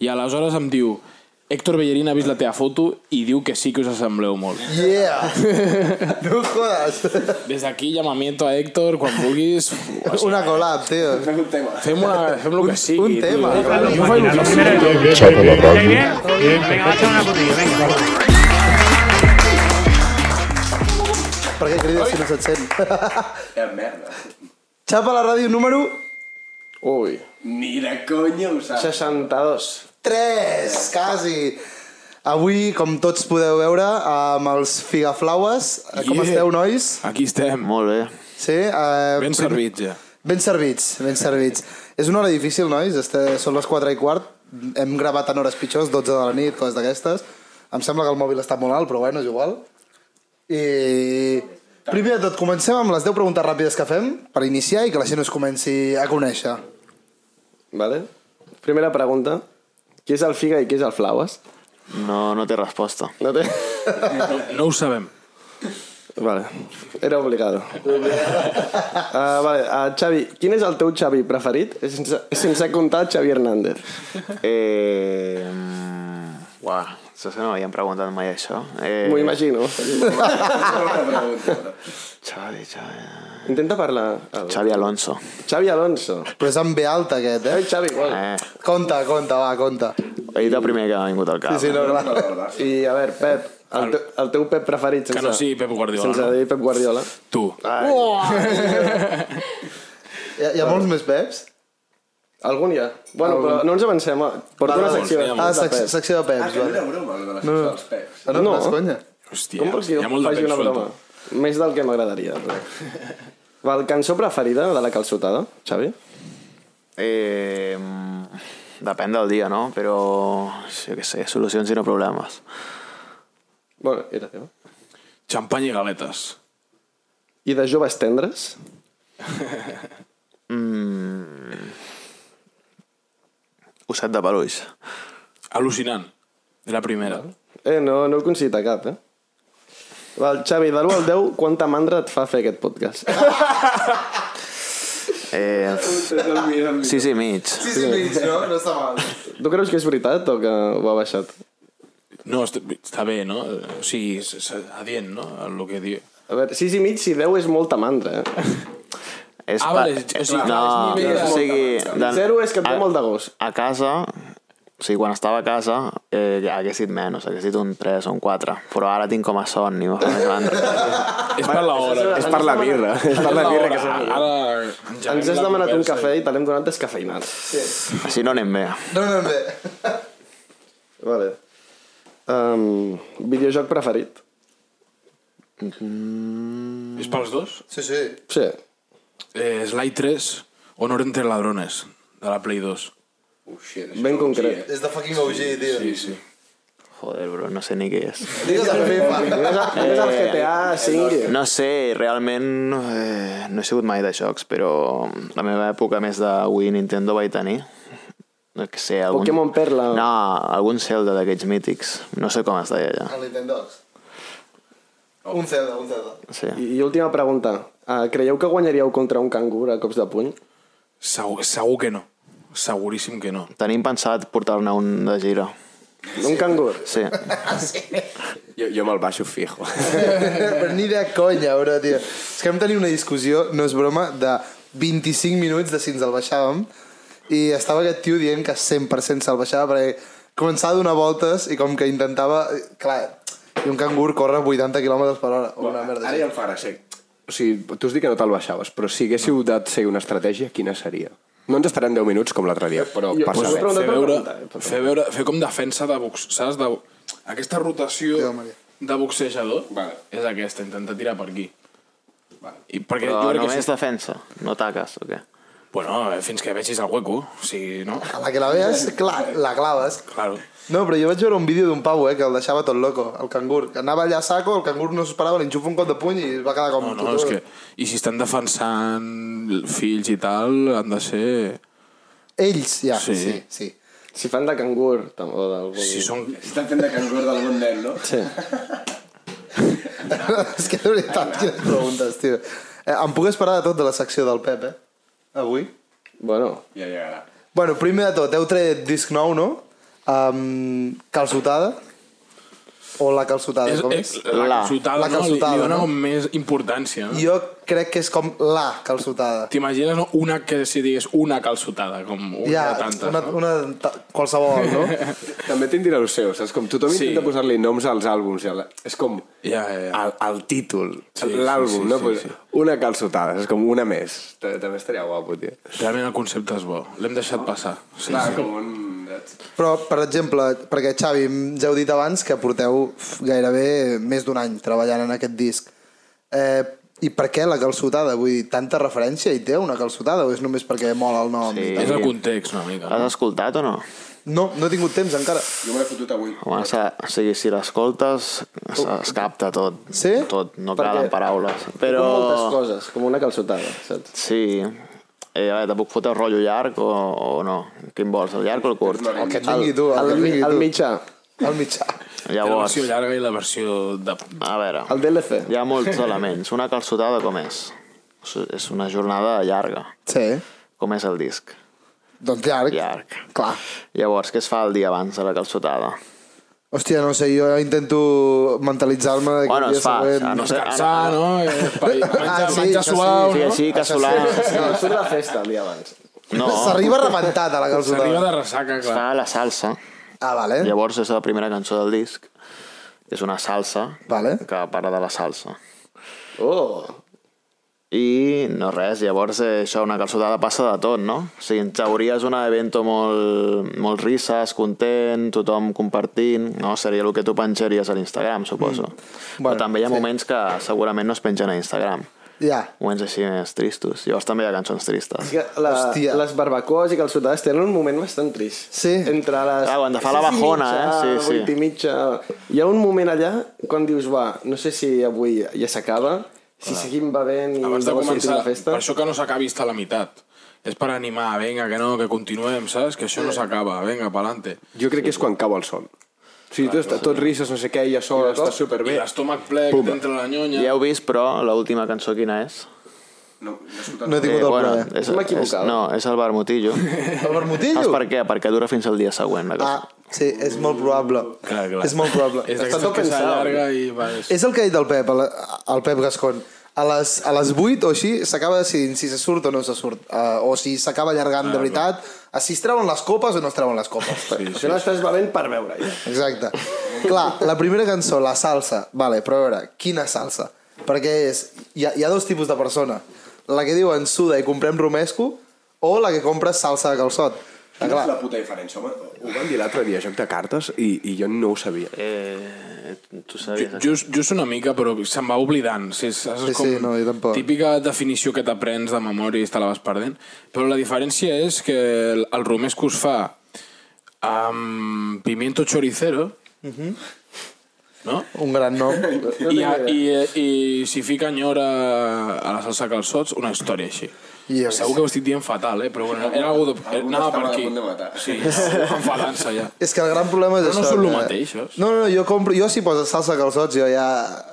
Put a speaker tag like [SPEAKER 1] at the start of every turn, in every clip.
[SPEAKER 1] I aleshores em diu... Héctor Bellerín ha vist la teva foto i diu que sí que us assembleu molt.
[SPEAKER 2] Yeah! no jodas.
[SPEAKER 1] Des d'aquí llamamiento a Héctor, quan vulguis...
[SPEAKER 2] Una collab, tío.
[SPEAKER 1] Fem, una, fem lo que sigui.
[SPEAKER 2] un tema,
[SPEAKER 1] tio.
[SPEAKER 2] claro.
[SPEAKER 1] Jo faig lo que sigui.
[SPEAKER 3] Chapa la
[SPEAKER 4] Bien,
[SPEAKER 3] ràdio.
[SPEAKER 4] bien. Venga, va a echar una putilla, venga.
[SPEAKER 2] Per què crides si no se't sent?
[SPEAKER 5] Que merda.
[SPEAKER 2] Xapa la ràdio número
[SPEAKER 6] Ui,
[SPEAKER 5] Ni de conya ho saps.
[SPEAKER 6] 62.
[SPEAKER 2] 3, quasi. Avui, com tots podeu veure, amb els figaflaues. Eh, Com
[SPEAKER 1] Yeah.
[SPEAKER 2] esteu, nois?
[SPEAKER 1] Aquí estem.
[SPEAKER 6] Molt bé.
[SPEAKER 2] Sí? Eh,
[SPEAKER 1] Ben
[SPEAKER 2] prim-
[SPEAKER 1] servits, ja.
[SPEAKER 2] Ben servits, ben servits. És una hora difícil, nois. Este, són les 4 i quart. Hem gravat en hores pitjors, 12 de la nit, coses d'aquestes. Em sembla que el mòbil està molt alt, però bueno, és igual. I... Primer de tot, comencem amb les 10 preguntes ràpides que fem per iniciar i que la gent us comenci a conèixer.
[SPEAKER 6] Vale? Primera pregunta. Què és el figa i què és el flaues?
[SPEAKER 7] No, no té resposta.
[SPEAKER 6] No té...
[SPEAKER 1] No, no ho sabem.
[SPEAKER 6] Vale. Era obligado. Uh, vale, uh, Xavi, quin és el teu Xavi preferit? Sense, sense comptar Xavi Hernández.
[SPEAKER 7] Eh... mm, Uah, això que no m'havien preguntat mai això. Eh...
[SPEAKER 6] M'ho imagino.
[SPEAKER 7] Xavi, Xavi...
[SPEAKER 6] Intenta parlar... El...
[SPEAKER 7] Xavi Alonso.
[SPEAKER 6] Xavi Alonso.
[SPEAKER 2] Però és amb B alta, aquest,
[SPEAKER 6] Ai,
[SPEAKER 2] eh?
[SPEAKER 6] Xavi, igual.
[SPEAKER 1] Ah.
[SPEAKER 7] Eh,
[SPEAKER 2] Compte, compte, va, compte.
[SPEAKER 7] he dit el primer que m'ha vingut al cap.
[SPEAKER 2] Sí, sí, no, clar.
[SPEAKER 6] I, a veure, Pep, el, teu, el teu Pep preferit sense...
[SPEAKER 1] Que no sigui Pep Guardiola,
[SPEAKER 6] Sense
[SPEAKER 1] no?
[SPEAKER 6] dir Ah. Pep Guardiola.
[SPEAKER 1] Tu.
[SPEAKER 2] Hi ha, hi ha molts més Peps?
[SPEAKER 6] Algun hi ha? Bueno, però no ens avancem. eh? Porto una
[SPEAKER 1] Vale,
[SPEAKER 6] secció.
[SPEAKER 1] molts, n'hi ha
[SPEAKER 2] Ah,
[SPEAKER 1] molts.
[SPEAKER 6] de
[SPEAKER 2] sec
[SPEAKER 6] Pep.
[SPEAKER 2] secció de
[SPEAKER 5] Ah,
[SPEAKER 2] Peps,
[SPEAKER 5] que no
[SPEAKER 2] vale.
[SPEAKER 5] era broma, lo de les no. dels peps.
[SPEAKER 2] Ah, no, no.
[SPEAKER 6] No.
[SPEAKER 2] és conya.
[SPEAKER 1] Hòstia,
[SPEAKER 6] Com vols que
[SPEAKER 1] hi ha
[SPEAKER 6] jo
[SPEAKER 1] molt de
[SPEAKER 6] faci
[SPEAKER 1] pell
[SPEAKER 6] una broma?
[SPEAKER 1] suelto.
[SPEAKER 6] Més del que m'agradaria. però. Val, cançó preferida de la calçotada, Xavi?
[SPEAKER 7] Eh... mm, Depèn del dia, no? Però, jo què sé, solucions i no problemes.
[SPEAKER 6] Bueno, era teva.
[SPEAKER 1] Xampany i galetes.
[SPEAKER 6] I de joves tendres?
[SPEAKER 7] Osset de peluix.
[SPEAKER 1] Al·lucinant. La primera.
[SPEAKER 6] Eh, no, no ho coincida cap, eh? Val, Xavi, de l'1 al 10, quanta mandra et fa fer aquest podcast?
[SPEAKER 7] Eh... Sí, sí, mig.
[SPEAKER 2] Sí, sí, mig, no? No està mal.
[SPEAKER 6] tu creus que és veritat o que ho ha baixat?
[SPEAKER 1] No, est- està bé, no? O sigui, és- és adient, no? El que diu.
[SPEAKER 6] A veure, 6 i mig, si 10 és molta mandra, eh?
[SPEAKER 7] És
[SPEAKER 1] Ah,
[SPEAKER 7] pa-
[SPEAKER 1] vale, o sigui,
[SPEAKER 7] no,
[SPEAKER 1] clar, és nivell de-
[SPEAKER 7] o sigui... de-
[SPEAKER 6] 0 és que et ve
[SPEAKER 1] Ah.
[SPEAKER 7] a-
[SPEAKER 6] molt de gos.
[SPEAKER 7] a casa, o sigui, quan estava a casa, eh, ja hagués dit menys, hagués dit un 3 o un 4, però ara tinc com a son i m'ho fa més mandra.
[SPEAKER 1] És per l'hora.
[SPEAKER 6] És per la birra. És per la birra que
[SPEAKER 1] Ara-
[SPEAKER 6] s'ha
[SPEAKER 1] Ara...
[SPEAKER 6] Ens has demanat un cafè i te l'hem donat descafeinat.
[SPEAKER 7] Així no anem bé.
[SPEAKER 2] No, no, no.
[SPEAKER 6] Vale. Um, videojoc preferit?
[SPEAKER 1] És pels dos?
[SPEAKER 2] Sí, sí.
[SPEAKER 6] Sí.
[SPEAKER 1] Eh, Slide 3, Honor entre ladrones, de la Play 2.
[SPEAKER 5] Oh, shit, això
[SPEAKER 6] Ben
[SPEAKER 5] no ho
[SPEAKER 6] concret.
[SPEAKER 5] sé,
[SPEAKER 2] És de fucking OG, tio. Sí, sí.
[SPEAKER 7] Joder, bro, no sé ni què és.
[SPEAKER 2] Digues el
[SPEAKER 6] No
[SPEAKER 2] FIFA.
[SPEAKER 6] és, no és el GTA 5.
[SPEAKER 7] No sé, realment eh, no he sigut mai de jocs, però la meva època més de Wii Nintendo vaig tenir. No que sé, algun...
[SPEAKER 6] Pokémon Perla.
[SPEAKER 7] No, algun Zelda d'aquests mítics. No sé com es deia ja.
[SPEAKER 2] El Nintendox. Un Zelda, un Zelda.
[SPEAKER 7] Sí.
[SPEAKER 6] I, I última pregunta. Uh, creieu que guanyaríeu contra un cangur a cops de puny?
[SPEAKER 1] Segur, segur que no. Seguríssim que no.
[SPEAKER 7] Tenim pensat portar-ne un de gira.
[SPEAKER 6] Un cangur?
[SPEAKER 7] Sí.
[SPEAKER 3] Jo, jo me'l baixo fijo.
[SPEAKER 2] Però ni de conya, bro, tio. És que vam tenir una discussió, no és broma, de 25 minuts de si ens el baixàvem i estava aquest tio dient que 100% se'l baixava perquè començava a donar voltes i com que intentava... Clar, i un cangur corre 80 km per hora. o Una merda.
[SPEAKER 5] Ara
[SPEAKER 2] així.
[SPEAKER 5] ja em farà ser.
[SPEAKER 3] O sigui, tu has dit que no te'l baixaves, però si haguéssiu de ser una estratègia, quina seria? No ens estarem 10 minuts com l'altre dia, però
[SPEAKER 6] Jo-
[SPEAKER 3] per
[SPEAKER 6] pues-
[SPEAKER 3] saber.
[SPEAKER 6] Però no
[SPEAKER 1] fer
[SPEAKER 6] t'ho
[SPEAKER 1] veure,
[SPEAKER 6] pregunta, eh,
[SPEAKER 1] fer veure, fer com defensa de box, saps? De, aquesta rotació
[SPEAKER 2] Tio, Maria.
[SPEAKER 1] de boxejador
[SPEAKER 5] Vale.
[SPEAKER 1] és aquesta, intentar tirar per aquí. I perquè
[SPEAKER 7] Però
[SPEAKER 1] jo crec que
[SPEAKER 7] només
[SPEAKER 1] sí.
[SPEAKER 7] defensa, no taques o què?
[SPEAKER 1] Bueno, eh, fins que vegis el hueco, o sigui, no?
[SPEAKER 2] A la que la veus, clar, la claves.
[SPEAKER 1] Claro.
[SPEAKER 2] No, però jo vaig veure un vídeo d'un pavo, eh, que el deixava tot loco, el cangur. Que anava allà a saco, el cangur no s'ho esperava, li enxufa un cop de puny i es va quedar com...
[SPEAKER 1] No, no, és que... I si estan defensant fills i tal, han de ser...
[SPEAKER 2] Ells, ja,
[SPEAKER 1] Sí.
[SPEAKER 2] sí, sí. sí.
[SPEAKER 6] Si fan de cangur, tam- o d'algú...
[SPEAKER 1] Si són...
[SPEAKER 5] Està fent de cangur del bon nen, no?
[SPEAKER 6] Sí.
[SPEAKER 2] és que de veritat, quines preguntes, tio. Eh, em puc esperar de tot de la secció del Pep, eh? Avui?
[SPEAKER 6] Bueno,
[SPEAKER 5] Ja llegarà.
[SPEAKER 2] Bueno, primer de tot, heu tret disc nou, no? Um, calçotada? O la calçotada?
[SPEAKER 1] És,
[SPEAKER 2] com
[SPEAKER 1] és,
[SPEAKER 2] és?
[SPEAKER 1] la,
[SPEAKER 7] La.
[SPEAKER 1] calçotada,
[SPEAKER 2] La calçotada,
[SPEAKER 1] no? Li, li dona
[SPEAKER 2] no?
[SPEAKER 1] com més importància, no?
[SPEAKER 2] Jo crec que és com la calçotada.
[SPEAKER 1] T'imagines no? una que si digués una calçotada, com una
[SPEAKER 2] Ja,
[SPEAKER 1] de tantes,
[SPEAKER 2] una,
[SPEAKER 1] no?
[SPEAKER 2] una, ta- qualsevol, no?
[SPEAKER 3] També tindrà el seu, saps? Com tothom
[SPEAKER 1] Sí.
[SPEAKER 3] sí. intenta posar-li noms als àlbums. i a la- És com
[SPEAKER 1] Ja, ja, ja.
[SPEAKER 3] El, el títol,
[SPEAKER 1] Sí, sí,
[SPEAKER 3] l'àlbum,
[SPEAKER 1] sí,
[SPEAKER 3] no?
[SPEAKER 1] sí,
[SPEAKER 3] pues,
[SPEAKER 1] sí.
[SPEAKER 3] Una calçotada, és com una més. Ta- També estaria guapo, tio.
[SPEAKER 1] Realment el concepte és bo. L'hem deixat passar. Sí.
[SPEAKER 5] Clar, com un...
[SPEAKER 2] Però, per exemple, perquè Xavi, ja heu dit abans que porteu f- gairebé més d'un any treballant en aquest disc. Eh, I per què la calçotada? Vull dir, tanta referència hi té una calçotada o és només perquè mola el nom?
[SPEAKER 7] Sí.
[SPEAKER 2] Sí.
[SPEAKER 1] És el context, una mica.
[SPEAKER 7] L'has escoltat o no?
[SPEAKER 2] No, no he tingut temps encara.
[SPEAKER 5] Jo me l'he fotut avui.
[SPEAKER 7] Home, s'ha- o sigui, si l'escoltes, se- es capta tot.
[SPEAKER 2] Sí?
[SPEAKER 7] Tot, no
[SPEAKER 6] Perquè-
[SPEAKER 7] calen paraules.
[SPEAKER 6] Però... Com moltes
[SPEAKER 7] Però...
[SPEAKER 6] coses, com una calçotada, saps?
[SPEAKER 7] Sí. Eh, a veure, te puc fotre el rotllo llarg o, o no? Quin vols, el llarg o el curt?
[SPEAKER 2] El que tingui tu, el,
[SPEAKER 6] El,
[SPEAKER 2] que
[SPEAKER 6] mi-
[SPEAKER 2] tingui
[SPEAKER 6] el
[SPEAKER 2] tu.
[SPEAKER 6] mitjà,
[SPEAKER 2] El mitjà.
[SPEAKER 1] Té la
[SPEAKER 7] Llavors,
[SPEAKER 1] versió llarga i la versió de...
[SPEAKER 7] a veure,
[SPEAKER 6] el DLC.
[SPEAKER 7] hi ha molts elements. Una calçotada com és? És una jornada llarga.
[SPEAKER 2] Sí.
[SPEAKER 7] Com és el disc?
[SPEAKER 2] Doncs llarg.
[SPEAKER 7] Llarg.
[SPEAKER 2] Clar.
[SPEAKER 7] Llavors, què es fa el dia abans de la calçotada?
[SPEAKER 2] Hòstia, no sé, jo intento mentalitzar-me de que
[SPEAKER 7] Bueno,
[SPEAKER 2] el
[SPEAKER 7] es
[SPEAKER 2] dia
[SPEAKER 7] fa...
[SPEAKER 2] següent...
[SPEAKER 7] a no sé,
[SPEAKER 1] Caçar, no? Eh, pa- Menjar,
[SPEAKER 2] Ah, sí,
[SPEAKER 1] menjar
[SPEAKER 2] això
[SPEAKER 1] suau,
[SPEAKER 7] Sí,
[SPEAKER 1] no?
[SPEAKER 7] així, casolà...
[SPEAKER 6] No, surt de festa el dia abans.
[SPEAKER 7] No,
[SPEAKER 2] S'arriba rebentat a la
[SPEAKER 1] S'arriba
[SPEAKER 2] calçotada.
[SPEAKER 1] de ressaca,
[SPEAKER 7] es
[SPEAKER 1] clar.
[SPEAKER 7] fa la salsa.
[SPEAKER 2] Ah, vale.
[SPEAKER 7] Llavors és la primera cançó del disc. És una salsa
[SPEAKER 2] Vale.
[SPEAKER 7] que parla de la salsa.
[SPEAKER 6] Oh!
[SPEAKER 7] I no res, llavors eh, això, una calçotada passa de tot, no? O sigui, en teoria és un evento molt, molt risses, content, tothom compartint, no? Seria el que tu penjaries a l'Instagram, suposo. Mm.
[SPEAKER 2] Bueno,
[SPEAKER 7] Però també hi ha
[SPEAKER 2] sí.
[SPEAKER 7] moments que segurament no es pengen a Instagram.
[SPEAKER 2] Ja.
[SPEAKER 7] Moments així més tristos. Llavors també hi ha cançons tristes.
[SPEAKER 6] És que la,
[SPEAKER 2] Hòstia.
[SPEAKER 6] les barbacoes i calçotades tenen un moment bastant trist.
[SPEAKER 2] Sí.
[SPEAKER 6] Entre les...
[SPEAKER 7] Ah, quan de fa la
[SPEAKER 6] sis i
[SPEAKER 7] bajona,
[SPEAKER 6] mitja,
[SPEAKER 7] eh? Sí, sí.
[SPEAKER 6] vuit i mitja... Hi ha un moment allà quan dius, va, no sé si avui ja s'acaba, si seguim bevent i
[SPEAKER 1] Abans de
[SPEAKER 6] llavors sortim
[SPEAKER 1] començar,
[SPEAKER 6] la festa.
[SPEAKER 1] per això que no s'acabi estar a la meitat. És per animar, vinga, que no, que continuem, saps? Que això no s'acaba, vinga, pa'lante.
[SPEAKER 3] Jo crec que és quan cau el sol. O sigui, tu estàs tot risses, no sé què, ja sol, estàs
[SPEAKER 1] I
[SPEAKER 3] superbé.
[SPEAKER 1] l'estómac ple, que t'entra la nyonya...
[SPEAKER 7] Ja heu vist, però, l'última cançó quina és?
[SPEAKER 5] No, no he escoltat.
[SPEAKER 2] No he tingut el plaer.
[SPEAKER 6] M'he
[SPEAKER 7] és, és,
[SPEAKER 6] equivocat.
[SPEAKER 7] no, és el vermutillo.
[SPEAKER 2] El vermutillo?
[SPEAKER 7] Saps per què? Perquè dura fins al dia següent. La cosa.
[SPEAKER 2] Ah, sí, és molt probable.
[SPEAKER 1] Clar, clar.
[SPEAKER 2] És molt probable.
[SPEAKER 1] És
[SPEAKER 2] Està
[SPEAKER 1] d'aquestes
[SPEAKER 2] tot
[SPEAKER 1] que
[SPEAKER 2] pensat.
[SPEAKER 1] s'allarga i va... És...
[SPEAKER 2] És el que ha dit el Pep, el, el Pep Gascon. A les, a les 8 o així s'acaba decidint si se surt o no se surt. Uh, o si s'acaba
[SPEAKER 1] Ah,
[SPEAKER 2] allargant de veritat, a si es treuen les copes o no es treuen les copes.
[SPEAKER 6] Sí, sí. Això estàs bevent per veure. Ja.
[SPEAKER 2] Exacte. Clar, la primera cançó, la salsa. Vale, però a veure, quina salsa? Perquè és, hi ha, hi ha dos tipus de persona. La que diu en suda i comprem romesco o la que compra salsa de calçot. Ah,
[SPEAKER 5] Quina
[SPEAKER 2] clar,
[SPEAKER 5] és la puta diferència, home?
[SPEAKER 3] Ho van dir l'altre dia, joc de cartes, i, i jo no ho sabia.
[SPEAKER 7] Eh, tu
[SPEAKER 1] Ju-
[SPEAKER 7] sabies... això?
[SPEAKER 1] Just, just una mica, però se'n va oblidant. Sí, és, és
[SPEAKER 2] Sí,
[SPEAKER 1] com
[SPEAKER 2] sí, no, jo tampoc.
[SPEAKER 1] Típica definició que t'aprens de memòria i te la vas perdent. Però la diferència és que el, el romesco es fa amb pimiento choricero, no?
[SPEAKER 2] un gran nom.
[SPEAKER 1] I, a, i, eh, i si fica nyora a la salsa calçots, una història així.
[SPEAKER 2] Yes.
[SPEAKER 1] Segur que ho estic dient fatal, eh? però bueno, era algú de...
[SPEAKER 5] Algú
[SPEAKER 1] anava
[SPEAKER 5] estava
[SPEAKER 1] per
[SPEAKER 5] a
[SPEAKER 1] aquí.
[SPEAKER 5] punt de matar.
[SPEAKER 1] Sí, enfadança ja.
[SPEAKER 2] És que el gran problema és
[SPEAKER 1] Però no
[SPEAKER 2] això.
[SPEAKER 1] són lo
[SPEAKER 2] que-
[SPEAKER 1] mateix, eh?
[SPEAKER 2] No, no, no, jo, compro, jo si posa salsa de calçots, jo ja...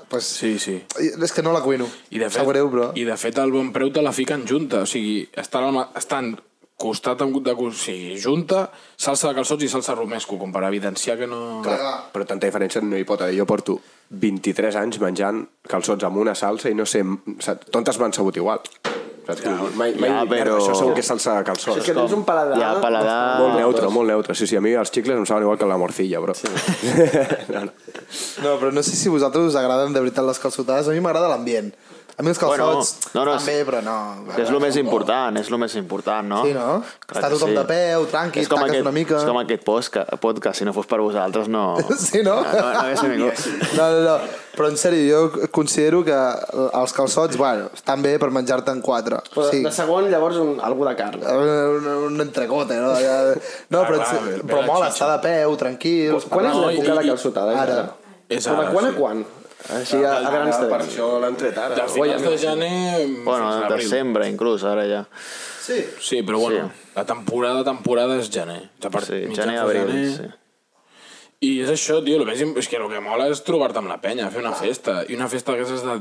[SPEAKER 2] Pues,
[SPEAKER 1] Sí, sí.
[SPEAKER 2] És que no la cuino.
[SPEAKER 1] I de, fet,
[SPEAKER 2] Sap greu, però...
[SPEAKER 1] I de fet el bon preu te la fiquen junta, o sigui, estan, al ma- estan costat amb de, cu- o sigui, junta, salsa de calçots i salsa romesco, com per evidenciar que no...
[SPEAKER 3] Però, però tanta diferència no hi pot haver. Jo porto 23 anys menjant calçots amb una salsa i no sé, saps? tontes m'han sabut igual. Saps? Ja, mai, mai,
[SPEAKER 7] ja,
[SPEAKER 3] ja, però...
[SPEAKER 7] però-
[SPEAKER 3] Això segur que és salsa de calçots. Ah,
[SPEAKER 6] És que tens un paladar...
[SPEAKER 7] Ja, paladar...
[SPEAKER 3] Molt neutre, molt neutre. Sí, sí, a mi els xicles em saben igual que la morcilla, bro. Sí. no, no.
[SPEAKER 2] No, però no sé si a vosaltres us agraden de veritat les calçotades. A mi m'agrada l'ambient. A mi els calçots
[SPEAKER 7] Bueno, no, no,
[SPEAKER 2] també,
[SPEAKER 7] sí.
[SPEAKER 2] però no...
[SPEAKER 7] Que és el més important, és el més important, no?
[SPEAKER 2] Sí, no? Està
[SPEAKER 7] que
[SPEAKER 2] tothom de peu, tranqui,
[SPEAKER 7] És com
[SPEAKER 2] taques
[SPEAKER 7] aquest,
[SPEAKER 2] una mica.
[SPEAKER 7] És com aquest podcast, podcast, si no fos per vosaltres no...
[SPEAKER 2] Sí, no?
[SPEAKER 7] No, no, no hagués vingut.
[SPEAKER 2] No, no, no. Però en sèrio, jo considero que els calçots, bueno, estan bé per menjar-te'n quatre.
[SPEAKER 6] Però
[SPEAKER 2] sí.
[SPEAKER 6] de segon, llavors, un, algú de carn.
[SPEAKER 2] Un, un entrecote, no? Ja- No,
[SPEAKER 1] Ah,
[SPEAKER 2] però,
[SPEAKER 1] clar,
[SPEAKER 2] ens-
[SPEAKER 1] ve
[SPEAKER 2] però
[SPEAKER 1] la
[SPEAKER 2] mola
[SPEAKER 1] xitxa.
[SPEAKER 2] estar de peu, tranquils.
[SPEAKER 6] Quan és
[SPEAKER 1] no,
[SPEAKER 6] l'època
[SPEAKER 1] i-
[SPEAKER 6] de calçotada?
[SPEAKER 2] ara.
[SPEAKER 1] És
[SPEAKER 6] Però
[SPEAKER 1] ara,
[SPEAKER 6] de quan
[SPEAKER 1] sí.
[SPEAKER 6] a quan? Així, a, a grans
[SPEAKER 5] Per
[SPEAKER 6] temps.
[SPEAKER 5] això l'han tret ara.
[SPEAKER 1] De finals de gener...
[SPEAKER 7] Bueno,
[SPEAKER 1] fins a
[SPEAKER 7] de
[SPEAKER 1] abril.
[SPEAKER 7] desembre, inclús, ara ja.
[SPEAKER 2] Sí.
[SPEAKER 1] Sí, però bueno,
[SPEAKER 7] Sí.
[SPEAKER 1] sí. la temporada, temporada és gener. Ja per
[SPEAKER 7] Sí,
[SPEAKER 1] mitjans
[SPEAKER 7] gener,
[SPEAKER 1] de
[SPEAKER 7] abril, sí.
[SPEAKER 1] I és això, tio, el més, im- és que el que mola és trobar-te amb la penya, fer una festa. I una festa d'aquestes de,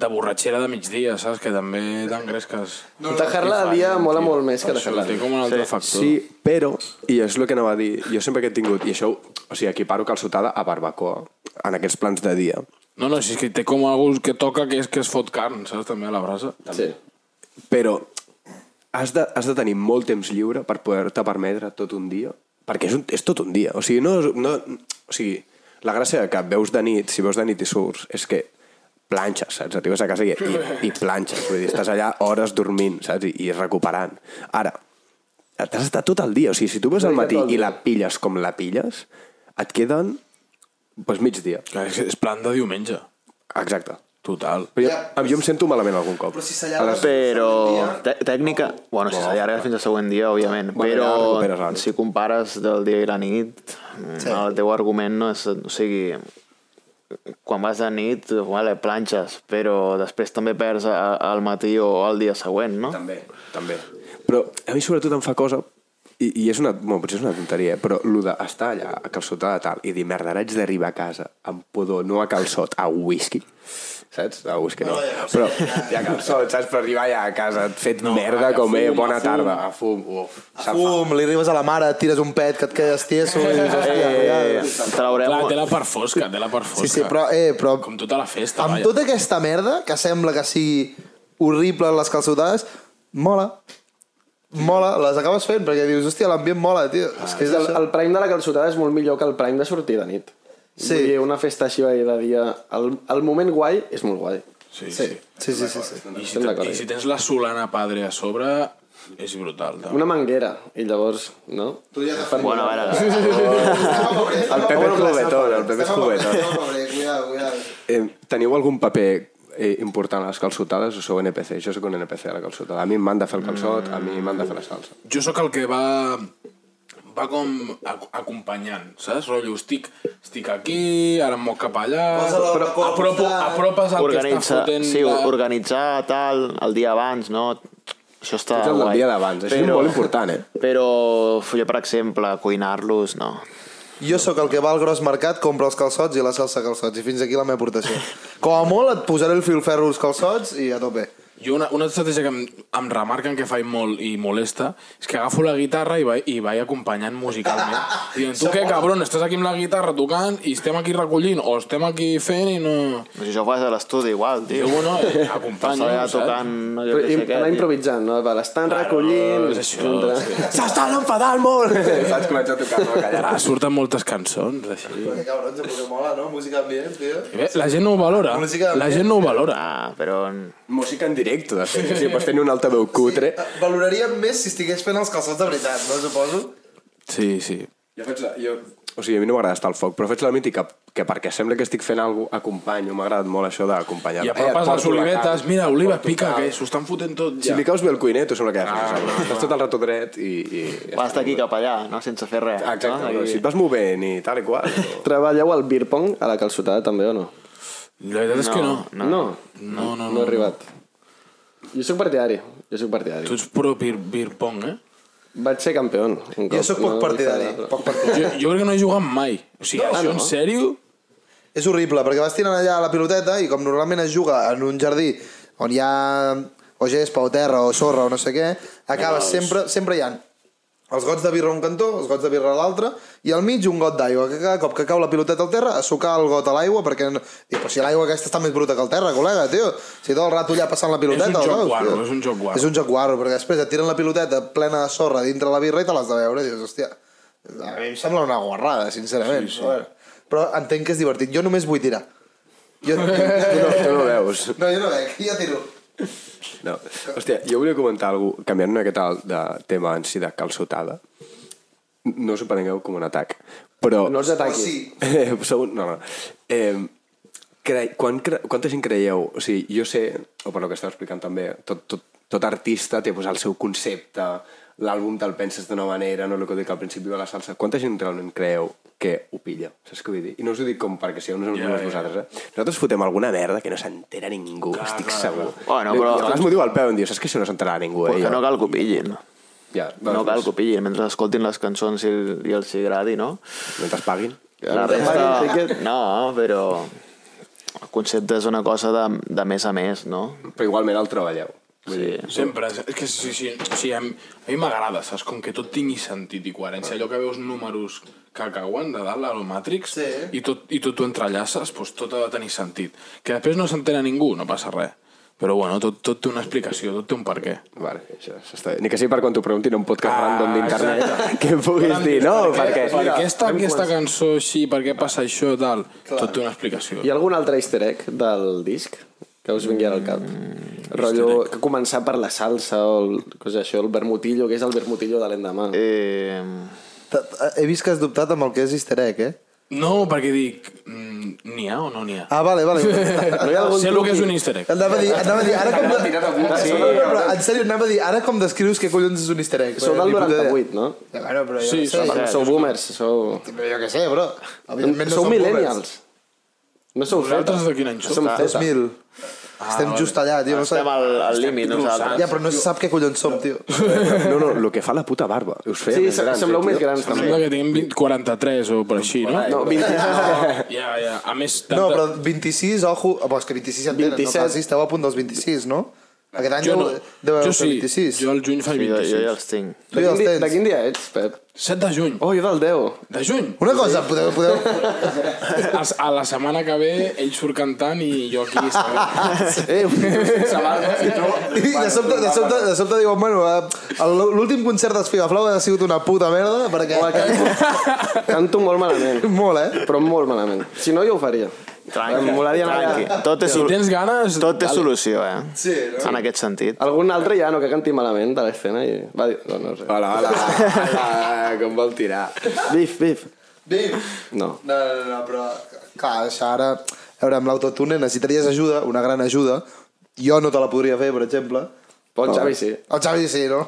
[SPEAKER 1] de borratxera de migdia, saps? Que també t'engresques.
[SPEAKER 6] Tajar-la de dia mola molt més que
[SPEAKER 1] Això
[SPEAKER 6] tajar-la de
[SPEAKER 1] té
[SPEAKER 6] nit.
[SPEAKER 1] com un altre sí. factor.
[SPEAKER 3] Sí, però, i és el que anava a dir, jo sempre que he tingut, i això, o sigui, equiparo calçotada a barbacoa, en aquests plans de dia.
[SPEAKER 1] No, no, si és que té com algú que toca que és que es fot carn, saps? També a la brasa.
[SPEAKER 6] Sí.
[SPEAKER 3] Però has de, has de tenir molt temps lliure per poder-te permetre tot un dia, perquè és, un, és tot un dia. O sigui, no, no, o sigui, la gràcia que veus de nit, si veus de nit i surts, és que planxes, saps? Arribes a casa i, i, i planxes. Vull dir, estàs allà hores dormint, saps? I, i recuperant. Ara, t'has estat tot el dia. O sigui, si tu vas al matí i la pilles com la pilles, et queden doncs, migdia.
[SPEAKER 1] Clar, és, que és plan de diumenge.
[SPEAKER 3] Exacte.
[SPEAKER 1] Total.
[SPEAKER 3] Però jo, jo em sento malament algun cop.
[SPEAKER 2] Però si s'allarga...
[SPEAKER 7] Però tè- tècnica... Bueno, si s'allarga fins al següent dia, òbviament.
[SPEAKER 3] Bueno, ja recuperes la
[SPEAKER 7] però
[SPEAKER 3] nit.
[SPEAKER 7] si compares del dia i la nit, sí. el teu argument no és... O sigui, quan vas de nit, vale, planxes, però després també perds a- al matí o al dia següent, no?
[SPEAKER 3] També, també. Però a mi sobretot em fa cosa, i, i és una, bueno, potser és una tonteria, eh? però el d'estar allà a calçotada de tal i dir, merda, ara haig d'arribar a casa amb pudor, no a calçot, a whisky, saps? A whisky no. Però ja a calçot, saps? Per arribar ja a casa, et fet no, merda com, eh, bona tarda, a fum, uf.
[SPEAKER 2] A fum, li arribes a la mare, et tires un pet, que et quedes tieso i dius, hòstia,
[SPEAKER 7] Eh,
[SPEAKER 2] ja...
[SPEAKER 7] traurem...
[SPEAKER 1] Clar, té la part fosca, té la part fosca.
[SPEAKER 2] Sí, sí, però, eh, però
[SPEAKER 1] Com tota la festa,
[SPEAKER 2] amb
[SPEAKER 1] vaja.
[SPEAKER 2] tota aquesta merda, que sembla que sigui horrible en les calçotades, mola. Mola, les acabes fent, perquè dius, hòstia, l'ambient mola, tio. és que és
[SPEAKER 6] El,
[SPEAKER 2] això.
[SPEAKER 6] el prime de la calçotada és molt millor que el prime de sortir de nit.
[SPEAKER 2] Sí.
[SPEAKER 6] Vull dir, una festa així de dia... El, el moment guai és molt guai.
[SPEAKER 1] Sí,
[SPEAKER 2] Sí, sí, sí, sí. sí.
[SPEAKER 1] I si,
[SPEAKER 6] Estem d'acord,
[SPEAKER 1] i
[SPEAKER 6] eh?
[SPEAKER 1] si tens la solana padre a sobre, és brutal. També.
[SPEAKER 6] Una manguera, i llavors, no?
[SPEAKER 2] Tu ja t'has
[SPEAKER 7] Bueno, a veure,
[SPEAKER 2] El
[SPEAKER 3] Pepe és juguetón, el Pepe és juguetón.
[SPEAKER 2] Cuidado, cuidado.
[SPEAKER 3] Eh, teniu algun paper eh, important a les calçotades o sou NPC? Jo sóc un NPC a la calçotada. A mi m'han de fer el calçot, a mi m'han de fer la salsa.
[SPEAKER 1] jo sóc el que va va com ac- acompanyant, saps? Rotllo, estic, estic aquí, ara em moc cap allà...
[SPEAKER 2] Posa-la
[SPEAKER 1] Però,
[SPEAKER 2] al costat.
[SPEAKER 1] apropo, apropes el que està
[SPEAKER 7] organitza,
[SPEAKER 1] fotent...
[SPEAKER 7] sí,
[SPEAKER 1] la-
[SPEAKER 7] organitzar tal, el dia abans, no? Això està
[SPEAKER 3] Ets el del
[SPEAKER 7] guai.
[SPEAKER 3] dia d'abans, això és molt important, eh?
[SPEAKER 7] Però jo, per exemple, cuinar-los, no.
[SPEAKER 2] Jo sóc el que va al gros mercat, compra els calçots i la salsa calçots, i fins aquí la meva aportació. Com a molt et posaré el filferro als calçots i a tope.
[SPEAKER 1] Jo una, una estratègia que em, em remarquen que faig molt i molesta és que agafo la guitarra i vaig, i vaig acompanyant musicalment.
[SPEAKER 3] Ah,
[SPEAKER 1] Dient, tu què, cabron, estàs aquí amb la guitarra tocant i estem aquí recollint o estem aquí fent i no...
[SPEAKER 7] Si això ho fas a l'estudi, igual,
[SPEAKER 1] Jo,
[SPEAKER 7] tio.
[SPEAKER 1] bueno, eh,
[SPEAKER 7] Estàs
[SPEAKER 1] acompanyo,
[SPEAKER 7] allà
[SPEAKER 1] saps?
[SPEAKER 7] tocant, no, jo
[SPEAKER 6] Però,
[SPEAKER 7] què
[SPEAKER 6] i,
[SPEAKER 7] sé què.
[SPEAKER 6] anar
[SPEAKER 7] tio.
[SPEAKER 6] improvisant, no? Va, L'estan recollint...
[SPEAKER 1] és això,
[SPEAKER 6] junta.
[SPEAKER 1] sí.
[SPEAKER 3] S'estan enfadant molt! Saps com haig de tocar no callar.
[SPEAKER 1] Ara surten moltes cançons, així.
[SPEAKER 2] Que cabrons, perquè mola, no? Música ambient, tio.
[SPEAKER 1] I Bé, la gent no ho valora.
[SPEAKER 2] Música-
[SPEAKER 1] La gent no ho valora.
[SPEAKER 7] Ah, però... en-
[SPEAKER 3] Música en directe, de fet. Si pots tenir un altaveu cutre...
[SPEAKER 2] Valoraria Eh, més si estigués fent els calçots de veritat, no suposo?
[SPEAKER 1] Sí, sí.
[SPEAKER 3] Jo faig la, jo... O sigui, a mi no m'agrada estar al foc, però faig la mítica que perquè sembla que estic fent alguna cosa, acompanyo. M'ha agradat molt això d'acompanyar.
[SPEAKER 1] I
[SPEAKER 3] et
[SPEAKER 1] apropes
[SPEAKER 3] porto
[SPEAKER 1] les
[SPEAKER 3] la
[SPEAKER 1] olivetes,
[SPEAKER 3] carn.
[SPEAKER 1] mira, oliva, pica, que s'ho estan fotent tot
[SPEAKER 3] Si
[SPEAKER 1] ja.
[SPEAKER 3] li caus bé el cuiner, tu sembla que ja
[SPEAKER 1] Ah,
[SPEAKER 3] fas això. Estàs tot el rato dret i... i...
[SPEAKER 7] Vas d'aquí cap allà, no? Sense fer res.
[SPEAKER 3] Exacte,
[SPEAKER 7] No?
[SPEAKER 3] no? si et vas movent i tal i qual. o-
[SPEAKER 6] Treballeu al beer pong a la calçotada, també, o no?
[SPEAKER 1] La veritat és que no.
[SPEAKER 6] No. No,
[SPEAKER 1] No, no,
[SPEAKER 6] he
[SPEAKER 1] no.
[SPEAKER 6] arribat. Jo sóc partidari, jo sóc partidari.
[SPEAKER 1] Tu ets pro beer, beer pong, eh?
[SPEAKER 6] Vaig ser campió un cop.
[SPEAKER 2] Jo sóc poc
[SPEAKER 6] no?
[SPEAKER 2] partidari, poc partidari.
[SPEAKER 1] Jo, jo crec que no he jugat mai. O sigui, no, això
[SPEAKER 6] no.
[SPEAKER 1] en sèrio...
[SPEAKER 2] És horrible, perquè vas tirant allà la piloteta i com normalment es juga en un jardí on hi ha o gespa o terra o sorra o no sé què, acabes sempre, sempre hi ha els gots de birra a un cantó, els gots de birra a l'altre, i al mig un got d'aigua, que cada cop que cau la piloteta al terra, a sucar el got a l'aigua, perquè... No... Dic, però si l'aigua aquesta està més bruta que el terra, col·lega, tio. Si tot el rato allà passant la piloteta...
[SPEAKER 1] joc
[SPEAKER 2] el veus,
[SPEAKER 1] guarro,
[SPEAKER 2] tio?
[SPEAKER 1] és un joc guarro.
[SPEAKER 2] És un joc guarro, perquè després et tiren la piloteta plena de sorra dintre la birra i te l'has de veure, i dius, hòstia... A mi em sembla una guarrada, sincerament. Sí, sí. Bueno, però entenc que és divertit. Jo només vull tirar. Jo,
[SPEAKER 3] Tu no, tu no veus.
[SPEAKER 2] no, jo no veig, jo tiro.
[SPEAKER 3] No. Hòstia, jo volia comentar alguna cosa, canviant una miqueta de tema en si de calçotada. No us ho prengueu com un atac, però...
[SPEAKER 6] No els
[SPEAKER 2] O
[SPEAKER 6] ataquis.
[SPEAKER 2] sí,
[SPEAKER 3] Eh, sou... No, no. Eh, cre... Quan cre... Quanta gent creieu? O sigui, jo sé, o per lo que estava explicant també, tot, tot, tot artista té pues, el seu concepte, l'àlbum te'l penses d'una manera, no el que dic al principi de la salsa. Quanta gent realment creieu que ho pilla? Saps què vull dir? I no us ho dic com perquè si no us yeah, vosaltres, eh? Nosaltres fotem alguna merda que no s'entera ningú, clar, estic clar, segur.
[SPEAKER 7] Bueno,
[SPEAKER 3] I
[SPEAKER 7] però-
[SPEAKER 3] a vegades m'ho diu al peu, em diu, saps que això no s'enterarà ningú, eh?
[SPEAKER 7] Perquè
[SPEAKER 3] Jo,
[SPEAKER 7] no cal que ho pillin.
[SPEAKER 3] Ja,
[SPEAKER 7] No
[SPEAKER 3] doncs,
[SPEAKER 7] cal que ho pillin. Mentre escoltin les cançons i, i els hi agradi, no?
[SPEAKER 3] Mentre es paguin.
[SPEAKER 7] La
[SPEAKER 6] Paguin
[SPEAKER 7] resta...
[SPEAKER 6] tiquet.
[SPEAKER 7] No, però... El concepte és una cosa de, de més a més, no?
[SPEAKER 3] Però igualment el treballeu.
[SPEAKER 7] Sí.
[SPEAKER 1] Sempre, és que sí, sí, sí, a mi a mi m'agrada, saps? Com que tot tingui sentit i coherència. Allò que veus números que cauen de dalt al Matrix
[SPEAKER 2] Sí.
[SPEAKER 1] i tot i tot ho entrellaces, doncs tot ha de tenir sentit. Que després no s'entén a ningú, no passa res. Però bueno, tot, tot té una explicació, tot té un per què.
[SPEAKER 3] Vale, això s'està bé. Ni que sigui per quan t'ho preguntin en un podcast
[SPEAKER 1] Ah,
[SPEAKER 3] random
[SPEAKER 1] exacte.
[SPEAKER 3] d'internet que puguis dir, no, perquè...
[SPEAKER 1] Per què està aquesta cançó així, per què passa això, tal? Tot té una explicació.
[SPEAKER 6] Hi ha algun altre easter egg del disc que us vingui ara al cap? Mm, Rotllo que començar per la salsa o el, cosa això, el vermutillo, que és el vermutillo de l'endemà. Eh.
[SPEAKER 7] Eh,
[SPEAKER 2] T- t- He vist que has dubtat amb el que és easter egg, eh?
[SPEAKER 1] No, perquè dic, mm, n'hi ha o no n'hi ha?
[SPEAKER 2] Ah, vale, vale.
[SPEAKER 6] No hi ha algun
[SPEAKER 1] Sé el que és
[SPEAKER 6] truqui?
[SPEAKER 1] un easter egg.
[SPEAKER 2] Anava a dir, anava a dir, ara com...
[SPEAKER 5] tirat algun-
[SPEAKER 2] Sí,
[SPEAKER 5] Sí,
[SPEAKER 2] no, no, però, en sèrio, anava a dir, ara com descrius què collons és un easter egg?
[SPEAKER 6] Sou del
[SPEAKER 2] Ni puta idea.
[SPEAKER 6] 98, no?
[SPEAKER 2] Ja, bueno, però jo
[SPEAKER 1] Sí,
[SPEAKER 2] sí, sé.
[SPEAKER 1] sí,
[SPEAKER 6] no sou boomers, sou...
[SPEAKER 2] Però jo què sé, bro. Evidentment no
[SPEAKER 6] sou
[SPEAKER 2] som boomers.
[SPEAKER 6] millennials. No sou
[SPEAKER 1] Vosaltres
[SPEAKER 6] Zeta.
[SPEAKER 1] de quin any sou?
[SPEAKER 6] Som Zeta.
[SPEAKER 2] 2000. Estem
[SPEAKER 1] vale.
[SPEAKER 2] just allà, tio. No sé.
[SPEAKER 7] estem al, al límit, nosaltres.
[SPEAKER 2] Ja, però no se sap què collons som, tio.
[SPEAKER 3] No, no, el que fa la puta barba. Us feia
[SPEAKER 6] Sí,
[SPEAKER 3] més
[SPEAKER 6] se-
[SPEAKER 3] grans.
[SPEAKER 6] sembleu
[SPEAKER 3] eh,
[SPEAKER 6] més
[SPEAKER 3] tio?
[SPEAKER 6] grans també.
[SPEAKER 1] Sembla que tinguem 20, 43 o per així, no?
[SPEAKER 6] No, 26.
[SPEAKER 1] Ja, ja. A més, tanta...
[SPEAKER 2] No, però 26, ojo... Ah, Bo, és que 26 ja tenen, 27. no
[SPEAKER 6] 27.
[SPEAKER 2] facis, esteu a punt dels 26, no? Aquest any
[SPEAKER 1] jo no.
[SPEAKER 2] deu, deu
[SPEAKER 1] jo
[SPEAKER 2] haver
[SPEAKER 1] sí.
[SPEAKER 2] 26.
[SPEAKER 1] Jo el juny faig
[SPEAKER 7] Sí, jo, jo
[SPEAKER 1] 26.
[SPEAKER 7] ja els tinc.
[SPEAKER 2] Tu
[SPEAKER 6] De
[SPEAKER 2] ja
[SPEAKER 6] quin,
[SPEAKER 2] els
[SPEAKER 6] dia, de
[SPEAKER 2] tens.
[SPEAKER 6] quin dia ets, Pep?
[SPEAKER 1] 7 de juny.
[SPEAKER 6] Oh, jo del 10.
[SPEAKER 1] De juny.
[SPEAKER 2] Una cosa, podeu... podeu...
[SPEAKER 1] A, a la setmana que ve ell surt cantant i jo aquí...
[SPEAKER 6] Eh,
[SPEAKER 2] I de sobte, de sobte, de sobte diuen, bueno, eh, el- l'últim concert dels Figaflau ha sigut una puta merda, perquè...
[SPEAKER 6] canto molt malament.
[SPEAKER 2] Molt, eh?
[SPEAKER 6] Però molt malament. Si no, jo ho faria. Em
[SPEAKER 7] Tranqui,
[SPEAKER 6] molaria anar
[SPEAKER 7] tranqui.
[SPEAKER 6] allà.
[SPEAKER 7] Tot té,
[SPEAKER 1] Si
[SPEAKER 7] sol...
[SPEAKER 1] tens ganes...
[SPEAKER 7] Tot té solució, eh?
[SPEAKER 2] Sí, no?
[SPEAKER 7] En aquest sentit.
[SPEAKER 6] Algun altre ja no que canti malament de l'escena i va dir... No, no, res.
[SPEAKER 3] Hola, hola, hola, com vol tirar.
[SPEAKER 6] Bif, bif.
[SPEAKER 2] Bim!
[SPEAKER 6] No.
[SPEAKER 2] No, no, no, però... Clar, això ara... A veure, amb l'autotune necessitaries ajuda, una gran ajuda. Jo no te la podria fer, per exemple.
[SPEAKER 6] Però Eh, el Xavi sí.
[SPEAKER 2] El Xavi sí, no?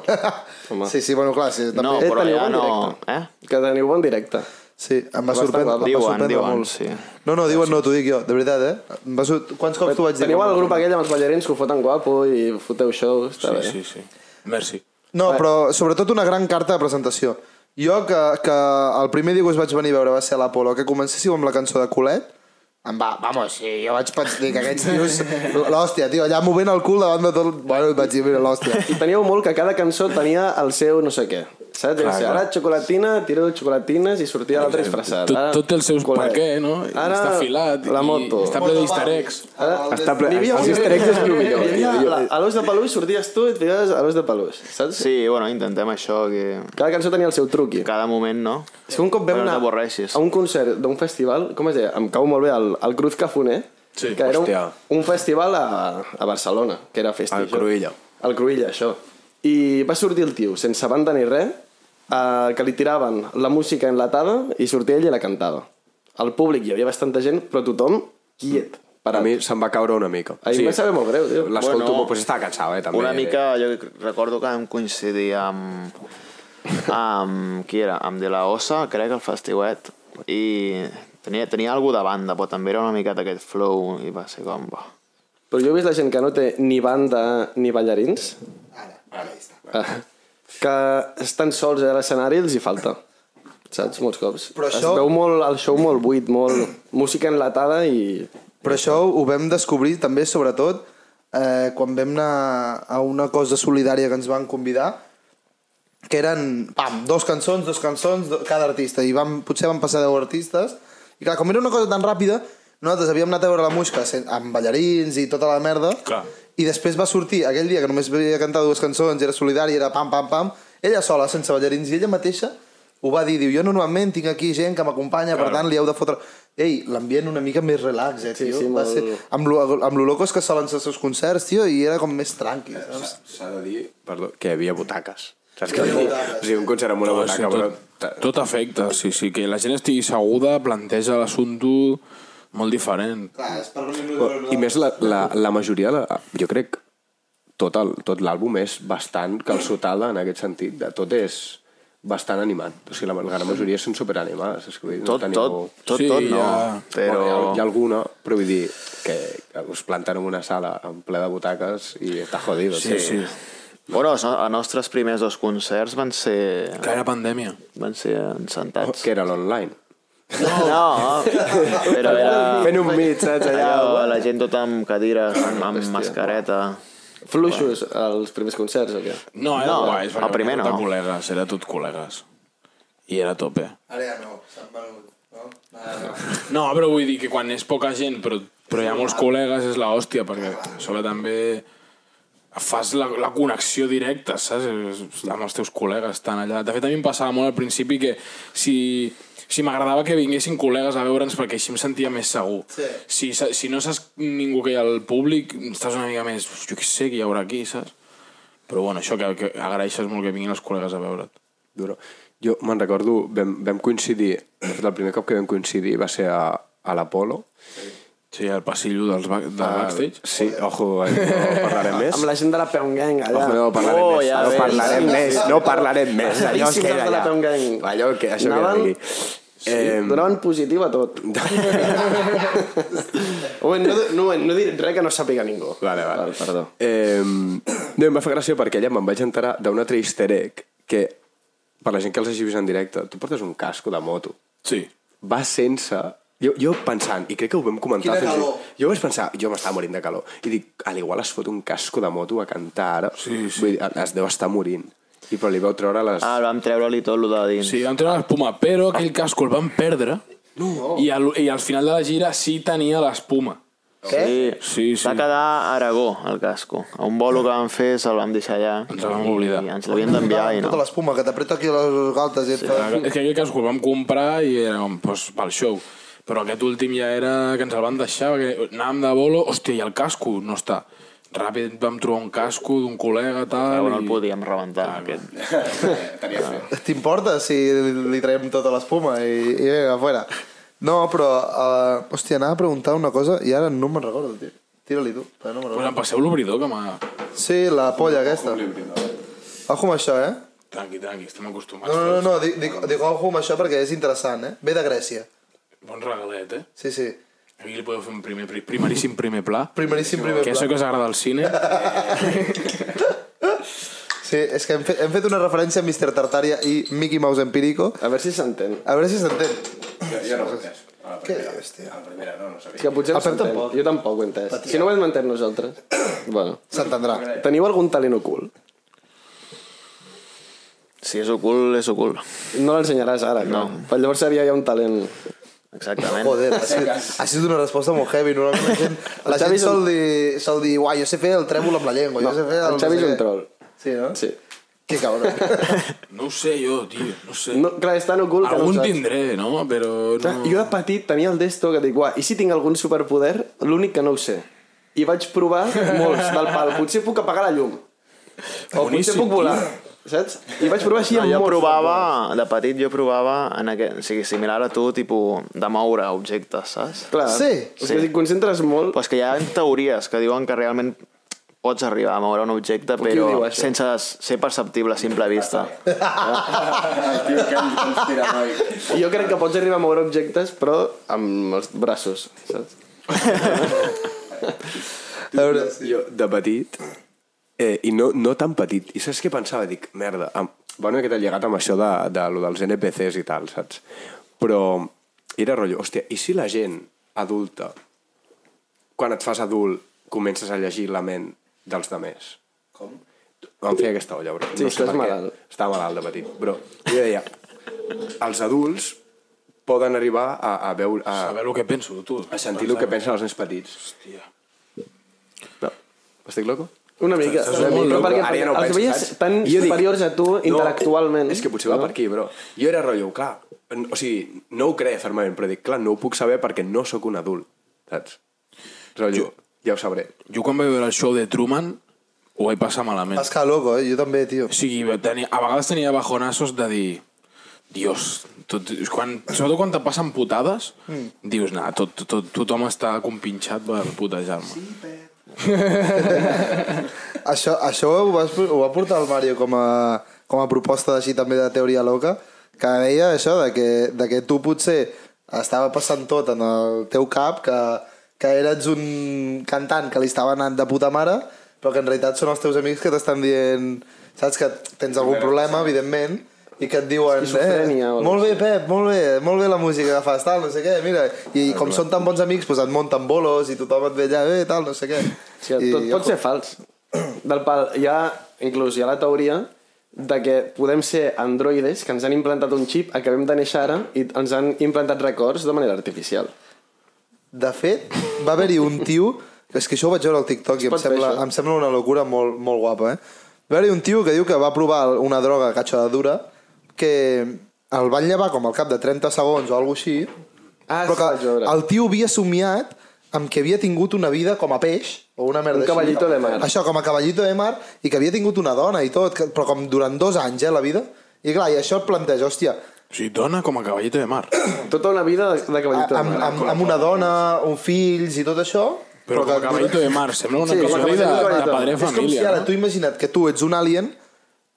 [SPEAKER 6] Home.
[SPEAKER 2] Sí, sí, bueno, clar, sí,
[SPEAKER 7] No,
[SPEAKER 2] també.
[SPEAKER 7] però
[SPEAKER 6] teniu
[SPEAKER 7] ja
[SPEAKER 6] bon
[SPEAKER 7] no...
[SPEAKER 6] directe.
[SPEAKER 7] Eh?
[SPEAKER 6] Que teniu bon directe.
[SPEAKER 2] Sí, em va
[SPEAKER 6] bastant
[SPEAKER 2] sorprendre, em
[SPEAKER 6] guapo.
[SPEAKER 2] va
[SPEAKER 7] Diuen,
[SPEAKER 2] sorprendre
[SPEAKER 7] diuen,
[SPEAKER 2] molt.
[SPEAKER 7] sí.
[SPEAKER 2] No, no, diuen no, t'ho dic jo, de veritat, eh? Em Va sur... Quants cops t'ho vaig dir?
[SPEAKER 6] Teniu el grup aquell amb els ballarins que ho foten guapo i foteu shows. Està
[SPEAKER 7] eh?
[SPEAKER 6] bé.
[SPEAKER 1] Sí, sí, sí. Merci.
[SPEAKER 2] No, però sobretot una gran carta de presentació. Jo, que, que el primer dia que us vaig venir a veure va ser a l'Apolo, que comencéssiu amb la cançó de Colet, em va, vamos, sí, jo vaig pensar que aquests tios... L'hòstia, tio, allà movent el cul davant de tot... Bueno, vaig dir, mira, l'hòstia.
[SPEAKER 6] I teníeu molt que cada cançó tenia el seu no sé què. Saps? Clar,
[SPEAKER 1] clar.
[SPEAKER 6] Ara xocolatina, tiro xocolatines i sortia l'altre disfressat.
[SPEAKER 1] Tot,
[SPEAKER 6] Ara,
[SPEAKER 1] tot té els seus per
[SPEAKER 6] culet.
[SPEAKER 1] què, no?
[SPEAKER 6] Ara,
[SPEAKER 1] està afilat.
[SPEAKER 6] la
[SPEAKER 1] i
[SPEAKER 6] moto.
[SPEAKER 1] Està ple d'easter eggs.
[SPEAKER 6] Ara,
[SPEAKER 3] Està ple...
[SPEAKER 6] N'hi havia
[SPEAKER 3] Els
[SPEAKER 6] un-
[SPEAKER 3] easter eggs és el millor.
[SPEAKER 6] Hi havia
[SPEAKER 3] tio.
[SPEAKER 6] la- a l'os de peluix sorties tu i et ficaves a l'os de peluix, saps?
[SPEAKER 7] Sí, bueno, intentem això, que
[SPEAKER 6] Cada cançó tenia el seu truqui.
[SPEAKER 7] cada moment, no?
[SPEAKER 6] És que un cop vam
[SPEAKER 7] Però no
[SPEAKER 6] anar
[SPEAKER 7] t'avorreixis.
[SPEAKER 6] a un concert d'un festival, com es deia? Em cau molt bé, el, el Cruz Cafoner,
[SPEAKER 1] Sí,
[SPEAKER 6] que era un,
[SPEAKER 3] hòstia.
[SPEAKER 6] un festival a, a Barcelona, que era festi.
[SPEAKER 3] Al
[SPEAKER 6] això.
[SPEAKER 3] Cruïlla.
[SPEAKER 6] Al Cruïlla, això. I va sortir el tio, sense banda ni res, eh, que li tiraven la música enlatada i sortia ell i la cantava. Al públic hi havia bastanta gent, però tothom quiet.
[SPEAKER 3] Per a mi se'm va caure una mica.
[SPEAKER 6] A mi sí. em va saber molt greu, tio.
[SPEAKER 3] L'escolto
[SPEAKER 7] Bueno.
[SPEAKER 3] molt, però estava cansat, eh, també.
[SPEAKER 7] Una mica, jo recordo que vam coincidir amb... amb qui era? Amb De La Osa, crec, el festiuet. I tenia, tenia algú de banda, però també era una miqueta aquest flow i va ser com... Bah.
[SPEAKER 6] Però jo he vist la gent que no té ni banda ni ballarins. Ara, ara. Que estan sols a l'escenari i els hi falta. Saps? Molts cops.
[SPEAKER 2] Però
[SPEAKER 6] Es
[SPEAKER 2] això-
[SPEAKER 6] veu molt, el show molt buit, molt música enlatada i...
[SPEAKER 2] Però això ho vam descobrir també, sobretot, eh, quan vam anar a una cosa solidària que ens van convidar, que eren, pam, dos cançons, dos cançons, do, cada artista, i vam, potser van passar deu artistes, i clar, com era una cosa tan ràpida, nosaltres havíem anat a veure la Musca sen- amb ballarins i tota la merda,
[SPEAKER 1] Clar.
[SPEAKER 2] i després va sortir aquell dia que només havia cantar dues cançons, era solidari, era pam, pam, pam, ella sola, sense ballarins, i ella mateixa ho va dir, diu, jo normalment tinc aquí gent que m'acompanya, per tant li heu de fotre... Ei, l'ambient una mica més relax, eh, tio?
[SPEAKER 6] sí,
[SPEAKER 2] va
[SPEAKER 6] molt-
[SPEAKER 2] ser... Amb lo, amb lo locos que solen ser els seus concerts, tio, i era com més tranqui, saps?
[SPEAKER 3] S'ha de dir, perdó, que hi havia butaques. Saps que hi havia O sigui, un concert amb una
[SPEAKER 1] No, sí,
[SPEAKER 3] butaca, però...
[SPEAKER 1] tot, tot afecta, sí, sí. Que la gent estigui seguda, planteja l'assumpte molt diferent.
[SPEAKER 2] Clar, és per
[SPEAKER 3] I més la, la, la majoria, la, jo crec, tot el- tot l'àlbum és bastant calçotada en aquest sentit. De, tot és bastant animat. O sigui, la, la gran majoria són superanimades. És que, vull dir,
[SPEAKER 7] Tot,
[SPEAKER 3] no
[SPEAKER 7] tot, tot,
[SPEAKER 1] Sí,
[SPEAKER 7] tot, no.
[SPEAKER 1] ja.
[SPEAKER 7] Però...
[SPEAKER 3] Bueno, hi, ha, hi ha alguna, però vull dir que us planten en una sala en ple de butaques i està jodido.
[SPEAKER 1] Sí, sí. sí.
[SPEAKER 7] Bueno, els, no- els nostres primers dos concerts van ser...
[SPEAKER 1] Que era pandèmia.
[SPEAKER 3] Oh,
[SPEAKER 7] Van ser encentats.
[SPEAKER 3] Que era l'online.
[SPEAKER 7] No, però
[SPEAKER 6] Ah.
[SPEAKER 7] era...
[SPEAKER 3] Fent un mig,
[SPEAKER 7] eh,
[SPEAKER 3] saps?
[SPEAKER 7] Allò,
[SPEAKER 3] Allà,
[SPEAKER 7] la gent tota amb cadires, amb, amb mascareta...
[SPEAKER 6] Fluixos, als primers concerts o què?
[SPEAKER 1] No, era
[SPEAKER 7] No,
[SPEAKER 1] guais, perquè
[SPEAKER 7] el primer
[SPEAKER 1] venia tot
[SPEAKER 7] no.
[SPEAKER 1] de col·legues, era tot col·legues. I era a tope.
[SPEAKER 2] Ara ja no, s'han venut. No? Ara no.
[SPEAKER 1] No, però vull dir que quan és poca gent, però, però hi ha molts col·legues, és la hòstia, perquè sola també fas la, la connexió directa, saps? És- Amb els teus col·legues estan allà. De fet, a mi em passava molt al principi que si, si m'agradava que vinguessin col·legues a veure'ns perquè així em sentia més segur.
[SPEAKER 2] Sí.
[SPEAKER 1] Si, sa- si no saps ningú que hi ha al públic, estàs una mica més... Jo què sé, qui hi haurà aquí, saps? Però bueno, això que, que agraeixes molt que vinguin els col·legues a veure't.
[SPEAKER 3] Duro. Jo me'n recordo, vam, vam coincidir, de fet, el primer cop que vam coincidir va ser a, a l'Apolo.
[SPEAKER 1] Sí, al passillo dels back, del
[SPEAKER 2] Ah,
[SPEAKER 1] backstage.
[SPEAKER 3] Ah, Sí, ojo, eh, no parlarem més.
[SPEAKER 6] Ah, Amb la gent de la Peon Gang, allà.
[SPEAKER 3] Ojo, no parlarem
[SPEAKER 7] Oh,
[SPEAKER 3] més,
[SPEAKER 7] ja
[SPEAKER 3] no
[SPEAKER 7] ves.
[SPEAKER 3] parlarem més, no parlarem més. Allò es
[SPEAKER 6] Claríssims
[SPEAKER 3] queda
[SPEAKER 6] els de la Peon
[SPEAKER 3] allà.
[SPEAKER 6] Gang.
[SPEAKER 3] Allò que, això queda
[SPEAKER 6] Anaven-
[SPEAKER 3] aquí.
[SPEAKER 6] Sí, donaven positiu a tot. Ui, no, no, no diré res que no sàpiga ningú.
[SPEAKER 3] Vale, vale.
[SPEAKER 6] perdó.
[SPEAKER 3] Eh, no, em va fer gràcia perquè allà me'n vaig enterar d'un altre easter egg que, per la gent que els hagi vist en directe, tu portes un casco de moto.
[SPEAKER 1] Sí.
[SPEAKER 3] Va sense... Jo, jo pensant, i crec que ho vam comentar...
[SPEAKER 2] Quina
[SPEAKER 3] fins i tot-
[SPEAKER 2] calor.
[SPEAKER 3] Jo vaig pensar, jo m'estava morint de calor. I dic, a l'igual es fot un casco de moto a cantar ara.
[SPEAKER 1] Sí, sí.
[SPEAKER 3] Vull dir, es deu estar morint. I però li veu treure les...
[SPEAKER 7] Ah, el vam treure-li tot el de dins.
[SPEAKER 1] Sí, vam treure l'espuma, però aquell casco el van perdre no. i, al, i al final de la gira sí tenia l'espuma.
[SPEAKER 7] Què?
[SPEAKER 1] Sí, sí.
[SPEAKER 7] Va quedar a Aragó, el casco. A un bolo que vam fer se'l vam deixar allà.
[SPEAKER 1] Ens el vam oblidar.
[SPEAKER 7] I ens l'havien d'enviar i
[SPEAKER 2] Tota
[SPEAKER 7] no.
[SPEAKER 2] l'espuma que t'apreta aquí les galtes i et fa...
[SPEAKER 1] És que aquell casco el vam comprar i era com, pues, pel show. Però aquest últim ja era que ens el van deixar, perquè anàvem de bolo, hòstia, i el casco no està. Ràpid vam trobar un casco d'un col·lega,
[SPEAKER 7] Però
[SPEAKER 1] tal...
[SPEAKER 7] no el
[SPEAKER 1] i-
[SPEAKER 7] podíem rebentar,
[SPEAKER 1] Ah,
[SPEAKER 7] aquest.
[SPEAKER 5] Tenia fe.
[SPEAKER 2] T'importa si li, li traiem tota l'espuma i, i vinga, fora. No, però... Uh, hòstia, anava a preguntar una cosa i ara no me'n recordo, tio. Tira-li tu, però no me'n
[SPEAKER 1] Pues
[SPEAKER 2] recordo.
[SPEAKER 1] em passeu l'obridor, que m'ha...
[SPEAKER 2] Sí, la polla aquesta. Ojo amb això, eh?
[SPEAKER 1] Tranqui, tranqui, estem acostumats.
[SPEAKER 2] No, no, no, no dic, dic, dic ojo amb això perquè és interessant, eh? Ve de Grècia.
[SPEAKER 1] Bon regalet, eh?
[SPEAKER 2] Sí, sí.
[SPEAKER 1] Aquí li podeu fer un primer, pri- primeríssim primer pla.
[SPEAKER 2] Primeríssim primer
[SPEAKER 1] Que això
[SPEAKER 2] pla.
[SPEAKER 1] que us agrada al cine.
[SPEAKER 2] Sí, és que hem fet, hem fet una referència a Mr. Tartaria i Mickey Mouse Empírico.
[SPEAKER 6] A veure si s'entén.
[SPEAKER 2] A veure si s'entén.
[SPEAKER 5] Jo, jo no ho he entès. A la
[SPEAKER 2] Què
[SPEAKER 5] primera,
[SPEAKER 2] dius, tio?
[SPEAKER 5] a la primera no, no sabia.
[SPEAKER 6] És que potser no
[SPEAKER 2] Ah, però
[SPEAKER 6] s'entén.
[SPEAKER 2] tampoc.
[SPEAKER 6] Jo tampoc ho he entès. Si no ho hem entès nosaltres. bueno.
[SPEAKER 2] S'entendrà.
[SPEAKER 6] Teniu algun talent ocult?
[SPEAKER 7] Si és ocult, és ocult.
[SPEAKER 6] No l'ensenyaràs ara, no. Però llavors seria ja un talent...
[SPEAKER 7] Exactament.
[SPEAKER 2] Joder, ha sigut, ha sigut una resposta molt heavy. Normalment la gent, la gent
[SPEAKER 6] Xavi és un-
[SPEAKER 2] sol dir, sol dir uai, jo sé fer el trèvol amb la llengua, jo sé fer el...
[SPEAKER 6] el
[SPEAKER 2] no sé
[SPEAKER 6] Xavi és un
[SPEAKER 2] què".
[SPEAKER 6] troll.
[SPEAKER 2] Sí, no?
[SPEAKER 6] Sí.
[SPEAKER 2] Que cabrón.
[SPEAKER 1] No ho sé jo, tio, no ho sé.
[SPEAKER 6] No, clar, és tan ocult que no ho
[SPEAKER 1] Algun
[SPEAKER 6] saps.
[SPEAKER 1] tindré, no? Però
[SPEAKER 6] Clar,
[SPEAKER 1] no...
[SPEAKER 6] jo de petit tenia el desto que dic, uah, i si tinc algun superpoder? L'únic que no ho sé. I vaig provar molts del pal. Potser puc apagar la llum. O potser
[SPEAKER 1] Boníssim,
[SPEAKER 6] puc volar. Saps? I vaig provar així
[SPEAKER 7] No,
[SPEAKER 6] amb
[SPEAKER 7] jo
[SPEAKER 6] molts.
[SPEAKER 7] provava, de petit jo provava, en aquest, o sigui, similar a tu, tipus, de moure objectes, saps?
[SPEAKER 6] Clar,
[SPEAKER 2] Sí.
[SPEAKER 6] És que si et concentres molt...
[SPEAKER 7] Però és que hi ha teories que diuen que realment pots arribar a moure un objecte,
[SPEAKER 6] ho diu,
[SPEAKER 7] però
[SPEAKER 6] això?
[SPEAKER 7] sense ser perceptible a simple vista.
[SPEAKER 5] El tio que em conspiranoic.
[SPEAKER 6] Jo crec que pots arribar a moure objectes, però amb els braços, saps?
[SPEAKER 2] A veure,
[SPEAKER 3] Jo, de petit, eh, i no, no tan petit, i saps què pensava? Dic, merda, amb... va una miqueta lligat amb això de, de lo dels NPCs i tal, saps? Però era rotllo, hòstia, i si la gent adulta, quan et fas adult, comences a llegir la ment dels demés? Com? Em feia aquesta olla, bro.
[SPEAKER 6] Sí, estàs
[SPEAKER 3] per què.
[SPEAKER 6] malalt.
[SPEAKER 3] Estava malalt de petit, però jo deia, els adults poden arribar a, a veure... A,
[SPEAKER 1] Saber el que penso, tu.
[SPEAKER 3] a sentir el que pensen els nens petits.
[SPEAKER 1] Hòstia.
[SPEAKER 3] No. Estic loco?
[SPEAKER 6] Una mica.
[SPEAKER 1] Estàs
[SPEAKER 6] Una
[SPEAKER 1] molt loco.
[SPEAKER 6] mica. Però perquè
[SPEAKER 3] Ara ja no ho
[SPEAKER 6] els
[SPEAKER 3] penso,
[SPEAKER 6] veies
[SPEAKER 3] saps?
[SPEAKER 6] tan
[SPEAKER 3] I jo dic-
[SPEAKER 6] superiors a tu intel·lectualment.
[SPEAKER 3] No, és que potser va per aquí, però jo era rotllo, clar, n- o sigui, no ho creia fermament, però dic, clar, no ho puc saber perquè no sóc un adult, saps? Rotllo, ja ho sabré.
[SPEAKER 1] Jo quan vaig veure el show de Truman ho vaig passar malament.
[SPEAKER 2] Pascal loco, eh? Jo també, tio.
[SPEAKER 1] O sigui, tenia, a vegades tenia bajonassos de dir... Dios, tot, quan, sobretot quan te passen putades, mm. dius, nah, tot, tot, tothom està compinxat per putejar-me. Sí.
[SPEAKER 2] Això, això ho, vas, ho va portar el Mario com a, com a proposta així també de teoria loca, que deia això de que, de que tu potser estava passant tot en el teu cap, que, que eres un cantant que li estava anant de puta mare, però que en realitat són els teus amics que t'estan dient... Saps que tens algun problema, evidentment, i que et diuen eh,
[SPEAKER 6] Esquizofrènia o alguna
[SPEAKER 2] molt bé Pep, molt bé, molt bé la música que fas, tal, no sé què, mira i, i com són tan bons amics, doncs et munten bolos i tothom et ve allà, eh, tal, no sé què
[SPEAKER 6] O sigui, tot pot ser fals. Del pal, hi ha, inclús hi ha la teoria de que podem ser androides que ens han implantat un xip, acabem de néixer ara i ens han implantat records de manera artificial.
[SPEAKER 2] de fet, va haver-hi un tio que és que això ho vaig veure al TikTok i em
[SPEAKER 6] pot fer,
[SPEAKER 2] sembla,
[SPEAKER 6] això?
[SPEAKER 2] em sembla una locura molt, molt guapa eh? va haver-hi un tio que diu que va provar una droga catxa de dura que el van llevar com al cap de 30 segons o alguna així
[SPEAKER 6] Ah,
[SPEAKER 2] però
[SPEAKER 6] sí, vaig
[SPEAKER 2] que
[SPEAKER 6] veure.
[SPEAKER 2] el tio havia somiat amb que havia tingut una vida com a peix o una merda
[SPEAKER 6] Un
[SPEAKER 2] així.
[SPEAKER 6] caballito de mar.
[SPEAKER 2] Això, com a caballito de mar, i que havia tingut una dona i tot, que, però com durant dos anys, eh, la vida. I clar, i això et planteja, hòstia,
[SPEAKER 1] O sigui, dona com a cavallito de mar.
[SPEAKER 6] Tota una vida de, de
[SPEAKER 2] a-
[SPEAKER 6] cavallito de
[SPEAKER 2] amb,
[SPEAKER 6] mar.
[SPEAKER 2] amb, amb una dona, un fills i tot això...
[SPEAKER 1] Però com a cavallito de mar. Sembla una
[SPEAKER 6] Sí,
[SPEAKER 1] sí,
[SPEAKER 6] com a
[SPEAKER 1] cançó de,
[SPEAKER 6] caballito de
[SPEAKER 1] de
[SPEAKER 6] mar.
[SPEAKER 1] padre
[SPEAKER 2] És com si
[SPEAKER 1] família.
[SPEAKER 2] ara
[SPEAKER 1] no?
[SPEAKER 2] tu imagina't que tu ets un alien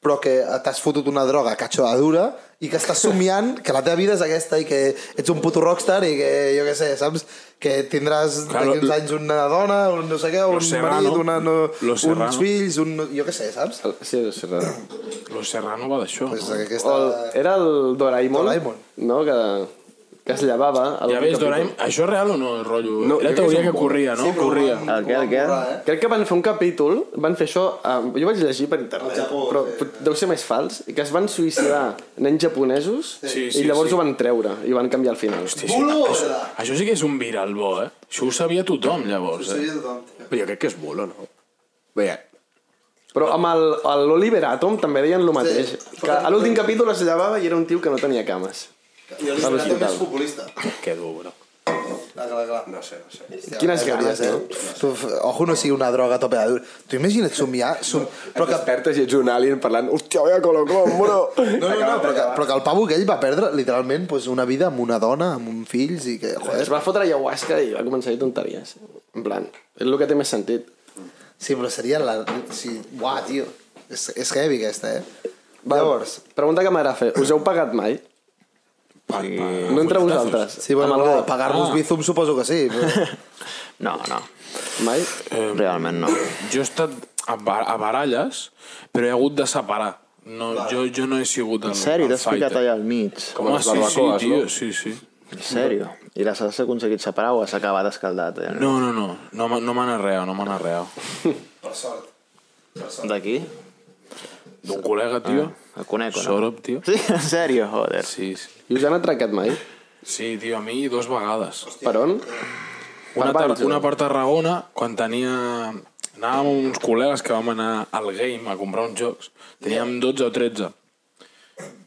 [SPEAKER 2] però que t'has fotut una droga catxoadura i que estàs somiant que la teva vida és aquesta i que ets un puto rockstar i que, jo què sé, saps? Que tindràs
[SPEAKER 1] Claro,
[SPEAKER 2] d'aquí uns
[SPEAKER 1] lo-
[SPEAKER 2] anys una dona, un no sé què, un
[SPEAKER 1] Serrano.
[SPEAKER 2] marit, una, no,
[SPEAKER 1] Lo Serrano.
[SPEAKER 2] uns fills, un, no- jo què sé, saps?
[SPEAKER 6] Sí, és raro.
[SPEAKER 1] Lo Serrano va d'això.
[SPEAKER 2] Pues
[SPEAKER 1] no?
[SPEAKER 2] aquesta...
[SPEAKER 6] O el, era el Doraemon,
[SPEAKER 2] Doraemon.
[SPEAKER 6] no? Que, que es llevava... a
[SPEAKER 1] Ja
[SPEAKER 6] l'últim
[SPEAKER 1] veus,
[SPEAKER 6] capítol.
[SPEAKER 1] Doraemon, això és real o no, el rotllo? No,
[SPEAKER 3] No,
[SPEAKER 1] Era
[SPEAKER 3] jo crec que
[SPEAKER 1] teoria
[SPEAKER 3] és un
[SPEAKER 1] que
[SPEAKER 3] bo.
[SPEAKER 1] corria, no? Sí, corria.
[SPEAKER 7] El què, el què?
[SPEAKER 6] Ah,
[SPEAKER 2] eh?
[SPEAKER 6] Crec que van fer un capítol, van fer això, um, jo vaig llegir per internet,
[SPEAKER 2] Al Japó,
[SPEAKER 6] però
[SPEAKER 2] sí.
[SPEAKER 6] pot- deu ser més fals, que es van suïcidar nens japonesos
[SPEAKER 1] Sí,
[SPEAKER 6] i
[SPEAKER 1] sí,
[SPEAKER 6] llavors
[SPEAKER 1] sí.
[SPEAKER 6] ho van treure i van canviar el final. Hosti.
[SPEAKER 2] Bulo!
[SPEAKER 1] Això sí que és un viral bo, eh? Això ho sabia tothom, llavors, eh?
[SPEAKER 3] Però jo crec que és bulo, no? Bé,
[SPEAKER 6] Però amb el- el- l'Oliver Atom també deien el mateix,
[SPEAKER 2] Sí.
[SPEAKER 6] que a l'últim capítol es llevava i era un tio que no tenia cames.
[SPEAKER 2] I el
[SPEAKER 6] Saps què
[SPEAKER 2] Serrano
[SPEAKER 6] tal?
[SPEAKER 2] és futbolista.
[SPEAKER 3] que dur, bro.
[SPEAKER 2] Clar, clar, clar.
[SPEAKER 3] No sé, no sé.
[SPEAKER 2] Hòstia,
[SPEAKER 6] Quines
[SPEAKER 2] hauries
[SPEAKER 6] ganes,
[SPEAKER 2] de-
[SPEAKER 6] eh?
[SPEAKER 2] Tu, ojo, no sigui una droga a tope de dur. Tu imagina't somiar... Som...
[SPEAKER 3] Però que despertes i ets un alien parlant Hòstia, veia Colo Colo, bro!
[SPEAKER 2] No, no, no, però que, però que el pavo aquell va perdre literalment pues, una vida amb una dona, amb un fills i que,
[SPEAKER 6] Es
[SPEAKER 2] joder,
[SPEAKER 6] va fotre ayahuasca i va començar a dir tonteries. En plan, és el que té més sentit.
[SPEAKER 2] sí, però seria la... Sí, uah, tio, és, és heavy aquesta, eh? Va, Llavors,
[SPEAKER 6] Pregunta que m'agrada fer, us heu pagat mai? No entre vosaltres.
[SPEAKER 2] sí, bueno,
[SPEAKER 6] Amb algú?
[SPEAKER 2] no, pagar-vos ah. bizum suposo que sí, però...
[SPEAKER 7] No, no.
[SPEAKER 6] Mai?
[SPEAKER 1] Eh,
[SPEAKER 7] Realment no.
[SPEAKER 1] Jo he estat a, ba a baralles, però he hagut de separar. No, jo, jo no he sigut el,
[SPEAKER 7] En sèrio,
[SPEAKER 1] el
[SPEAKER 7] t'has ficat allà al mig.
[SPEAKER 1] Com a
[SPEAKER 3] les
[SPEAKER 1] sí, sí,
[SPEAKER 3] barbacoes,
[SPEAKER 1] tio,
[SPEAKER 3] no?
[SPEAKER 1] sí, sí.
[SPEAKER 7] En sèrio. I les has aconseguit separar o has acabat escaldat? Eh?
[SPEAKER 1] No, no, no, no, m'ha- no m'han arreat, no m'han arreat.
[SPEAKER 7] D'aquí?
[SPEAKER 1] D'un col·lega, tio.
[SPEAKER 7] El
[SPEAKER 3] Ah.
[SPEAKER 7] conec, o no?
[SPEAKER 1] Sorop, tio.
[SPEAKER 7] Sí, en sèrio, joder.
[SPEAKER 1] Sí, sí.
[SPEAKER 6] I us han atracat mai?
[SPEAKER 1] Sí, tio, a mi dos vegades.
[SPEAKER 6] Per on?
[SPEAKER 1] Una,
[SPEAKER 6] Per
[SPEAKER 1] tar
[SPEAKER 6] Valls,
[SPEAKER 1] una
[SPEAKER 6] o?
[SPEAKER 1] per Tarragona, quan tenia... Anàvem amb uns col·legues que vam anar al game a comprar uns jocs. Teníem 12 o 13.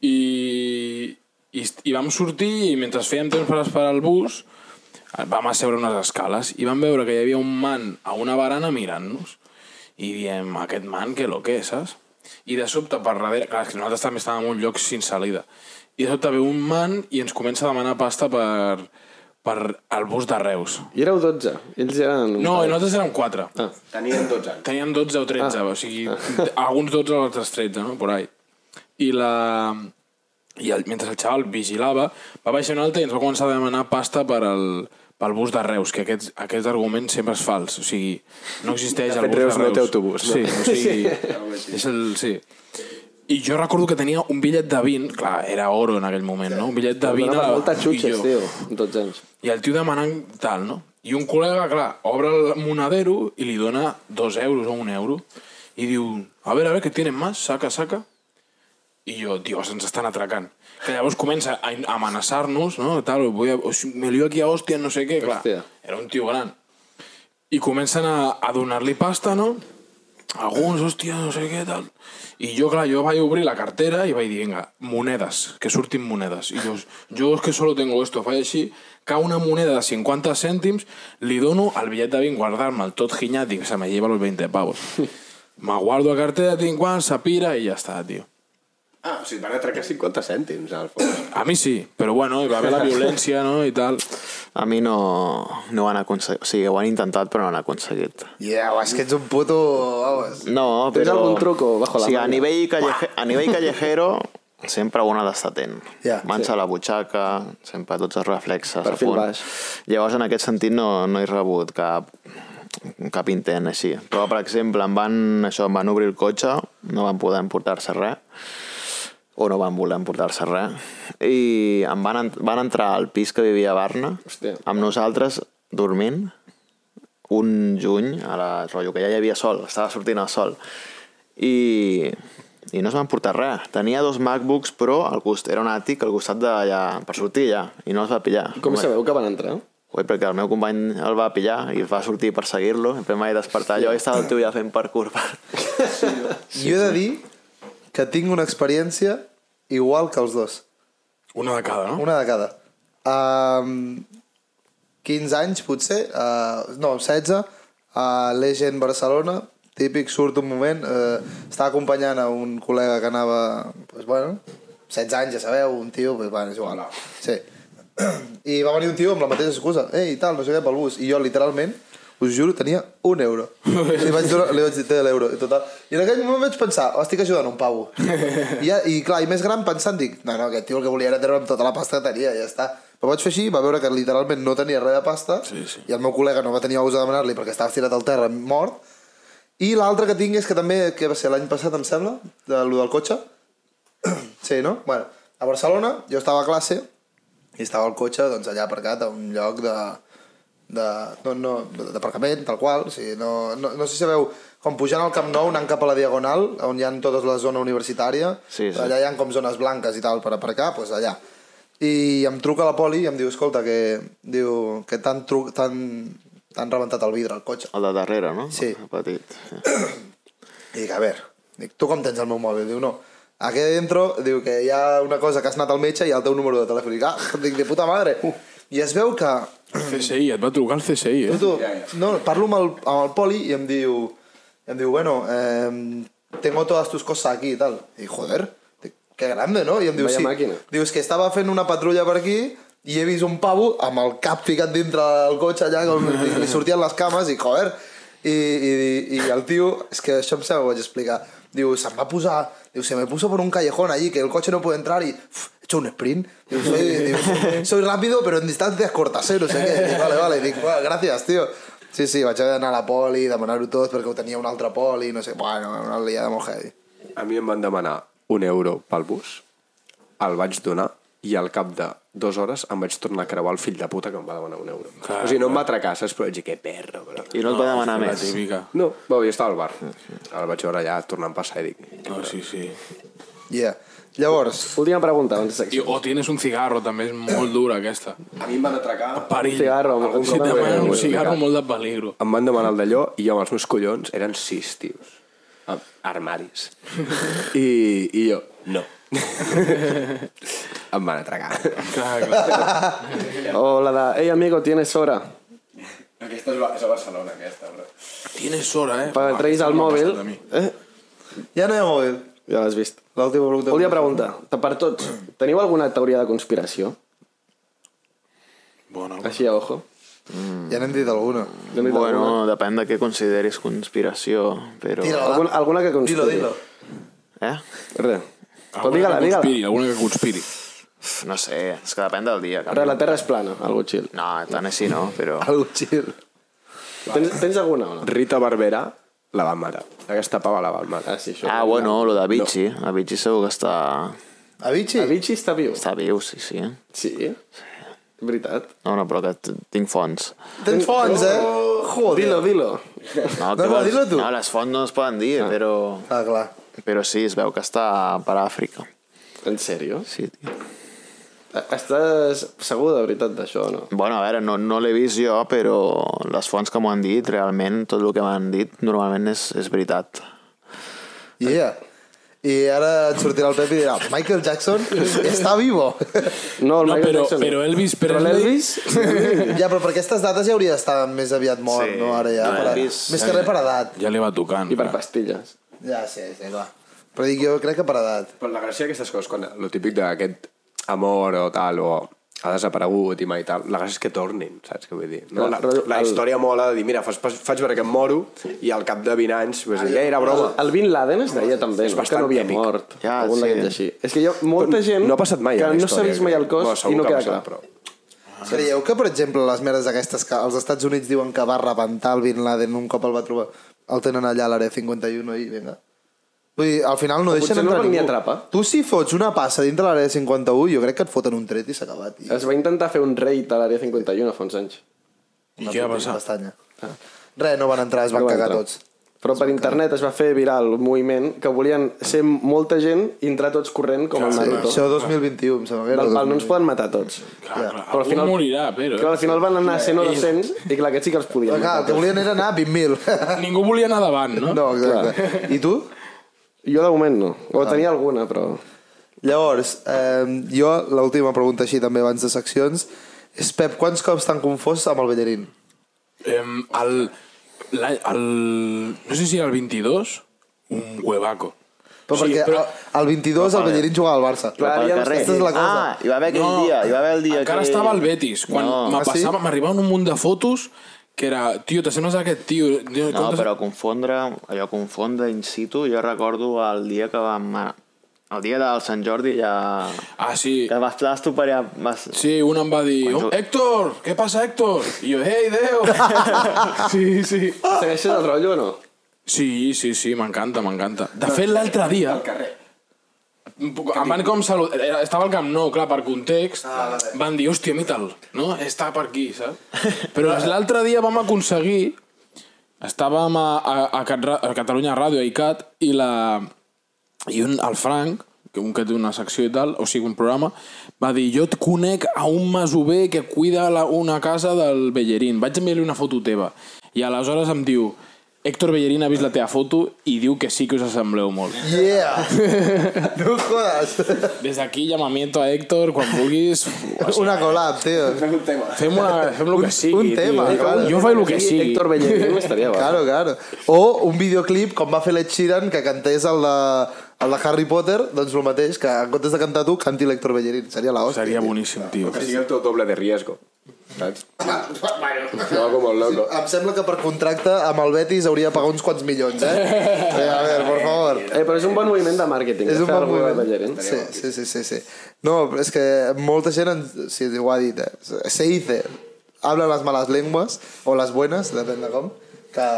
[SPEAKER 1] I, i, i vam sortir i mentre fèiem temps per esperar el bus vam asseure unes escales i vam veure que hi havia un man a una barana mirant-nos i diem, aquest man, que lo que, saps? I de sobte, per darrere... Clar, és que nosaltres també estàvem en un lloc sense salida. I de sobte ve un man i ens comença a demanar pasta per, per el bus de Reus.
[SPEAKER 6] I éreu 12. Ells eren... un
[SPEAKER 1] No,
[SPEAKER 6] parell.
[SPEAKER 1] i nosaltres érem 4.
[SPEAKER 6] Ah.
[SPEAKER 3] Tenien 12 anys.
[SPEAKER 1] Teníem 12 o 13, ah. o sigui, alguns 12 o altres 13, no? Por ahí. I la... I el, mentre el xaval vigilava, va baixar un altre i ens va començar a demanar pasta per al, pel bus de Reus, que aquest, aquest argument sempre és fals, o sigui, no existeix
[SPEAKER 3] De
[SPEAKER 1] el
[SPEAKER 3] fet,
[SPEAKER 1] bus
[SPEAKER 3] Reus
[SPEAKER 1] de Reus.
[SPEAKER 3] no té autobús, no?
[SPEAKER 1] Sí, o sigui, és el... Sí. I jo recordo que tenia un bitllet de 20, clar, era oro en aquell moment, no? Un bitllet de 20 a
[SPEAKER 6] Donava
[SPEAKER 1] la-
[SPEAKER 6] molta
[SPEAKER 1] i
[SPEAKER 6] xutxes,
[SPEAKER 1] jo,
[SPEAKER 6] tio, amb 12 anys.
[SPEAKER 1] i el tio demanant tal, no? I un col·lega, clar, obre el monedero i li dona dos euros o un euro i diu, a veure, a veure, que tienen más, saca, saca. I jo, dios, ens estan atracant. Que llavors comença a in- a amenaçar-nos, no? Tal, voy a, o si- me lío aquí a hòstia, no sé què, clar.
[SPEAKER 6] Hòstia.
[SPEAKER 1] Era un tio gran. I comencen a, a donar-li pasta, no? Alguns, hòstia, no sé què, tal. I jo, clar, jo vaig obrir la cartera i vaig dir, vinga, monedes, que surtin monedes. I jo, jo és que solo tengo esto, faig així, cau una moneda de 50 cèntims, li dono el bitllet de 20, guardar-me'l tot ginyat, dic, se me lleva los 20 pavos. Me guardo la cartera, tinc quan, se pira i ja està, tio.
[SPEAKER 3] Ah, o sigui, van atracar 50 cèntims, al fons.
[SPEAKER 1] A mi sí, però bueno, hi va haver la violència, no?, i tal.
[SPEAKER 7] A mi no, no ho han aconseguit. O sigui, ho han intentat però no ho han aconseguit.
[SPEAKER 2] Yeah, és que ets un puto... Vamos.
[SPEAKER 7] No,
[SPEAKER 6] Tens
[SPEAKER 7] però...
[SPEAKER 6] algun truco bajo la
[SPEAKER 7] sí, a
[SPEAKER 6] manga?
[SPEAKER 7] nivell, calleje... a nivell callejero sempre un ha d'estar atent.
[SPEAKER 2] Ja,
[SPEAKER 7] Mans a la butxaca, sempre tots els reflexes. a
[SPEAKER 6] Perfil
[SPEAKER 7] punt.
[SPEAKER 6] baix.
[SPEAKER 7] Llavors, en aquest sentit, no, no he rebut cap, cap intent així. Però, per exemple, em van, això, em van obrir el cotxe, no van poder emportar-se res. o no van voler emportar-se res. I em van, en, van entrar al pis que vivia a Barna,
[SPEAKER 6] Hòstia.
[SPEAKER 7] amb nosaltres dormint, un juny, a la rotllo, que ja hi havia sol, estava sortint el sol. I, i no es van portar res. Tenia dos MacBooks, però al cost, era un àtic al costat de allà, per sortir ja, i no es va pillar.
[SPEAKER 6] Com
[SPEAKER 7] Home,
[SPEAKER 6] sabeu que van entrar?
[SPEAKER 7] Oi, perquè el meu company el va pillar i va sortir per seguir-lo, em vaig despertar, jo estava el tio ja fent parkour per...
[SPEAKER 2] Sí, jo he de dir que tinc una experiència igual que els dos.
[SPEAKER 1] Una de cada, no?
[SPEAKER 2] Una de cada. Um, 15 anys, potser, uh, no, 16, a l'Egen Barcelona, típic, surt un moment, uh, estava acompanyant a un col·lega que anava, pues, bueno, 16 anys, ja sabeu, un tio, pues, bueno, és igual. Sí. I va venir un tio amb la mateixa excusa, ei, tal, no sé què, pel bus. I jo, literalment, us juro, tenia un euro. Li vaig, donar, li vaig dir, té l'euro, i total. I en aquell moment vaig pensar, "Oh, estic ajudant un pavo. I, ja, I clar, i més gran pensant, dic, no, no, aquest tio el que volia era treure'm tota la pasta que tenia, ja està. Però vaig fer així, va veure que literalment no tenia res de pasta, sí, sí. i el meu col·lega no va tenir ous a demanar-li perquè estava estirat al terra mort, i l'altre que tinc és que també, que va ser l'any passat, em sembla, de lo del cotxe. sí, no? Bueno, a Barcelona, jo estava a classe i estava el cotxe doncs, allà aparcat a un lloc de de, no, no, de- d'aparcament, tal qual. O sigui, no, no, no sé si sabeu, com pujant al Camp Nou, anant cap a la Diagonal, on hi ha tota la zona universitària,
[SPEAKER 7] Sí, sí.
[SPEAKER 2] allà hi ha com zones blanques i tal per aparcar, doncs allà. I em truca la poli i em diu, escolta, que, diu, que t'han tru- t'han- t'han rebentat el vidre al cotxe.
[SPEAKER 7] El de darrere, no?
[SPEAKER 2] Sí.
[SPEAKER 7] El petit.
[SPEAKER 2] I dic, a veure, dic, tu com tens el meu mòbil? Diu, no. Aquí dentro diu que hi ha una cosa que has anat al metge i hi ha el teu número de telèfon. Dic, ah, dic, de puta madre. I es veu que...
[SPEAKER 1] CSI, et va trucar el CSI, eh?
[SPEAKER 2] Tu, tu, no, parlo amb el, amb el poli i em diu, em diu bueno, eh, tengo todas tus cosas aquí i tal. I dic, joder, dic, que grande, no? I em diu,
[SPEAKER 6] Vaya
[SPEAKER 2] sí.
[SPEAKER 6] màquina.
[SPEAKER 2] Diu, és que estava fent una patrulla per aquí i he vist un pavo amb el cap ficat dintre del cotxe allà, com li- li sortien les cames i, joder, i, i, i el tio, és que això em sembla que ho vaig explicar, diu, se'm va posar, diu, se me puso por un callejón allí, que el coche no puede entrar y, uf, he hecho un sprint, diu, soy, diu, soy rápido pero en distancias cortas, eh, no sé què, dic, vale, vale, dic, bueno, gràcies, tio. Sí, sí, vaig haver d'anar a la poli, demanar-ho tot perquè ho tenia un altre poli, no sé, bueno, una liada molt heavy.
[SPEAKER 3] A mi em van demanar un euro pel bus, el vaig donar i al cap de dues hores em vaig tornar a creuar el fill de puta que em va demanar un euro. Clar, o sigui, no em va atracar, saps? Però vaig dir, que perro, bro.
[SPEAKER 7] I no et va demanar
[SPEAKER 1] La
[SPEAKER 7] més.
[SPEAKER 1] típica.
[SPEAKER 3] No, va, jo estava al bar. El vaig veure allà tornant a passar i dic...
[SPEAKER 1] No, sí, sí.
[SPEAKER 2] Yeah. Llavors,
[SPEAKER 6] Última pregunta, abans de
[SPEAKER 1] I,
[SPEAKER 6] secció.
[SPEAKER 1] o tienes un cigarro, també és molt dura, aquesta.
[SPEAKER 3] A mi em van atracar...
[SPEAKER 1] Perill.
[SPEAKER 6] Cigarro, amb
[SPEAKER 1] Si et demanen
[SPEAKER 6] algun
[SPEAKER 1] un cigarro, molt de peligro.
[SPEAKER 3] Em van demanar el d'allò i jo amb els meus collons eren sis tios. Amb Armaris. I, i jo, no. em van atracar.
[SPEAKER 1] Clar, clar.
[SPEAKER 6] O la de, ei amigo, tienes hora.
[SPEAKER 5] Aquesta és, la- és a Barcelona, aquesta, bro.
[SPEAKER 1] Tienes hora, eh?
[SPEAKER 6] Perquè treguis el mòbil... Eh?
[SPEAKER 2] ja no hi ha mòbil.
[SPEAKER 6] Ja l'has vist.
[SPEAKER 2] L'última pregunta.
[SPEAKER 6] Volia preguntar, per tots, teniu alguna teoria de conspiració?
[SPEAKER 1] Bona.
[SPEAKER 6] Així a ojo.
[SPEAKER 2] Ja n'hem dit alguna.
[SPEAKER 7] Bueno, depèn de què consideris conspiració, però...
[SPEAKER 2] eh? Tira.
[SPEAKER 6] alguna, alguna que conspiri.
[SPEAKER 2] Dilo, dilo.
[SPEAKER 7] Eh?
[SPEAKER 6] Res. Però
[SPEAKER 1] Alguna
[SPEAKER 6] digue-la,
[SPEAKER 1] que
[SPEAKER 6] digue-la.
[SPEAKER 1] conspiri, Alguna que conspiri.
[SPEAKER 7] No sé, és que depèn del dia.
[SPEAKER 6] Res,
[SPEAKER 7] Que...
[SPEAKER 6] la Terra és plana, algo chill.
[SPEAKER 7] No, tant així no, però...
[SPEAKER 2] Algo chill.
[SPEAKER 6] Tens, tens alguna o no?
[SPEAKER 3] Rita Barberà la van matar. Aquesta pava la van matar.
[SPEAKER 6] Ah, sí, això.
[SPEAKER 7] Ah, bueno, lo de Avicii. No. Avicii segur que està...
[SPEAKER 2] Avicii?
[SPEAKER 6] Avicii està viu.
[SPEAKER 7] Està viu, sí, sí. No,
[SPEAKER 6] Sí. Veritat.
[SPEAKER 7] no, però que t- tinc fonts.
[SPEAKER 2] Tens fons, eh? Joder.
[SPEAKER 6] Dilo, dilo.
[SPEAKER 7] No,
[SPEAKER 2] No, no,
[SPEAKER 7] què vols?
[SPEAKER 2] dilo tu.
[SPEAKER 7] No, les fonts no es poden dir, ah. però...
[SPEAKER 2] Ah, clar.
[SPEAKER 7] Però sí, es veu que està per Àfrica.
[SPEAKER 6] En sèrio?
[SPEAKER 7] Sí, tio.
[SPEAKER 6] Estàs segur de veritat d'això o no?
[SPEAKER 7] Bueno, a veure, no, no l'he vist jo, però les fonts que m'ho han dit, realment, tot el que m'han dit, normalment és, és veritat.
[SPEAKER 2] Yeah. I ara et sortirà el Pep i dirà Michael Jackson està vivo.
[SPEAKER 6] No, el
[SPEAKER 1] No,
[SPEAKER 6] Michael
[SPEAKER 1] però,
[SPEAKER 6] Jackson no.
[SPEAKER 1] però Elvis
[SPEAKER 6] Però
[SPEAKER 1] Presley...
[SPEAKER 6] l'Elvis...
[SPEAKER 2] ja, però per aquestes dates ja hauria d'estar més aviat mort,
[SPEAKER 7] Sí.
[SPEAKER 2] no? Ara ja.
[SPEAKER 7] No,
[SPEAKER 2] Per,
[SPEAKER 7] Elvis-
[SPEAKER 2] més que res per edat.
[SPEAKER 1] Ja li va tocant.
[SPEAKER 6] I per pastilles.
[SPEAKER 2] Ja, sí, sí, clar. Però dic, jo crec que per edat.
[SPEAKER 3] Però la gràcia d'aquestes coses, quan el típic d'aquest amor o tal, o ha desaparegut i mai tal, la gràcia és que tornin, saps què vull dir? No? La, la història mola de dir, mira, faig, faig veure que em moro i al cap de 20 anys, pues, ja era broma.
[SPEAKER 6] El Bin Laden es deia també, no? que
[SPEAKER 3] bastant
[SPEAKER 6] no havia
[SPEAKER 3] èpic.
[SPEAKER 6] mort.
[SPEAKER 7] Ja,
[SPEAKER 6] algun
[SPEAKER 7] sí.
[SPEAKER 6] d'aquests així. És que hi ha molta
[SPEAKER 3] Però
[SPEAKER 6] gent
[SPEAKER 3] no ha passat mai a
[SPEAKER 6] que
[SPEAKER 3] la
[SPEAKER 6] no s'ha
[SPEAKER 3] història,
[SPEAKER 6] vist mai el
[SPEAKER 3] crec.
[SPEAKER 6] cos
[SPEAKER 3] segur
[SPEAKER 6] i no
[SPEAKER 3] que ha
[SPEAKER 6] queda clar.
[SPEAKER 3] passat,
[SPEAKER 2] Creieu que, per exemple, les merdes aquestes que als Estats Units diuen que va rebentar el Bin Laden un cop el va trobar, el tenen allà a l'àrea 51 i vinga. Vull dir, al final no
[SPEAKER 6] O
[SPEAKER 2] deixen
[SPEAKER 6] potser no
[SPEAKER 2] entrar
[SPEAKER 6] van ni
[SPEAKER 2] ningú.
[SPEAKER 6] atrapa.
[SPEAKER 2] Tu si fots una passa dintre l'àrea 51, jo crec que et foten un tret i s'ha acabat. I
[SPEAKER 6] Es va intentar fer un raid a l'àrea 51 fa uns anys.
[SPEAKER 1] I què va passar?
[SPEAKER 2] Pestanya. Res, no van entrar, es van
[SPEAKER 6] No van
[SPEAKER 2] cagar
[SPEAKER 6] entrar.
[SPEAKER 2] tots.
[SPEAKER 6] Però per internet es va fer viral un moviment que volien ser molta gent i entrar tots corrent com el
[SPEAKER 2] Sí,
[SPEAKER 6] Naruto.
[SPEAKER 2] això 2021, em sembla que era.
[SPEAKER 6] Del pal, no ens
[SPEAKER 2] 2020.
[SPEAKER 6] poden matar tots.
[SPEAKER 1] Clar, clar.
[SPEAKER 6] Però al
[SPEAKER 1] Algú
[SPEAKER 6] final-
[SPEAKER 1] morirà, però... eh.
[SPEAKER 6] Clar, al final van anar 100 o 200 i clar, aquests sí que els podien
[SPEAKER 2] Però clar,
[SPEAKER 6] matar
[SPEAKER 2] el que
[SPEAKER 6] tots.
[SPEAKER 2] volien era anar a 20.000.
[SPEAKER 1] Ningú volia anar davant, no?
[SPEAKER 2] No, exacte. I tu?
[SPEAKER 6] Jo de moment no. O tenia alguna, però...
[SPEAKER 2] Llavors, eh, jo, l'última pregunta així també abans de seccions, és Pep, quants cops t'han confós amb el Bellerín?
[SPEAKER 1] Em, el, la, el, no sé si era el 22, un huevaco.
[SPEAKER 2] Però sí, perquè però... el 22 el Bellerín jugava al Barça.
[SPEAKER 6] Clar,
[SPEAKER 7] Pel
[SPEAKER 6] ja no
[SPEAKER 7] carrer.
[SPEAKER 2] aquesta és la cosa.
[SPEAKER 7] Ah, hi va haver aquell
[SPEAKER 1] No,
[SPEAKER 7] dia, hi va haver el dia
[SPEAKER 1] encara
[SPEAKER 7] que...
[SPEAKER 1] estava al Betis. Quan
[SPEAKER 7] No.
[SPEAKER 1] no.
[SPEAKER 2] Ah, sí?
[SPEAKER 1] passava, m'arribaven un munt de fotos que era, tio, t'assembles a aquest tio. tio
[SPEAKER 7] No, però confondre, allò confondre in situ, jo recordo el dia que vam... a- El dia del Sant Jordi ja...
[SPEAKER 1] Ah, sí.
[SPEAKER 7] Que vas, vas topar... Vas...
[SPEAKER 1] Sí, un em va dir,
[SPEAKER 7] Quan jo-
[SPEAKER 1] oh, Héctor, què passa, Héctor? I jo, ei, Déu! sí, sí.
[SPEAKER 6] Segueixes el rotllo o no?
[SPEAKER 1] Sí, sí, sí, m'encanta, m'encanta. De fet, l'altre dia...
[SPEAKER 5] Al carrer.
[SPEAKER 1] Un poc- Em van com salud... eh, Estava al Camp Nou, clar, per context. Ah, van dir, hòstia, Mital, no? Està per aquí, saps? Però l'altre dia vam aconseguir... Estàvem a, a, a, Cat, Ra- a Catalunya Ràdio, a ICAT, i, la, i un, el Frank, que un que té una secció i tal, o sigui, un programa, va dir, jo et conec a un masover que cuida la, una casa del Bellerín. Vaig enviar-li una foto teva. I aleshores em diu, Héctor Bellerín ha vist la teva foto i diu que sí que us assembleu molt.
[SPEAKER 2] Yeah! no jodes!
[SPEAKER 1] Des d'aquí, llamamiento a Héctor, quan vulguis.
[SPEAKER 2] Una collab, tio.
[SPEAKER 5] Fem un tema.
[SPEAKER 1] Fem, una, fem lo que sigui,
[SPEAKER 2] un tema,
[SPEAKER 1] tio.
[SPEAKER 2] clar.
[SPEAKER 1] Jo faig el que sigui.
[SPEAKER 6] Héctor Bellerín estaria bo.
[SPEAKER 2] Claro, claro. O un videoclip, com va fer l'Ed Sheeran, que cantés el de, el de Harry Potter, doncs el mateix, que en comptes de cantar tu, canti l'Hector Bellerín. Seria la hòstia.
[SPEAKER 1] Seria
[SPEAKER 2] tio.
[SPEAKER 1] boníssim, tio.
[SPEAKER 3] Que sigui el teu doble de riesgo. Saps? No, com el loco.
[SPEAKER 2] Em sembla que per contracte amb el Betis hauria de pagar uns quants milions, eh? eh a veure, por favor.
[SPEAKER 6] Eh, però és un bon moviment de màrqueting.
[SPEAKER 2] És un bon
[SPEAKER 6] Ballerín.
[SPEAKER 2] moviment. Sí, sí, sí, sí, sí. No, però és que molta gent ens, sí, ho ha dit, eh? se dice, hablan las malas lenguas, o las buenas, depèn de com, que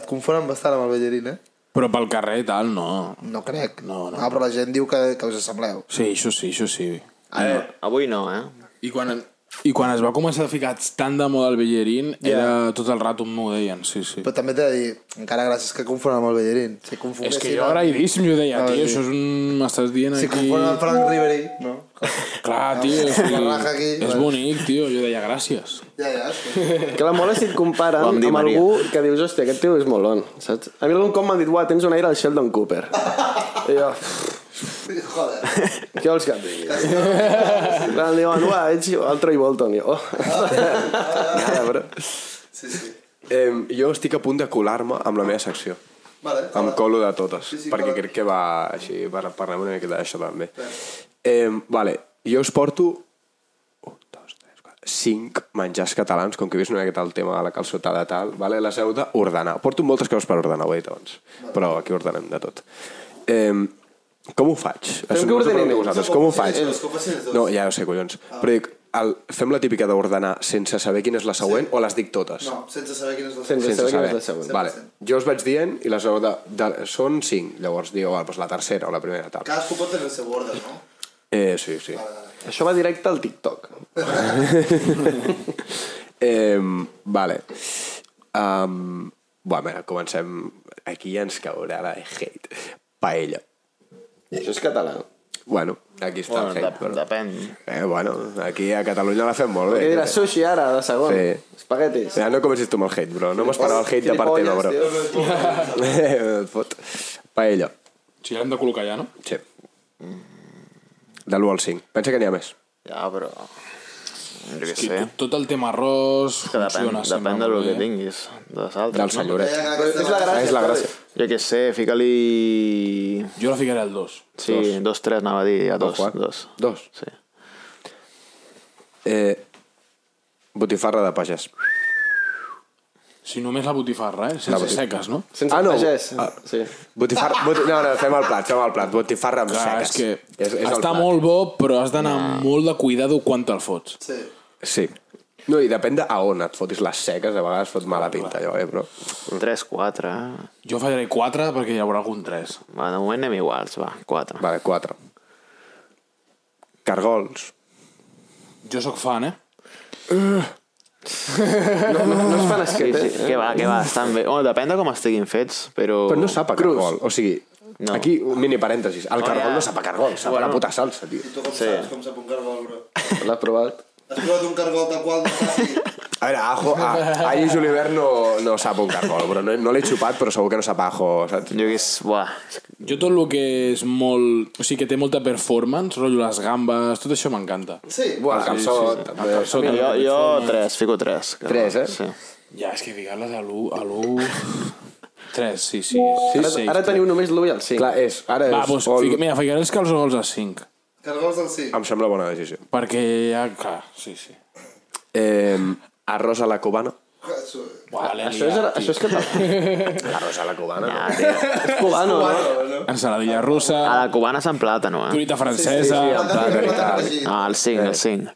[SPEAKER 2] et confonen bastant amb el Bellerín, eh?
[SPEAKER 1] Però pel carrer i tal, no.
[SPEAKER 2] No crec.
[SPEAKER 1] No, no.
[SPEAKER 2] Ah, però la gent diu que, que us assembleu.
[SPEAKER 1] Sí, això sí, això sí.
[SPEAKER 7] Ah, no. Avui no, eh?
[SPEAKER 1] I quan, I quan es va començar a ficar tan de moda el Bellerín, era tot el rato m'ho deien, sí, sí.
[SPEAKER 2] Però també t'he de dir, encara gràcies que confonen amb el Bellerín. Si
[SPEAKER 1] És
[SPEAKER 2] confonguessin...
[SPEAKER 1] que jo agraïdíssim, jo deia,
[SPEAKER 2] Ah,
[SPEAKER 1] tio,
[SPEAKER 2] sí.
[SPEAKER 1] això és un... M'estàs dient
[SPEAKER 2] Si
[SPEAKER 1] aquí...
[SPEAKER 2] confonen amb Frank Ribery, no?
[SPEAKER 1] Clar, tio, o sigui,
[SPEAKER 2] La raja aquí,
[SPEAKER 1] és
[SPEAKER 2] bueno.
[SPEAKER 1] bonic, tio. Jo deia, gràcies.
[SPEAKER 2] Ja, ja. sí.
[SPEAKER 6] Que la mola si et comparen
[SPEAKER 7] Ho vam dir,
[SPEAKER 6] amb
[SPEAKER 7] Maria.
[SPEAKER 6] algú que dius, hòstia, aquest tio és molt on, saps? A mi algun cop m'han dit, uah, tens un aire al Sheldon Cooper. I jo,
[SPEAKER 2] Joder.
[SPEAKER 6] què vols que et digui? Clar, em diuen, uah, ets el Troy Bolton. I jo, oh.
[SPEAKER 3] Nada, bro.
[SPEAKER 2] Sí, sí.
[SPEAKER 3] Eh, jo estic a punt de colar-me amb la meva secció.
[SPEAKER 2] Vale.
[SPEAKER 3] Em colo de totes,
[SPEAKER 2] Sí, sí,
[SPEAKER 3] perquè
[SPEAKER 2] vale.
[SPEAKER 3] crec que va així, per parlar una miqueta d'això també. Eh, vale, jo us porto un, dos, tres, quatre, cinc menjars catalans, com que he vist una miqueta el tema de la calçotada tal, vale? les heu d'ordenar. Porto moltes coses per ordenar, ho he dit abans, però aquí ordenem de tot. Eh, com ho faig? Això
[SPEAKER 6] que
[SPEAKER 3] no us ho
[SPEAKER 6] ordenem
[SPEAKER 3] pregunto a
[SPEAKER 6] ells.
[SPEAKER 3] vosaltres. Com ho faig?
[SPEAKER 2] Eh, els que ho facin els dos. Ah.
[SPEAKER 3] No, ja ho sé, collons. Però dic, el, fem la típica d'ordenar sense saber quina és la següent o les dic totes?
[SPEAKER 2] No, sense saber quin és el
[SPEAKER 6] Sense
[SPEAKER 3] sense
[SPEAKER 6] saber quina
[SPEAKER 3] saber.
[SPEAKER 6] és la següent.
[SPEAKER 3] Vale. Jo us vaig dient i les heu de, de... Són cinc, llavors dieu, va, doncs la tercera o la primera, tal.
[SPEAKER 2] Cadascú pot tenir el seu ordre, no?
[SPEAKER 3] Eh, sí, sí.
[SPEAKER 6] Això va directe al TikTok.
[SPEAKER 3] Eh, vale. Um, bueno, mira, comencem... Aquí ja ens caurà la hate. Paella.
[SPEAKER 6] Això és català.
[SPEAKER 3] Bueno, aquí està
[SPEAKER 7] Bueno,
[SPEAKER 3] el hate,
[SPEAKER 7] dep
[SPEAKER 3] però...
[SPEAKER 7] depèn.
[SPEAKER 3] Eh, bueno, aquí a Catalunya la fem molt bé.
[SPEAKER 6] Què diràs, sushi ara, de segon?
[SPEAKER 3] Sí.
[SPEAKER 6] Espaguetis.
[SPEAKER 3] Ja, no comencis tu amb el hate, bro. No m'esperava el hate de part teva, bro.
[SPEAKER 6] Gilipolles, tio.
[SPEAKER 3] Eh, et fot. Paella.
[SPEAKER 1] Si l'hem de col·locar ja, no?
[SPEAKER 3] Sí. De l'1 al 5. Pensa que n'hi ha més.
[SPEAKER 7] Ja, però... Jo què
[SPEAKER 1] Sí.
[SPEAKER 7] sé.
[SPEAKER 1] Tot el tema arròs
[SPEAKER 7] Que depèn,
[SPEAKER 1] funciona.
[SPEAKER 7] depèn
[SPEAKER 1] sembla,
[SPEAKER 7] del
[SPEAKER 1] molt
[SPEAKER 7] que
[SPEAKER 1] bé. eh?
[SPEAKER 7] tinguis. Dels
[SPEAKER 3] Del
[SPEAKER 7] altres, no?
[SPEAKER 3] senyoret.
[SPEAKER 6] És la gràcia.
[SPEAKER 3] És la gràcia.
[SPEAKER 7] Jo què sé, fica-li...
[SPEAKER 1] Jo la ficaré al 2.
[SPEAKER 7] Sí, dos, dos tres anava a dir, a dos,
[SPEAKER 3] Juan.
[SPEAKER 7] dos.
[SPEAKER 3] Dos.
[SPEAKER 7] Sí.
[SPEAKER 3] Eh, botifarra de pagès.
[SPEAKER 1] Si només la botifarra, eh? Sense
[SPEAKER 3] La botifarra.
[SPEAKER 1] seques, no?
[SPEAKER 6] Sense
[SPEAKER 3] Ah, no.
[SPEAKER 6] pagès.
[SPEAKER 3] Ah.
[SPEAKER 6] Sí.
[SPEAKER 3] Botifarra... Bot... No, no, fem el plat, fem el plat. Botifarra amb
[SPEAKER 1] Clar, és
[SPEAKER 3] seques.
[SPEAKER 1] que
[SPEAKER 3] és, és el
[SPEAKER 1] està
[SPEAKER 3] plat.
[SPEAKER 1] molt bo, però has d'anar amb molt de cuidado quan te'l fots.
[SPEAKER 2] Sí.
[SPEAKER 3] Sí. No, i depèn de a on et fotis les seques, a vegades fot mala pinta allò, eh, però...
[SPEAKER 7] 3, 4, eh?
[SPEAKER 1] Jo faré 4 perquè hi haurà algun 3.
[SPEAKER 7] Va, de moment anem iguals, va, 4.
[SPEAKER 3] Vale, 4. Cargols.
[SPEAKER 1] Jo sóc fan, eh?
[SPEAKER 6] No, no, no es fan
[SPEAKER 7] Sí,
[SPEAKER 6] esquet,
[SPEAKER 7] sí,
[SPEAKER 6] eh?
[SPEAKER 7] que va, que va, estan bé. Bueno, depèn de com estiguin fets, però...
[SPEAKER 3] Però no sap a
[SPEAKER 6] Cruz.
[SPEAKER 3] cargol, o sigui...
[SPEAKER 7] No.
[SPEAKER 3] No. Aquí, un mini parèntesis. El
[SPEAKER 7] Oh,
[SPEAKER 3] cargol
[SPEAKER 7] ja.
[SPEAKER 3] no sap a cargol, sap a la puta salsa, tio.
[SPEAKER 8] Tu com sí. saps com sap un cargol, bro?
[SPEAKER 6] L'ha provat.
[SPEAKER 8] Has provat un cargol tal qual no faci?
[SPEAKER 3] A veure, ajo, a, a Lluís Oliver no, no sap un cargol, però no, no l'he xupat, però segur que no sap ajo, saps?
[SPEAKER 7] Jo que és... Buah,
[SPEAKER 1] Jo tot el que és molt... O sigui, que té molta performance, rotllo les gambes, tot això m'encanta.
[SPEAKER 8] Sí.
[SPEAKER 3] Buah, el calçot, sí,
[SPEAKER 1] El calçó també.
[SPEAKER 7] jo, jo 3, fico 3.
[SPEAKER 3] Tres, eh?
[SPEAKER 7] Sí.
[SPEAKER 1] Ja, és que ficar-les a l'1... A l'1... 3, sí, sí. sí,
[SPEAKER 6] Ara,
[SPEAKER 1] sí
[SPEAKER 6] ara teniu només l'1 i el 5.
[SPEAKER 3] Clar, és, ara és...
[SPEAKER 1] Va, doncs,
[SPEAKER 3] all-
[SPEAKER 1] fica, mira, ficaré els calçogols a 5.
[SPEAKER 8] Cargols del sí.
[SPEAKER 3] Em sembla bona decisió.
[SPEAKER 1] Perquè ja, clar, sí, sí.
[SPEAKER 3] Eh, arròs a la cubana.
[SPEAKER 8] Ah, Això-
[SPEAKER 1] Vale,
[SPEAKER 6] Això és, ara- això és català.
[SPEAKER 3] Arròs a la cubana,
[SPEAKER 7] Ah,
[SPEAKER 3] no?
[SPEAKER 7] tio.
[SPEAKER 6] És cubano,
[SPEAKER 8] Ah,
[SPEAKER 6] no?
[SPEAKER 1] Ensaladilla russa,
[SPEAKER 7] A la cubana és en plàtano, eh?
[SPEAKER 1] truita francesa...
[SPEAKER 8] Patata
[SPEAKER 3] clar,
[SPEAKER 8] frita
[SPEAKER 3] clar.
[SPEAKER 8] Ah, afegit.
[SPEAKER 7] Ah, el 5, el 5.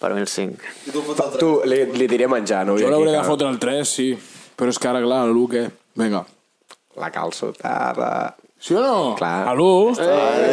[SPEAKER 7] Per mi el 5.
[SPEAKER 8] I tu fots el
[SPEAKER 3] Tu,
[SPEAKER 8] tres.
[SPEAKER 3] li, li diré menjar, no?
[SPEAKER 1] Jo
[SPEAKER 3] Vull
[SPEAKER 1] l'hauré
[SPEAKER 3] dir
[SPEAKER 1] de
[SPEAKER 3] que
[SPEAKER 1] fotre el 3, sí. Però és que ara, clar, l'1 què? Vinga.
[SPEAKER 3] La calçotada...
[SPEAKER 1] Sí o no?
[SPEAKER 3] Clar.
[SPEAKER 1] A l'1...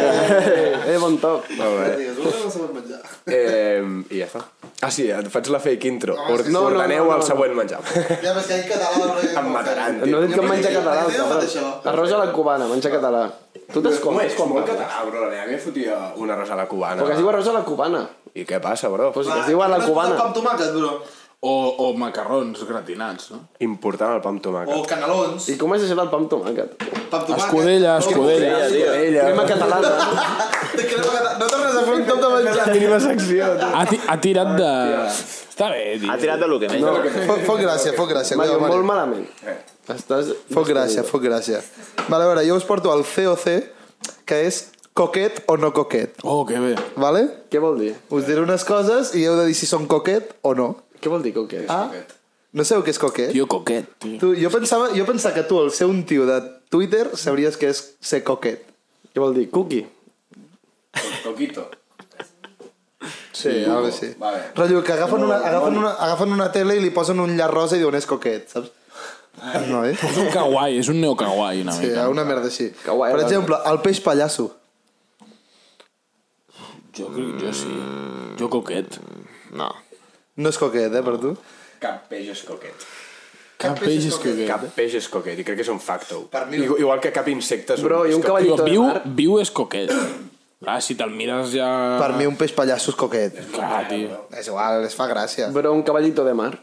[SPEAKER 6] Eh, bon toc.
[SPEAKER 3] Molt bé.
[SPEAKER 8] Digues, "Ui, no sabem menjar.
[SPEAKER 3] Eh, I ja està. Ah, sí, et faig la fake intro.
[SPEAKER 8] No,
[SPEAKER 3] Or,
[SPEAKER 8] sí, sí.
[SPEAKER 3] no,
[SPEAKER 8] No, no,
[SPEAKER 3] ordeneu
[SPEAKER 6] no, no,
[SPEAKER 3] el
[SPEAKER 6] no.
[SPEAKER 3] següent menjar.
[SPEAKER 8] Ja ves que hi català... no hi ha
[SPEAKER 3] em
[SPEAKER 8] com
[SPEAKER 3] mataran,
[SPEAKER 8] fer.
[SPEAKER 3] tio.
[SPEAKER 6] No he dit que menja català.
[SPEAKER 8] Primer
[SPEAKER 6] cabrón.
[SPEAKER 8] he fet això.
[SPEAKER 6] Arròs a la cubana, menja català. Tu t'escoltes quan
[SPEAKER 3] Ah. molt
[SPEAKER 6] parles.
[SPEAKER 3] català, bro. La meva àvia fotia una rosa a la cubana.
[SPEAKER 6] Perquè es diu arròs a la cubana.
[SPEAKER 3] I què passa, bro?
[SPEAKER 6] Pues
[SPEAKER 8] Va,
[SPEAKER 6] es diu a la
[SPEAKER 8] una
[SPEAKER 6] cubana.
[SPEAKER 8] Amb tomàquet, bro.
[SPEAKER 1] O, o macarrons gratinats, no?
[SPEAKER 3] Important el pa amb tomàquet.
[SPEAKER 8] O
[SPEAKER 2] Oh,
[SPEAKER 8] canelons.
[SPEAKER 6] I com és això del pa amb tomàquet?
[SPEAKER 8] Pa amb tomàquet.
[SPEAKER 1] Escudella, escudella.
[SPEAKER 3] Ella.
[SPEAKER 6] Crema catalana.
[SPEAKER 8] De crema catalana. No tornes a fer un top de menjar.
[SPEAKER 3] Mínima secció. tu.
[SPEAKER 1] Ha, ti ha tirat de... Està bé, tio.
[SPEAKER 7] Ha tirat de lo que menja.
[SPEAKER 2] Fot, fot gràcia, fot gràcia.
[SPEAKER 6] Mario,
[SPEAKER 2] cuidao, Mario.
[SPEAKER 6] molt malament.
[SPEAKER 3] Eh.
[SPEAKER 6] Estàs...
[SPEAKER 2] Fot gràcia, fot gràcia. Vale, a veure, jo us porto el COC, que és coquet o no coquet,
[SPEAKER 1] Oh, que bé.
[SPEAKER 2] vale?
[SPEAKER 6] Què vol dir?
[SPEAKER 2] Us diré unes coses i heu de dir si són coquet o no.
[SPEAKER 6] Què vol dir, com que és?
[SPEAKER 2] Ah, no sabeu què és coquet?
[SPEAKER 1] Tio coquet, tio.
[SPEAKER 2] Tu, jo, pensava, jo pensava que tu, al ser un tio de Twitter, sabries que és ser coquet.
[SPEAKER 6] Què vol dir? Cookie?
[SPEAKER 5] Coquito.
[SPEAKER 2] Sí, algo així.
[SPEAKER 5] vale.
[SPEAKER 2] Rotllo, que agafen, una, agafen, una, agafen una tele i li posen un llaç rosa i diuen és coquet, saps? No, eh?
[SPEAKER 1] És un kawaii, és un neokawaii, una
[SPEAKER 2] Sí,
[SPEAKER 1] mica.
[SPEAKER 2] una merda així.
[SPEAKER 6] guai,
[SPEAKER 2] per
[SPEAKER 6] la-
[SPEAKER 2] exemple, el peix pallasso.
[SPEAKER 1] Jo, crec- jo sí. Jo coquet.
[SPEAKER 7] No.
[SPEAKER 2] No és coquet, eh, per tu?
[SPEAKER 3] Cap peix és coquet.
[SPEAKER 1] Cap peix és coquet.
[SPEAKER 3] Cap peix és coquet, i crec que és un facto.
[SPEAKER 8] Per mi no.
[SPEAKER 3] Igual, igual que cap insecte és
[SPEAKER 6] Bro,
[SPEAKER 3] un...
[SPEAKER 6] i un
[SPEAKER 3] és coquet.
[SPEAKER 1] Digo,
[SPEAKER 6] cavallito de
[SPEAKER 1] viu,
[SPEAKER 6] mar.
[SPEAKER 1] viu és coquet. Clar, si te'l mires ja...
[SPEAKER 2] Per mi un peix pallasso és coquet.
[SPEAKER 1] Clar, tio.
[SPEAKER 2] És igual, les fa gràcia.
[SPEAKER 6] Però un cavallito de mar.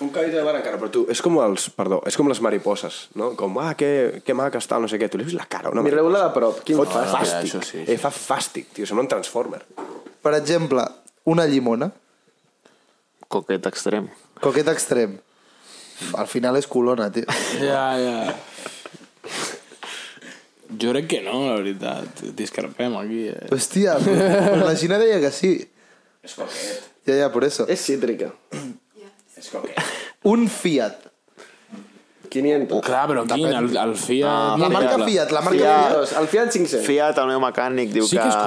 [SPEAKER 3] Un cavall de mar encara, però tu... És com els... Perdó, és com les mariposes, no? Com, ah, que, que maca està, no sé què. Tu li has vist la cara, una mariposa.
[SPEAKER 6] Mireu-la de prop. Quin
[SPEAKER 3] Fot
[SPEAKER 6] fas?
[SPEAKER 3] fàstic.
[SPEAKER 1] Ah, això sí,
[SPEAKER 3] Eh, fa fàstic, tio. Sembla un Transformer.
[SPEAKER 2] Per exemple, una llimona.
[SPEAKER 7] Coquet extrem.
[SPEAKER 2] Coquet extrem. Al final és colona, tio.
[SPEAKER 1] Ja, ja. Jo crec que no, la veritat. Discrepem aquí, eh?
[SPEAKER 2] Hòstia, però la Gina deia que sí.
[SPEAKER 5] És coquet.
[SPEAKER 2] Ja, ja, per eso.
[SPEAKER 6] És cítrica.
[SPEAKER 5] És coquet.
[SPEAKER 2] Un Fiat.
[SPEAKER 6] 500.
[SPEAKER 1] Clar, però quin? El, el Fiat...
[SPEAKER 2] Ah, La marca Fiat, la marca
[SPEAKER 7] Fiat.
[SPEAKER 2] Fiat.
[SPEAKER 6] Dos. El Fiat 500.
[SPEAKER 7] Fiat, el meu mecànic, diu
[SPEAKER 1] Sí que
[SPEAKER 7] que...
[SPEAKER 1] és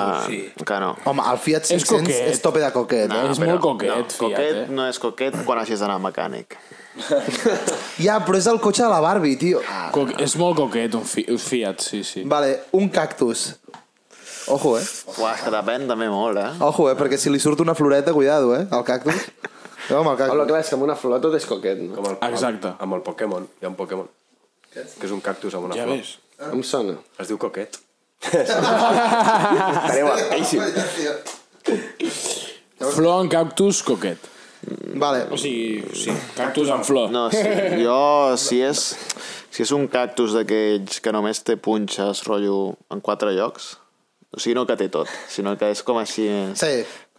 [SPEAKER 1] com-
[SPEAKER 7] Que no.
[SPEAKER 2] Home, el Fiat 500 és,
[SPEAKER 1] coquet.
[SPEAKER 2] tope de coquet,
[SPEAKER 1] No,
[SPEAKER 2] eh?
[SPEAKER 1] és molt coquet,
[SPEAKER 7] no,
[SPEAKER 1] Fiat,
[SPEAKER 7] coquet
[SPEAKER 1] eh?
[SPEAKER 7] no és coquet quan hagis d'anar al mecànic.
[SPEAKER 2] Ja, però és el cotxe de la Barbie, tio.
[SPEAKER 1] Co és molt coquet, un, fi un Fiat, sí, sí.
[SPEAKER 2] Vale, un cactus. Ojo, eh?
[SPEAKER 7] Uah, és que depèn també molt, eh?
[SPEAKER 2] Ojo, eh? Perquè si li surt una floreta, cuidado, eh? El cactus. No, amb el
[SPEAKER 6] Hola,
[SPEAKER 2] cactus.
[SPEAKER 6] clar, és que amb una flor tot és coquet, no?
[SPEAKER 3] Com el,
[SPEAKER 1] Exacte.
[SPEAKER 3] Amb, amb el Pokémon. Hi ha un Pokémon. Què? Que és un cactus amb una
[SPEAKER 1] Ja
[SPEAKER 3] flor.
[SPEAKER 1] ves.
[SPEAKER 6] Em sona.
[SPEAKER 3] Es diu coquet. Estareu altíssim.
[SPEAKER 1] Flor en cactus, coquet.
[SPEAKER 2] Vale,
[SPEAKER 1] O sigui, sí, cactus en flor.
[SPEAKER 7] No, sí, jo, si és, si és un cactus d'aquells que només té punxes, rotllo, en quatre llocs, o sigui, no que té tot, sinó que és com així...
[SPEAKER 2] Sí.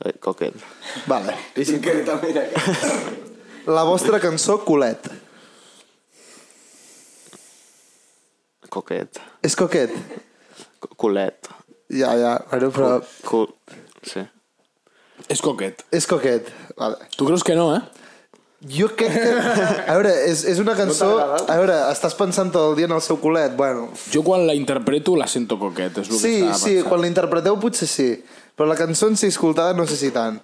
[SPEAKER 7] eh, Coquet.
[SPEAKER 2] vale.
[SPEAKER 6] I si que també
[SPEAKER 2] La vostra cançó, Colet.
[SPEAKER 7] Coquet.
[SPEAKER 2] És coquet?
[SPEAKER 7] Co- Culet.
[SPEAKER 2] Ja, ja, bueno, però...
[SPEAKER 7] Cul... Sí.
[SPEAKER 1] És coquet.
[SPEAKER 2] És coquet. Vale.
[SPEAKER 1] Tu creus que no, eh?
[SPEAKER 2] Jo crec que... A veure, és, és una cançó...
[SPEAKER 6] t'agrada?
[SPEAKER 2] A veure, estàs pensant tot el dia en el seu colet. Bueno,
[SPEAKER 1] Jo quan la interpreto la sento coquet, és el que
[SPEAKER 2] sí,
[SPEAKER 1] estava
[SPEAKER 2] sí,
[SPEAKER 1] pensant.
[SPEAKER 2] quan l'interpreteu potser sí. Però la cançó en si escoltada no sé si tant.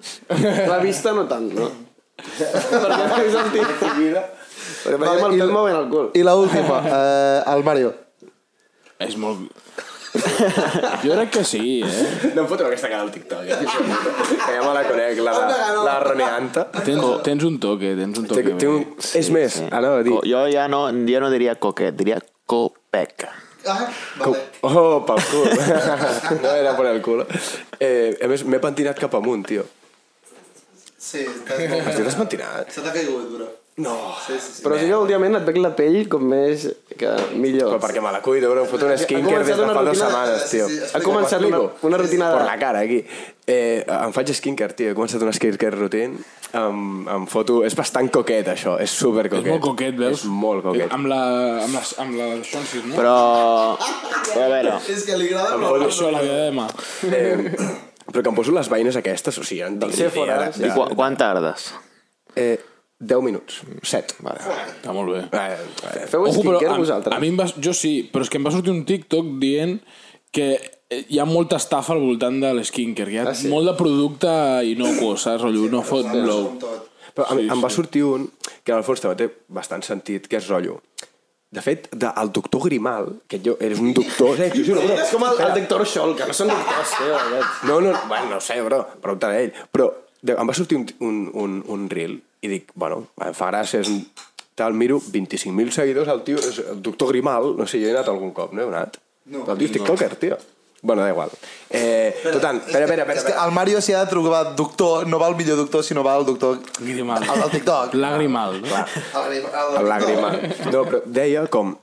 [SPEAKER 6] La vista no tant, no? Perquè no he sentit. Perquè vale,
[SPEAKER 2] Vale,
[SPEAKER 6] veiem
[SPEAKER 2] i
[SPEAKER 6] el pèl
[SPEAKER 2] la-
[SPEAKER 6] movent el cul.
[SPEAKER 2] I l'última, eh, el Mario.
[SPEAKER 1] És molt... jo crec que sí, eh?
[SPEAKER 3] No em fotreu aquesta cara al TikTok. eh? que ja me la conec, la, de- la Roneanta.
[SPEAKER 1] Tens, tens un toque, tens un toque.
[SPEAKER 3] Té, té un... Sí, és més, sí. anava a dir...
[SPEAKER 7] Co- Jo ja no, jo no diria coquet, diria copec.
[SPEAKER 8] Ah, vale.
[SPEAKER 3] Oh, pel cul. no era per el cul. Eh, a més, m'he pentinat cap amunt, tio.
[SPEAKER 8] Sí, estàs molt...
[SPEAKER 3] Estic despentinat.
[SPEAKER 8] Se t'ha caigut, dura.
[SPEAKER 3] No.
[SPEAKER 8] Sí, sí, sí.
[SPEAKER 6] Però sí que últimament et veig la pell com més... Que millor.
[SPEAKER 3] Però perquè me la cuido, bro. Em foto un skincare
[SPEAKER 6] començat
[SPEAKER 3] des de
[SPEAKER 6] una
[SPEAKER 3] fa dues
[SPEAKER 6] rutina-
[SPEAKER 3] setmanes, tio.
[SPEAKER 8] sí, sí,
[SPEAKER 6] Ha començat una, una rutina
[SPEAKER 3] Per
[SPEAKER 6] de...
[SPEAKER 3] la cara, aquí. Eh, em faig skincare, tio. He començat una skincare routine. Em, em foto... És bastant coquet, això. És super
[SPEAKER 1] És
[SPEAKER 3] coquet.
[SPEAKER 1] molt coquet, veus?
[SPEAKER 3] És molt coquet.
[SPEAKER 1] Amb la... Amb les, amb les xonsis, no?
[SPEAKER 7] Però... A veure,
[SPEAKER 8] És que li agrada, però...
[SPEAKER 1] Però... Això, la diadema.
[SPEAKER 3] Eh, però que em poso les veïnes aquestes, o sigui, del ser
[SPEAKER 6] fora,
[SPEAKER 7] i qu quan tardes?
[SPEAKER 3] Eh, 10 minuts. 7. Vale.
[SPEAKER 1] Està molt bé.
[SPEAKER 3] Eh, eh,
[SPEAKER 6] Feu skincare
[SPEAKER 1] a,
[SPEAKER 6] vosaltres?
[SPEAKER 1] a mi em va, jo sí, però és que em va sortir un TikTok dient que eh, hi ha molta estafa al voltant de l'eskinker, que hi ha ah, sí? molt de producte innocuo, saps? Rotllo, no fot blow.
[SPEAKER 3] Però sí, em, em va sortir un que en el fons també té bastant sentit, que és rotllo. De fet, de, el doctor Grimal, que jo eres un doctor... Eh, t'ho juro, bro.
[SPEAKER 6] És com el, el doctor Scholl, que no són doctors, tio, aquests.
[SPEAKER 3] No, no, bueno, no ho sé, bro, preguntant a ell. Però de, em va sortir un, un, un, un reel i dic, bueno, em fa gràcia, és un tal, miro, 25.000 seguidors, el tio, és el doctor Grimal, no sé, jo he anat algun cop, no he anat? No. El tio és tiktoker, tio. Bueno, da igual. Eh, total, espera, espera, espera.
[SPEAKER 2] És que el Mario s'hi ha de trobar doctor, no va el millor doctor, sinó va el doctor...
[SPEAKER 1] Grimal.
[SPEAKER 2] El del TikTok.
[SPEAKER 1] Lagrimal. Clar.
[SPEAKER 3] El làgrima. No, però deia com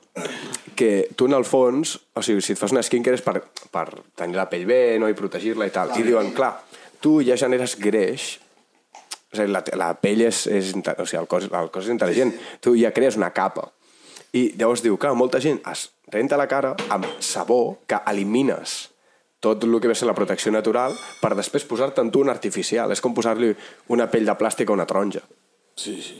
[SPEAKER 3] que tu en el fons, o sigui, si et fas una skincare és per, per tenir la pell bé, no? I protegir-la i tal. I diuen, clar, tu ja generes greix, o sigui, la, te- la pell és, és inte- o sigui, el cos, el cos és intel·ligent, tu ja crees una capa. I llavors diu, clar, molta gent es renta la cara amb sabó que elimines tot el que ve a ser la protecció natural per després posar-te'n tu un artificial. És com posar-li una pell de plàstic a una taronja.
[SPEAKER 1] Sí, sí.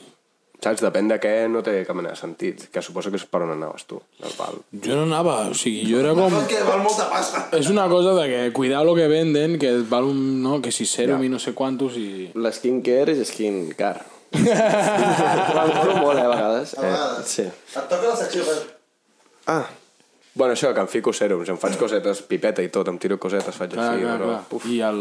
[SPEAKER 3] Saps? Depèn de què no té cap mena de sentit, que suposo que és per on anaves tu, del pal.
[SPEAKER 1] Jo no anava, o sigui, jo era com...
[SPEAKER 8] Que val molta pasta.
[SPEAKER 1] És una cosa de que cuidar lo que venden, que et val un... No, que si sèrum
[SPEAKER 3] Ja.
[SPEAKER 1] i no sé quantos i...
[SPEAKER 6] La skincare és skincare. Val molt, eh, a vegades.
[SPEAKER 8] A vegades.
[SPEAKER 6] Eh, sí.
[SPEAKER 8] Et toca la secció, per...
[SPEAKER 6] Ah,
[SPEAKER 3] Bueno, això, que em fico sèrums, em faig cosetes, pipeta i tot, em tiro cosetes, faig
[SPEAKER 1] Clar,
[SPEAKER 3] així,
[SPEAKER 1] clar,
[SPEAKER 3] però...
[SPEAKER 1] clar. I el...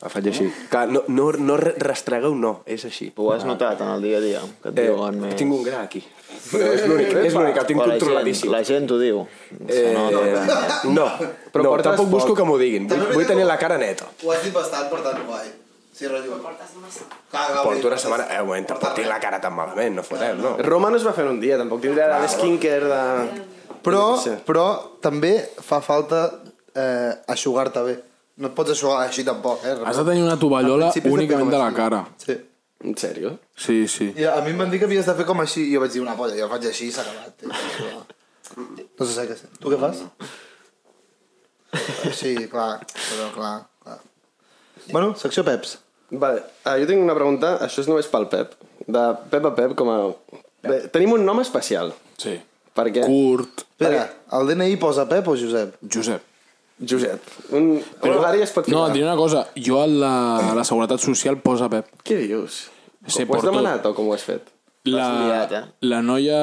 [SPEAKER 3] Em faig així. Que no, no, no re- rastregueu, no, és així.
[SPEAKER 7] Ho has notat en el dia a dia? Que
[SPEAKER 3] Ah.
[SPEAKER 7] et
[SPEAKER 3] Eh,
[SPEAKER 7] diuen més...
[SPEAKER 3] tinc un gra aquí. Però és l'únic, és l'únic, el tinc
[SPEAKER 7] Però la gent-
[SPEAKER 3] controladíssim.
[SPEAKER 7] La gent ho diu.
[SPEAKER 3] Eh, no,
[SPEAKER 6] Però
[SPEAKER 3] no,
[SPEAKER 6] portes
[SPEAKER 3] tampoc
[SPEAKER 6] poc.
[SPEAKER 3] busco que m'ho diguin. Vull,
[SPEAKER 8] També
[SPEAKER 3] vull
[SPEAKER 8] vindrà
[SPEAKER 3] tenir
[SPEAKER 8] com-
[SPEAKER 3] la cara neta.
[SPEAKER 8] Ho has dit bastant, per tant, guai. Sí, rotllo. Portes una setmana. Clar, clar,
[SPEAKER 3] Porto una setmana... Eh, un moment, tampoc tinc la cara tan malament, no foteu, no.
[SPEAKER 6] Roma no es va fer en un dia, tampoc tindrà la skincare de...
[SPEAKER 2] Però,
[SPEAKER 6] Sí.
[SPEAKER 2] però també fa falta eh, aixugar-te bé. No et pots aixugar així tampoc, eh?
[SPEAKER 1] Has de tenir una tovallola
[SPEAKER 2] Al principi has de
[SPEAKER 1] únicament
[SPEAKER 2] fer
[SPEAKER 1] de
[SPEAKER 2] com
[SPEAKER 1] la
[SPEAKER 2] així.
[SPEAKER 1] cara.
[SPEAKER 2] Sí.
[SPEAKER 6] En sèrio?
[SPEAKER 1] Sí, sí.
[SPEAKER 2] I a mi em van dir que havies de fer com així, i jo vaig dir una polla, jo faig així i s'ha acabat. tio. No se sap què sé. Tu què fas?
[SPEAKER 3] Mm.
[SPEAKER 2] Sí, clar, però clar, clar. Bueno, secció Peps.
[SPEAKER 6] Vale, ah, jo tinc una pregunta, això és només pel Pep. De Pep a Pep, com a... Bé, tenim un nom especial,
[SPEAKER 1] Sí.
[SPEAKER 6] perquè...
[SPEAKER 1] Curt.
[SPEAKER 2] Espera, el DNI posa Pep o Josep?
[SPEAKER 1] Josep.
[SPEAKER 6] Josep. Un... Però... Un es pot
[SPEAKER 1] No,
[SPEAKER 6] ficar.
[SPEAKER 1] et diré una cosa. Jo a la, a la Seguretat Social posa Pep.
[SPEAKER 6] Què dius?
[SPEAKER 1] Sí,
[SPEAKER 6] ho
[SPEAKER 1] per
[SPEAKER 6] has
[SPEAKER 1] tot.
[SPEAKER 6] demanat o com ho has fet?
[SPEAKER 1] La,
[SPEAKER 7] liat, eh?
[SPEAKER 1] la noia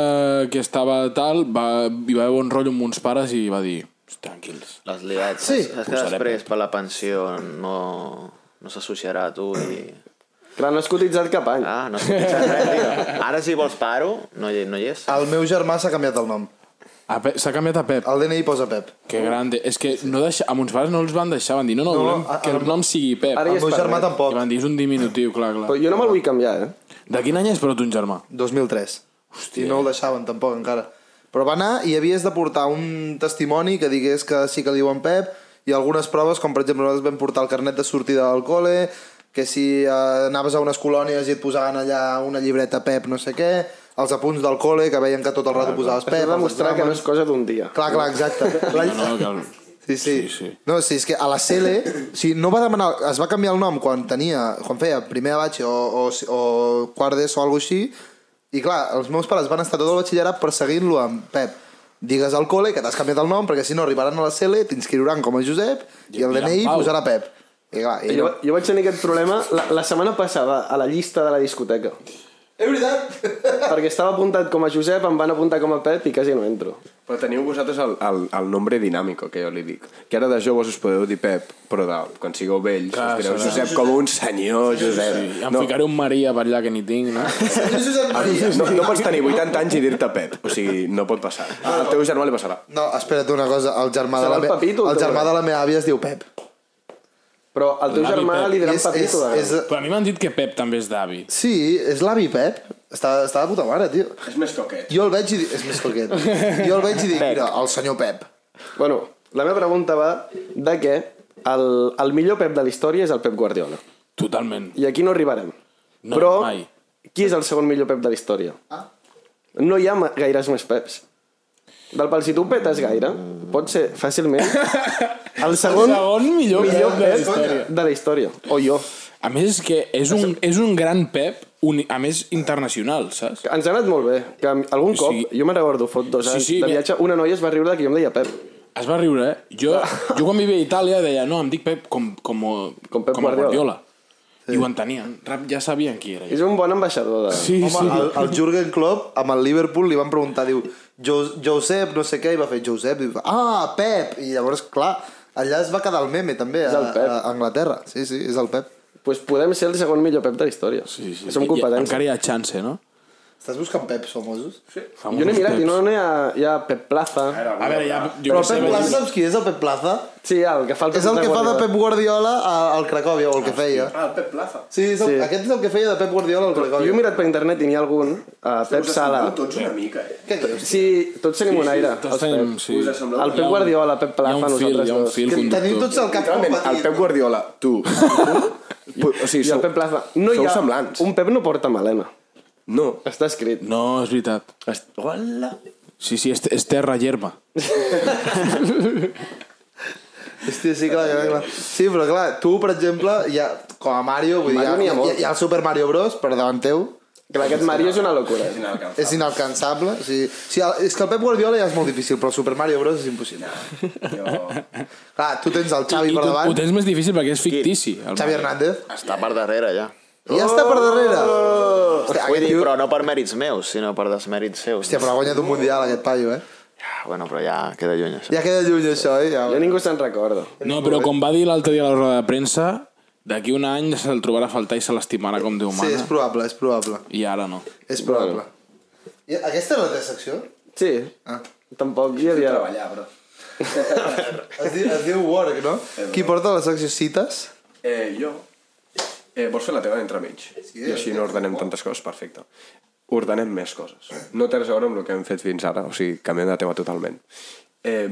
[SPEAKER 1] que estava tal va, hi va haver bon rotllo amb uns pares i va dir tranquils.
[SPEAKER 7] Les liats.
[SPEAKER 2] Sí.
[SPEAKER 7] És que després per la pensió no, no s'associarà a tu i...
[SPEAKER 6] Clar, no has cotitzat cap any.
[SPEAKER 7] Ah, no sé res, tio. Ara si vols paro, no hi, no hi és.
[SPEAKER 2] El meu germà s'ha canviat el nom.
[SPEAKER 1] A Pep- S'ha canviat a Pep.
[SPEAKER 2] El DNI posa Pep.
[SPEAKER 1] Que grande. És que no deixa, a mons pares no els van deixar, van dir, no, no,
[SPEAKER 2] No,
[SPEAKER 1] volem
[SPEAKER 2] a-
[SPEAKER 1] que el nom sigui Pep.
[SPEAKER 6] Ara
[SPEAKER 2] El
[SPEAKER 6] ja es
[SPEAKER 2] meu germà
[SPEAKER 6] permet.
[SPEAKER 1] I
[SPEAKER 2] tampoc.
[SPEAKER 1] van dir, és un diminutiu, clar, clar.
[SPEAKER 6] Però jo no me'l vull canviar, eh?
[SPEAKER 1] De quin any és, però, ton germà?
[SPEAKER 2] 2003. Hòstia. I no el deixaven tampoc encara. Però va anar i havies de portar un testimoni que digués que sí que li diuen Pep i algunes proves, com per exemple nosaltres vam portar el carnet de sortida del col·le, que si eh, anaves a unes colònies i et posaven allà una llibreta Pep no sé què, els apunts del col·le que veien que tot el rato posaves
[SPEAKER 6] Per
[SPEAKER 2] Pep... els
[SPEAKER 6] demostrar que no
[SPEAKER 2] exàmens.
[SPEAKER 6] és cosa d'un dia.
[SPEAKER 2] Clar, clar, exacte. La,
[SPEAKER 1] No, no, que el...
[SPEAKER 2] Sí, sí.
[SPEAKER 1] Sí, sí.
[SPEAKER 2] No, sí, és que a la CL, o sigui, no va demanar, es va canviar el nom quan tenia, quan feia primer de batx o, o, o quart d'ESO o alguna així, i clar, els meus pares van estar tot el batxillerat perseguint-lo amb Pep. Digues al col·le que t'has canviat el nom perquè si no arribaran a la CL, t'inscriuran com a Josep i el
[SPEAKER 1] i en
[SPEAKER 2] DNI
[SPEAKER 1] Pau.
[SPEAKER 2] posarà Pep. I, clar, i
[SPEAKER 6] Jo,
[SPEAKER 2] no.
[SPEAKER 6] va- jo vaig tenir aquest problema la, la setmana passada a la llista de la discoteca.
[SPEAKER 2] És veritat!
[SPEAKER 6] Perquè estava apuntat com a Josep, em van apuntar com a Pep i quasi no entro.
[SPEAKER 3] Però teniu vosaltres el, el, el nombre dinàmic, que jo li dic. Que ara de joves us podeu dir Pep, però de, quan sigueu vells Clar,
[SPEAKER 1] Clar,
[SPEAKER 3] us direu
[SPEAKER 1] serà.
[SPEAKER 3] Josep com un senyor, Josep.
[SPEAKER 1] Sí, em no. ficaré un Maria per allà que ni tinc, no?
[SPEAKER 2] Josep Maria.
[SPEAKER 3] No, no pots tenir 80 anys i dir-te Pep. O sigui, no pot passar. Al teu germà li passarà.
[SPEAKER 2] No, espera't una cosa, el germà, de
[SPEAKER 6] Serà
[SPEAKER 2] la,
[SPEAKER 6] el
[SPEAKER 2] me...
[SPEAKER 6] Pepito,
[SPEAKER 2] el
[SPEAKER 6] tu,
[SPEAKER 2] germà
[SPEAKER 6] eh?
[SPEAKER 2] de la meva àvia es diu Pep.
[SPEAKER 6] Però al teu
[SPEAKER 1] L'avi
[SPEAKER 6] germà
[SPEAKER 1] Pep.
[SPEAKER 6] li diran
[SPEAKER 2] És- és-
[SPEAKER 6] Pepito de gran.
[SPEAKER 2] és-
[SPEAKER 1] Però a mi m'han dit que Pep també és d'avi.
[SPEAKER 2] Sí, és l'avi Pep. Està, està de puta mare, tio.
[SPEAKER 3] És més coquet.
[SPEAKER 2] Jo el veig i dic... És més coquet. Jo el veig i dic, mira, el senyor Pep.
[SPEAKER 6] Bueno, la meva pregunta va de que el, el millor Pep de la història és el Pep Guardiola.
[SPEAKER 1] Totalment.
[SPEAKER 6] I aquí no arribarem.
[SPEAKER 1] No,
[SPEAKER 6] Però
[SPEAKER 1] mai.
[SPEAKER 6] qui és el segon millor Pep de la història? No hi ha ma- gaires més Peps. Del pal, si tu petes gaire, pot ser fàcilment el segon,
[SPEAKER 1] El segon millor Pep de la història.
[SPEAKER 6] de la història. O jo.
[SPEAKER 1] A més, és que és un, és un gran Pep, un, a més, internacional, saps?
[SPEAKER 6] Ens ha anat molt bé. Que algun cop,
[SPEAKER 1] Sí.
[SPEAKER 6] jo me'n recordo, fot dos
[SPEAKER 1] Sí,
[SPEAKER 6] anys
[SPEAKER 1] sí,
[SPEAKER 6] de
[SPEAKER 1] mira.
[SPEAKER 6] viatge, una noia es va riure que jo em deia Pep.
[SPEAKER 1] Es va riure, eh? Jo, jo quan vivia a Itàlia deia, no, em dic Pep com, com,
[SPEAKER 6] Com Pep
[SPEAKER 1] com a
[SPEAKER 6] Guardiola.
[SPEAKER 1] Guardiola. Sí. I ho entenien. Rap, ja sabien qui era.
[SPEAKER 6] És un bon ambaixador. De...
[SPEAKER 1] Sí,
[SPEAKER 2] Home, el, el Jürgen Klopp amb el Liverpool li van preguntar, diu, "Jo- Josep, no sé què, i va fer Josep, i va, ah, Pep! I llavors, clar, allà es va quedar el meme, també, a,
[SPEAKER 6] el Pep.
[SPEAKER 2] a Anglaterra. Sí, sí, és el Pep.
[SPEAKER 6] Pues podem ser el segon millor Pep de la història. Som competents.
[SPEAKER 1] Encara hi ha chance, no?
[SPEAKER 2] Estàs buscant Peps famosos? Sí.
[SPEAKER 6] Jo n'he mirat i no n'hi ha, hi ha Pep Plaza.
[SPEAKER 1] A veure, ja... Jo
[SPEAKER 2] Però
[SPEAKER 1] que sé,
[SPEAKER 2] Pep Plaza,
[SPEAKER 1] vaig-
[SPEAKER 2] saps qui és el Pep Plaza?
[SPEAKER 6] Sí, el que falta...
[SPEAKER 2] És el que fa de
[SPEAKER 6] Guardiola.
[SPEAKER 2] Pep Guardiola a- al Cracòvia, o el que feia.
[SPEAKER 5] Ah, el Pep Plaza.
[SPEAKER 2] Sí, és el,
[SPEAKER 6] Sí.
[SPEAKER 2] aquest és el que feia de Pep Guardiola al
[SPEAKER 6] Jo he
[SPEAKER 2] Cracòvia.
[SPEAKER 6] mirat per internet i n'hi ha algun. Uh, Pep Sala.
[SPEAKER 5] Tots una mica, eh?
[SPEAKER 2] Què dius?
[SPEAKER 6] Sí, tots tenim un aire.
[SPEAKER 1] Tots
[SPEAKER 6] els
[SPEAKER 1] tenim,
[SPEAKER 6] Peps.
[SPEAKER 1] sí.
[SPEAKER 5] Us ha semblat?
[SPEAKER 6] El Pep Guardiola, Pep
[SPEAKER 1] Hi ha
[SPEAKER 6] Plaza,
[SPEAKER 1] un fil,
[SPEAKER 6] nosaltres
[SPEAKER 1] hi ha un
[SPEAKER 6] dos.
[SPEAKER 1] fil
[SPEAKER 2] Que tenim
[SPEAKER 1] conductor.
[SPEAKER 2] tots el cap
[SPEAKER 3] Realment, el
[SPEAKER 2] competit.
[SPEAKER 3] Pep Guardiola, tu, i tu, o sigui,
[SPEAKER 6] I el
[SPEAKER 3] sou,
[SPEAKER 6] Pep Plaza. No hi
[SPEAKER 3] sou
[SPEAKER 6] ha...
[SPEAKER 3] semblants.
[SPEAKER 6] Un Pep no porta melena.
[SPEAKER 3] No.
[SPEAKER 6] Està escrit.
[SPEAKER 1] No, és veritat.
[SPEAKER 3] Hola.
[SPEAKER 1] Sí, sí, és, és terra germa.
[SPEAKER 2] Hòstia, sí, clar, clar, clar. Sí, però clar, tu, per exemple, ja, com a Mario, vull dir,
[SPEAKER 6] Mario n'hi
[SPEAKER 2] hi
[SPEAKER 6] ha
[SPEAKER 2] ha,
[SPEAKER 6] molts.
[SPEAKER 2] hi, ha el Super Mario Bros, però davant teu
[SPEAKER 6] Clar, aquest Mario és una locura. eh?
[SPEAKER 2] és inalcançable. O sigui, sí, el, és que el Pep Guardiola ja és molt difícil, però el Super Mario Bros és impossible. Clar, tu tens el
[SPEAKER 1] I
[SPEAKER 2] Xavi
[SPEAKER 1] tu,
[SPEAKER 2] per
[SPEAKER 1] ho
[SPEAKER 2] davant,
[SPEAKER 1] tens més difícil perquè és fictici. El
[SPEAKER 2] Xavi Hernández,
[SPEAKER 7] Està per darrere, ja.
[SPEAKER 2] i ja està per darrere.
[SPEAKER 6] Oh!
[SPEAKER 2] Hòstia,
[SPEAKER 7] Vull
[SPEAKER 2] aquest
[SPEAKER 7] dir,
[SPEAKER 2] tio...
[SPEAKER 7] però no per mèrits meus, sinó per desmèrits seus.
[SPEAKER 2] Hòstia, però ha guanyat un mundial, aquest paio, eh?
[SPEAKER 7] Ah, bueno, però ja queda lluny, això.
[SPEAKER 2] Ja queda lluny, això, eh? Ja.
[SPEAKER 6] Jo ningú se'n recorda.
[SPEAKER 1] No, però com va dir l'altre dia a la roda de premsa, d'aquí un any se'l trobarà a faltar i se l'estimarà com Déu
[SPEAKER 2] Sí,
[SPEAKER 1] mana.
[SPEAKER 2] és probable, és probable.
[SPEAKER 1] I ara no.
[SPEAKER 2] És probable. I aquesta és la teva secció?
[SPEAKER 6] Sí.
[SPEAKER 2] Ah.
[SPEAKER 6] Tampoc hi havia...
[SPEAKER 5] Treballar, bro.
[SPEAKER 2] Es diu, es diu Work, no? Qui porta la secció cites?
[SPEAKER 3] Eh, jo... Eh, vols fer la teva entremig? Sí, I així no ordenem tantes coses, perfecte. Ordenem més coses. No té res a veure amb el que hem fet fins ara, o sigui, canviem de tema totalment. Eh,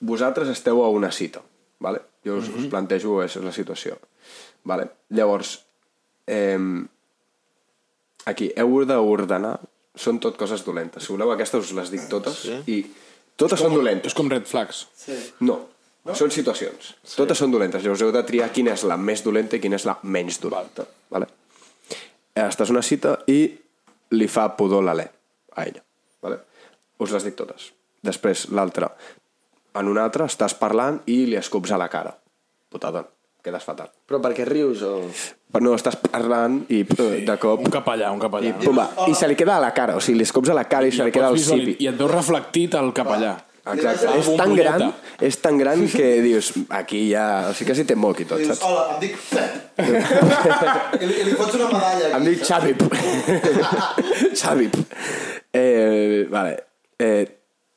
[SPEAKER 3] vosaltres esteu a una cita, vale? Jo us,
[SPEAKER 1] Mhm.
[SPEAKER 3] us plantejo és la situació. Vale? Llavors, eh, aquí, heu d'ordenar... Són tot coses dolentes. Si voleu, aquestes us les dic totes sí. i totes són dolentes.
[SPEAKER 1] És com red flags.
[SPEAKER 3] No. no. Són situacions. Sí. Totes són dolentes. Llavors heu de triar quina és la més dolenta i quina és la menys dolenta. Vale. Estàs a una cita i li fa pudor l'alè a ella. Vale? Us les dic totes. Després, l'altra. En una altra estàs parlant i li escups a la cara. Putada, quedes fatal.
[SPEAKER 6] Però perquè rius o...
[SPEAKER 3] Però no, estàs parlant i sí. de cop...
[SPEAKER 1] Un cap allà, un cap
[SPEAKER 3] I,
[SPEAKER 1] allà. no?
[SPEAKER 3] pum, va, I se li queda a la cara, o sigui, li escops a la cara i, se li queda al
[SPEAKER 1] Pots visualit-
[SPEAKER 3] cipi.
[SPEAKER 1] I et veus reflectit al capellà.
[SPEAKER 2] Ah.
[SPEAKER 3] Exacte.
[SPEAKER 1] Algun
[SPEAKER 3] És tan
[SPEAKER 1] projecte.
[SPEAKER 3] gran, és tan gran que dius, aquí ja... O sigui, quasi té moc i tot,
[SPEAKER 2] Dius,
[SPEAKER 3] saps?
[SPEAKER 2] hola, em dic Pep. I, li, I li fots una medalla.
[SPEAKER 3] Em
[SPEAKER 2] Aquí.
[SPEAKER 3] dic Xavip. Xavip. Eh, vale. Eh,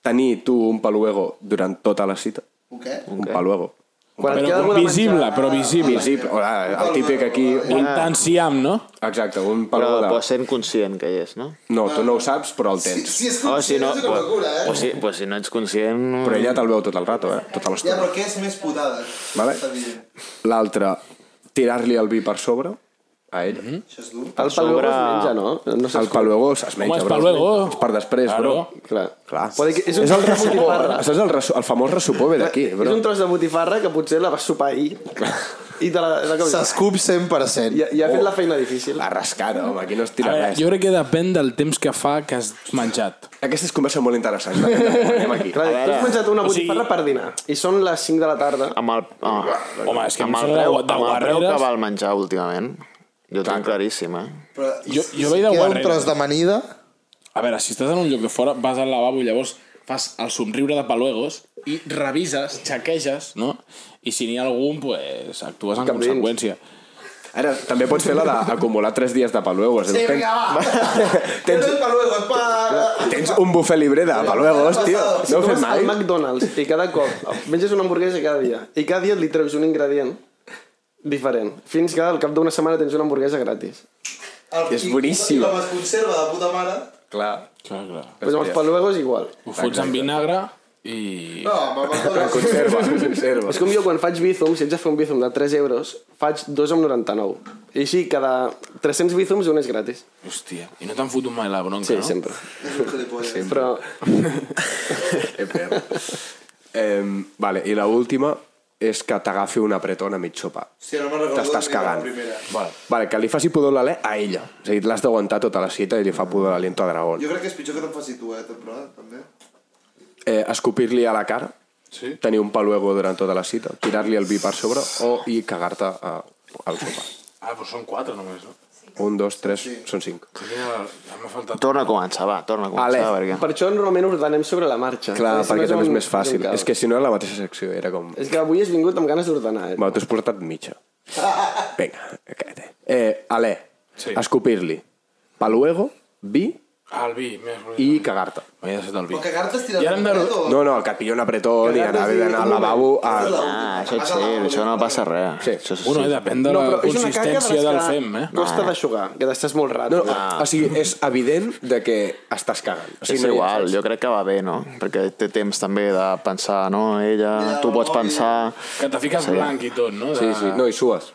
[SPEAKER 3] tenir tu un paluego durant tota la cita.
[SPEAKER 2] Un què?
[SPEAKER 3] Un paluego.
[SPEAKER 6] Quan et queda
[SPEAKER 1] Però
[SPEAKER 6] alguna
[SPEAKER 1] visible,
[SPEAKER 6] menjada-
[SPEAKER 1] però visible.
[SPEAKER 3] Visible, hola, el típic aquí...
[SPEAKER 1] Un tanciam, no?
[SPEAKER 3] Exacte, un
[SPEAKER 7] Però
[SPEAKER 3] paluego
[SPEAKER 7] pots
[SPEAKER 3] de...
[SPEAKER 7] ser conscient que hi és, no?
[SPEAKER 3] No, tu no ho saps, però el
[SPEAKER 2] Si,
[SPEAKER 3] tens.
[SPEAKER 2] si és
[SPEAKER 7] Oh,
[SPEAKER 2] conscient,
[SPEAKER 7] si no,
[SPEAKER 2] és una
[SPEAKER 7] pues,
[SPEAKER 2] locura, eh?
[SPEAKER 7] pues, sí, pues si no ets conscient... no.
[SPEAKER 3] Però ella te'l veu tot el rato, eh? Tota
[SPEAKER 2] Ja,
[SPEAKER 3] l'estona.
[SPEAKER 2] però què és més putada?
[SPEAKER 3] Vale.
[SPEAKER 2] Està dient.
[SPEAKER 3] L'altre, tirar-li el vi per sobre a ella.
[SPEAKER 6] Mhm.
[SPEAKER 2] Això és dur.
[SPEAKER 6] El paluego
[SPEAKER 7] sobre-
[SPEAKER 6] es menja, no? No
[SPEAKER 3] El
[SPEAKER 6] saps...
[SPEAKER 3] paluego es menja,
[SPEAKER 1] Home, és
[SPEAKER 3] bro.
[SPEAKER 1] paluego.
[SPEAKER 3] És per després, bro.
[SPEAKER 1] Claro.
[SPEAKER 6] Clar.
[SPEAKER 3] Clar.
[SPEAKER 6] Poder que- és un
[SPEAKER 3] és el
[SPEAKER 6] tros de
[SPEAKER 3] ressupó.
[SPEAKER 6] botifarra.
[SPEAKER 3] Saps el, resu... el famós ressupó ve d'aquí,
[SPEAKER 6] És
[SPEAKER 3] bro.
[SPEAKER 6] un tros de botifarra que potser la vas sopar ahir. I te la, la canvia.
[SPEAKER 2] S'escup 100%.
[SPEAKER 6] Ja, ja ha fet la feina difícil.
[SPEAKER 3] La rascada, home, aquí no es
[SPEAKER 1] A
[SPEAKER 3] tira
[SPEAKER 1] veure,
[SPEAKER 3] res.
[SPEAKER 1] jo crec que depèn del temps que fa que has menjat.
[SPEAKER 3] Aquesta és conversa molt interessant. Anem aquí.
[SPEAKER 6] Clar, tu has menjat una
[SPEAKER 1] o sigui-
[SPEAKER 6] botifarra per dinar i són les 5 de la tarda.
[SPEAKER 7] Amb el, oh,
[SPEAKER 1] Home, és que
[SPEAKER 7] amb
[SPEAKER 1] em
[SPEAKER 7] el
[SPEAKER 1] sona
[SPEAKER 7] preu,
[SPEAKER 1] de- de
[SPEAKER 7] amb el preu que
[SPEAKER 1] guarreres.
[SPEAKER 7] val menjar últimament. Jo ho tinc claríssim, eh?
[SPEAKER 2] Però,
[SPEAKER 1] Jo- jo veig de
[SPEAKER 2] queda un
[SPEAKER 1] guarreres.
[SPEAKER 2] tros d'amanida,
[SPEAKER 1] A veure, si estàs en un lloc de fora, vas al lavabo i llavors fas el somriure de paluegos i revises, xequeges, no? I si n'hi ha algun, pues, actues en
[SPEAKER 6] Cap dins.
[SPEAKER 1] conseqüència.
[SPEAKER 3] Ara, també pots fer la d'acumular 3 dies de paluegos. Sí,
[SPEAKER 2] vinga, va.
[SPEAKER 3] tens,
[SPEAKER 2] Tens pa luego, pa...
[SPEAKER 3] tens un bufet libre de paluegos, tio.
[SPEAKER 6] Si
[SPEAKER 3] No ho
[SPEAKER 6] tu
[SPEAKER 3] fes
[SPEAKER 6] vas al
[SPEAKER 3] mai?
[SPEAKER 6] McDonald's i cada cop menges una hamburguesa cada dia i cada dia et li treus un ingredient diferent, fins que al cap d'una setmana tens una hamburguesa gratis.
[SPEAKER 2] El-
[SPEAKER 3] És
[SPEAKER 2] i-
[SPEAKER 3] boníssima.
[SPEAKER 2] I com es conserva de puta mare...
[SPEAKER 3] Clar.
[SPEAKER 1] Clar, clar.
[SPEAKER 6] Però amb els paluegos igual.
[SPEAKER 1] Ho fots amb vinagre i...
[SPEAKER 2] No, amb el McDonald's...
[SPEAKER 3] Conserva, conserva.
[SPEAKER 6] És com jo quan faig bízum, si ets a fer un bízum de 3 euros, faig 2 amb 99. I així, cada 300 bízums, un és gratis.
[SPEAKER 1] Hòstia. I no t'han fotut mai la bronca,
[SPEAKER 6] Sí,
[SPEAKER 1] no?
[SPEAKER 6] sempre.
[SPEAKER 2] És un gilipolles.
[SPEAKER 6] Però
[SPEAKER 3] Eh, vale, i l'última és que t'agafi una apretona mig sopar.
[SPEAKER 2] Hòstia, no me'n recordo
[SPEAKER 3] T'estàs
[SPEAKER 2] ni de la
[SPEAKER 3] cagant.
[SPEAKER 2] primera.
[SPEAKER 3] Vale. vale, que li faci pudor l'alè a ella. És a dir, l'has d'aguantar tota la cita i li fa pudor l'aliento a dragón.
[SPEAKER 2] Jo crec que és pitjor que te'n faci tu, eh, temporada, també.
[SPEAKER 3] Eh, Escopir-li a la cara,
[SPEAKER 1] Sí.
[SPEAKER 3] tenir un paluego durant tota la cita, tirar-li el vi per sobre o i cagar-te a- al sopar.
[SPEAKER 1] Ah, però són quatre només, no?
[SPEAKER 3] Un, dos, tres, sí. són cinc.
[SPEAKER 1] Quina... M'ha faltat...
[SPEAKER 7] Torna a començar, va, torna a
[SPEAKER 3] Ale.
[SPEAKER 7] començar. Perquè...
[SPEAKER 6] per això normalment ordenem sobre la marxa.
[SPEAKER 3] Clar,
[SPEAKER 6] Si no
[SPEAKER 3] perquè també és
[SPEAKER 6] un-
[SPEAKER 3] més fàcil.
[SPEAKER 6] un caos.
[SPEAKER 3] És que si no era la mateixa secció, era com...
[SPEAKER 6] és que avui has vingut amb ganes d'ordenar. Eh?
[SPEAKER 3] Va, t'has portat mitja. Vinga, cállate. Eh, Ale,
[SPEAKER 1] Sí.
[SPEAKER 3] sí. escopir-li. Paluego, vi
[SPEAKER 1] Ah, el vi, més...
[SPEAKER 3] i cagar-te.
[SPEAKER 1] M'havia deixat el vi.
[SPEAKER 2] Però cagar-te estirant
[SPEAKER 1] I ara hem de-
[SPEAKER 2] un o...
[SPEAKER 3] No, no, que et pilla un apretó i anar bevent al lavabo. A...
[SPEAKER 7] Ah, això és cert, això no passa res.
[SPEAKER 3] Sí.
[SPEAKER 7] Això és...
[SPEAKER 1] Bueno, eh, depèn de
[SPEAKER 6] No,
[SPEAKER 1] la
[SPEAKER 6] però és una caca
[SPEAKER 1] consistència del
[SPEAKER 6] rascar-
[SPEAKER 1] fem, eh?
[SPEAKER 6] Costa d'aixugar, que t'estàs molt eh? rato.
[SPEAKER 3] No, ah, no, o sigui, és evident de que estàs cagant. O sigui,
[SPEAKER 7] és
[SPEAKER 3] no hi ha
[SPEAKER 7] igual,
[SPEAKER 3] res.
[SPEAKER 7] jo crec que va bé, no? Perquè té temps també de pensar, no? Ella, tu pots pensar...
[SPEAKER 1] Que te fiques blanc i tot, no? De...
[SPEAKER 3] Sí, sí, no, i sues.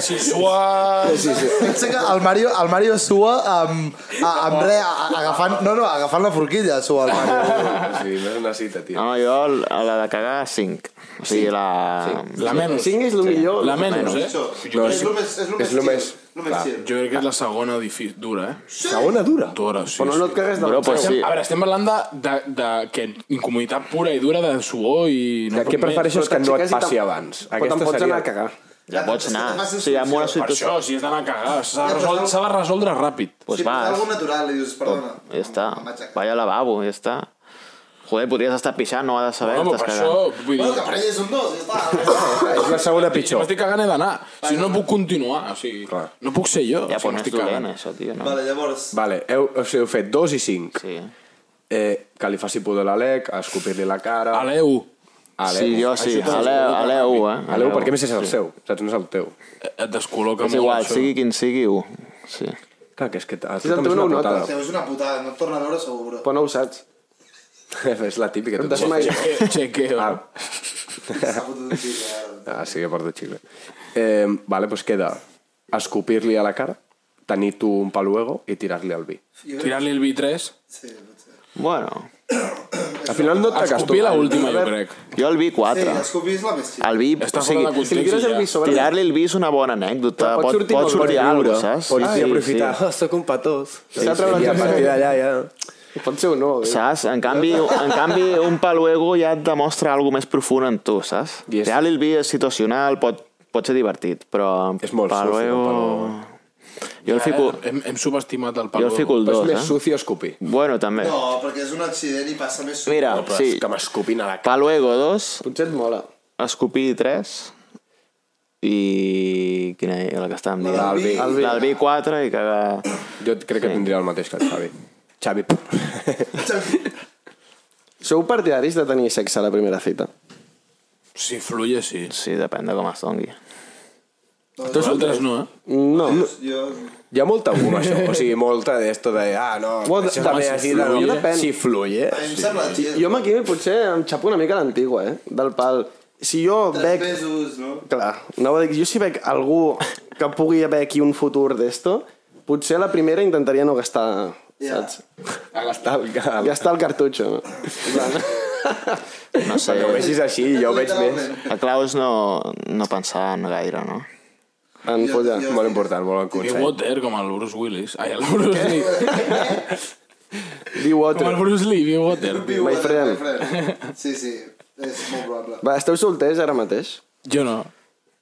[SPEAKER 1] Si suas...
[SPEAKER 3] Sí, sí.
[SPEAKER 2] Pensa que el Mario, el Mario sua amb, a, amb re, a- agafant, no, no, agafant la forquilla sua el Mario.
[SPEAKER 6] Ah.
[SPEAKER 3] Sí, no és una cita, tio.
[SPEAKER 7] No, jo a la de cagar, 5. O sigui, la...
[SPEAKER 1] La menys.
[SPEAKER 6] 5 és el millor.
[SPEAKER 1] La menys, eh?
[SPEAKER 3] No,
[SPEAKER 2] és lo més- és lo més
[SPEAKER 3] és lo
[SPEAKER 2] chill,
[SPEAKER 3] més...
[SPEAKER 2] lo més
[SPEAKER 3] clar.
[SPEAKER 2] chill.
[SPEAKER 1] Jo crec que és la segona difi... dura, eh?
[SPEAKER 3] Segona dura.
[SPEAKER 1] Dura, sí.
[SPEAKER 6] Però no et cagues de eh?
[SPEAKER 7] Però, pues, sí.
[SPEAKER 1] A veure, estem parlant de, de, de que incomoditat pura i dura de suor i...
[SPEAKER 3] Que,
[SPEAKER 1] No
[SPEAKER 3] què prefereixes que no et
[SPEAKER 6] t'aixeques i
[SPEAKER 3] passi
[SPEAKER 6] te'n-
[SPEAKER 3] abans?
[SPEAKER 6] Però te'n pots anar a cagar.
[SPEAKER 7] Ja pots anar. O sigui, amb una
[SPEAKER 1] Per
[SPEAKER 7] situació...
[SPEAKER 1] això, si has d'anar a cagar, s'ha de, resol... s'ha de resoldre ràpid.
[SPEAKER 7] Pues
[SPEAKER 2] sí,
[SPEAKER 7] vas.
[SPEAKER 2] Algo natural, li dius, perdona.
[SPEAKER 7] Ja està.
[SPEAKER 2] Em vaig a cagar.
[SPEAKER 7] Vaya al lavabo, ja està. Joder, podries estar pixant, no ha de saber
[SPEAKER 1] No,
[SPEAKER 7] que
[SPEAKER 1] però
[SPEAKER 7] estàs
[SPEAKER 1] per
[SPEAKER 7] cagant.
[SPEAKER 1] això, vull dir...
[SPEAKER 2] Bueno, que per ell és un dos, ja està.
[SPEAKER 3] És la segona
[SPEAKER 1] Si
[SPEAKER 3] pitjor.
[SPEAKER 1] m'estic cagant he d'anar. Si no, no puc continuar. O sigui,
[SPEAKER 3] Clar.
[SPEAKER 1] no puc ser jo.
[SPEAKER 7] Ja,
[SPEAKER 1] si
[SPEAKER 7] però no és
[SPEAKER 1] m'estic
[SPEAKER 7] dolent,
[SPEAKER 1] cagant.
[SPEAKER 7] això, tio, no?
[SPEAKER 2] vale, llavors,
[SPEAKER 3] Vale, heu, o sigui, heu fet dos i cinc.
[SPEAKER 7] Sí.
[SPEAKER 3] Eh, que li faci pudor a l'Alec, a escopir-li la cara...
[SPEAKER 1] Aleu.
[SPEAKER 3] Aleu.
[SPEAKER 7] Sí, jo sí.
[SPEAKER 3] Això t'ho-
[SPEAKER 7] Aleu, aleu, eh?
[SPEAKER 3] Aleu, perquè a més és el seu, saps? No és el teu.
[SPEAKER 1] eh, Et descol·loca
[SPEAKER 7] És
[SPEAKER 1] molt
[SPEAKER 7] igual,
[SPEAKER 1] això.
[SPEAKER 7] sigui quin sigui, u. Sí.
[SPEAKER 3] Clar, que és que a tu
[SPEAKER 6] és el
[SPEAKER 3] també és
[SPEAKER 6] teu,
[SPEAKER 3] una
[SPEAKER 6] no ho
[SPEAKER 3] putada.
[SPEAKER 2] o sigui, és una putada, no et torna a veure segur, bro.
[SPEAKER 6] Però no ho saps.
[SPEAKER 3] és la típica. Tu
[SPEAKER 6] Desmai.
[SPEAKER 1] Chequeo. Chequeo.
[SPEAKER 3] Ah,
[SPEAKER 2] S'ha fotut un xic, eh?
[SPEAKER 3] ah, sí, he perdut xicle. Eh, vale, doncs queda escopir-li a la cara, tenir tu un paluego i tirar-li al vi.
[SPEAKER 1] Tirar-li el vi3.
[SPEAKER 2] Sí, potser.
[SPEAKER 7] Bueno,
[SPEAKER 3] Al final no et cagues tu.
[SPEAKER 1] Escopir l'última, jo crec.
[SPEAKER 7] jo el vi
[SPEAKER 2] Sí,
[SPEAKER 7] 4.
[SPEAKER 2] escopir és la més xic.
[SPEAKER 7] El vi,
[SPEAKER 1] Està
[SPEAKER 7] o
[SPEAKER 1] fora de
[SPEAKER 7] sigui,
[SPEAKER 6] Si li tires el vi
[SPEAKER 1] context. Eh,
[SPEAKER 6] sobre...
[SPEAKER 7] tirar-li el vi és una bona anècdota.
[SPEAKER 6] Però pot
[SPEAKER 7] Pot,
[SPEAKER 6] sortir
[SPEAKER 7] pot
[SPEAKER 6] molt
[SPEAKER 7] sortir
[SPEAKER 6] bé,
[SPEAKER 7] alguna cosa, saps?
[SPEAKER 3] Pots dir,
[SPEAKER 7] Sí,
[SPEAKER 3] aprofitar, sí. oh, soc un patós.
[SPEAKER 6] S'ha treballat
[SPEAKER 3] I a
[SPEAKER 6] bé.
[SPEAKER 3] partir d'allà ja...
[SPEAKER 6] Pot ser o no. eh?
[SPEAKER 7] sí. Saps? En canvi, en canvi un paluego ja et demostra alguna més profund en tu, saps?
[SPEAKER 3] I és-
[SPEAKER 7] Tirar-li el vi és situacional, pot, pot ser divertit, però...
[SPEAKER 3] És molt sucio,
[SPEAKER 7] paluego... Jo el fico...
[SPEAKER 1] Hem, hem subestimat el
[SPEAKER 7] Jo
[SPEAKER 1] Pablo.
[SPEAKER 7] el fico el
[SPEAKER 3] Però és
[SPEAKER 7] 2,
[SPEAKER 3] més
[SPEAKER 7] eh?
[SPEAKER 3] Pues sucio escopir.
[SPEAKER 7] Bueno, també.
[SPEAKER 2] No, perquè és un accident i passa més...
[SPEAKER 7] Mira,
[SPEAKER 3] Però
[SPEAKER 7] sí,
[SPEAKER 3] és que m'escopin a la cara.
[SPEAKER 7] Paluego 2,
[SPEAKER 6] Potser et mola.
[SPEAKER 7] Escopir 3 i... Quina era la que estàvem dient?
[SPEAKER 2] L'Albi.
[SPEAKER 7] L'Albi. L'Albi 4 i cagar...
[SPEAKER 3] Jo crec que tindria el mateix que el Xavi. Xavi.
[SPEAKER 6] Sou partidaris de tenir sexe a la primera cita?
[SPEAKER 1] Si fluye, sí.
[SPEAKER 7] Sí, depèn de com es dongui.
[SPEAKER 1] Nosaltres no, eh?
[SPEAKER 6] No.
[SPEAKER 2] Jo...
[SPEAKER 3] Hi ha molta goma, això. O sigui, molta d'esto de... Ah, no,
[SPEAKER 6] Bueno,
[SPEAKER 3] això també
[SPEAKER 6] també si
[SPEAKER 3] així de...
[SPEAKER 6] fluye.
[SPEAKER 3] no,
[SPEAKER 6] Depèn.
[SPEAKER 3] Si fluye.
[SPEAKER 2] A mi em sembla xic.
[SPEAKER 6] Jo amb aquí potser em xapo una mica a l'antigua, eh? Del pal. Si jo
[SPEAKER 2] Tres
[SPEAKER 6] veig...
[SPEAKER 2] mesos, no?
[SPEAKER 6] Clar, anava a dir, jo si veig algú que pugui haver aquí un futur d'esto, potser la primera intentaria no gastar,
[SPEAKER 2] Ja.
[SPEAKER 6] saps?
[SPEAKER 3] A gastar el cap.
[SPEAKER 6] Gastar el cartutxo, no? En plan,
[SPEAKER 7] No sé.
[SPEAKER 3] Ho vegis així, jo ho veig més.
[SPEAKER 7] A Klaus no, no pensava en gaire, no?
[SPEAKER 6] En follar.
[SPEAKER 3] Molt important, molt
[SPEAKER 1] Be
[SPEAKER 3] consell.
[SPEAKER 1] Water, com el Bruce Willis. Ai, el Bruce Lee.
[SPEAKER 6] Be
[SPEAKER 1] Com el
[SPEAKER 6] water.
[SPEAKER 1] Bruce Lee, Be Water.
[SPEAKER 6] My
[SPEAKER 2] Viu, eh,
[SPEAKER 6] friend.
[SPEAKER 2] My friend. Sí, sí, és molt probable.
[SPEAKER 6] Va, esteu solters ara mateix?
[SPEAKER 1] Jo no.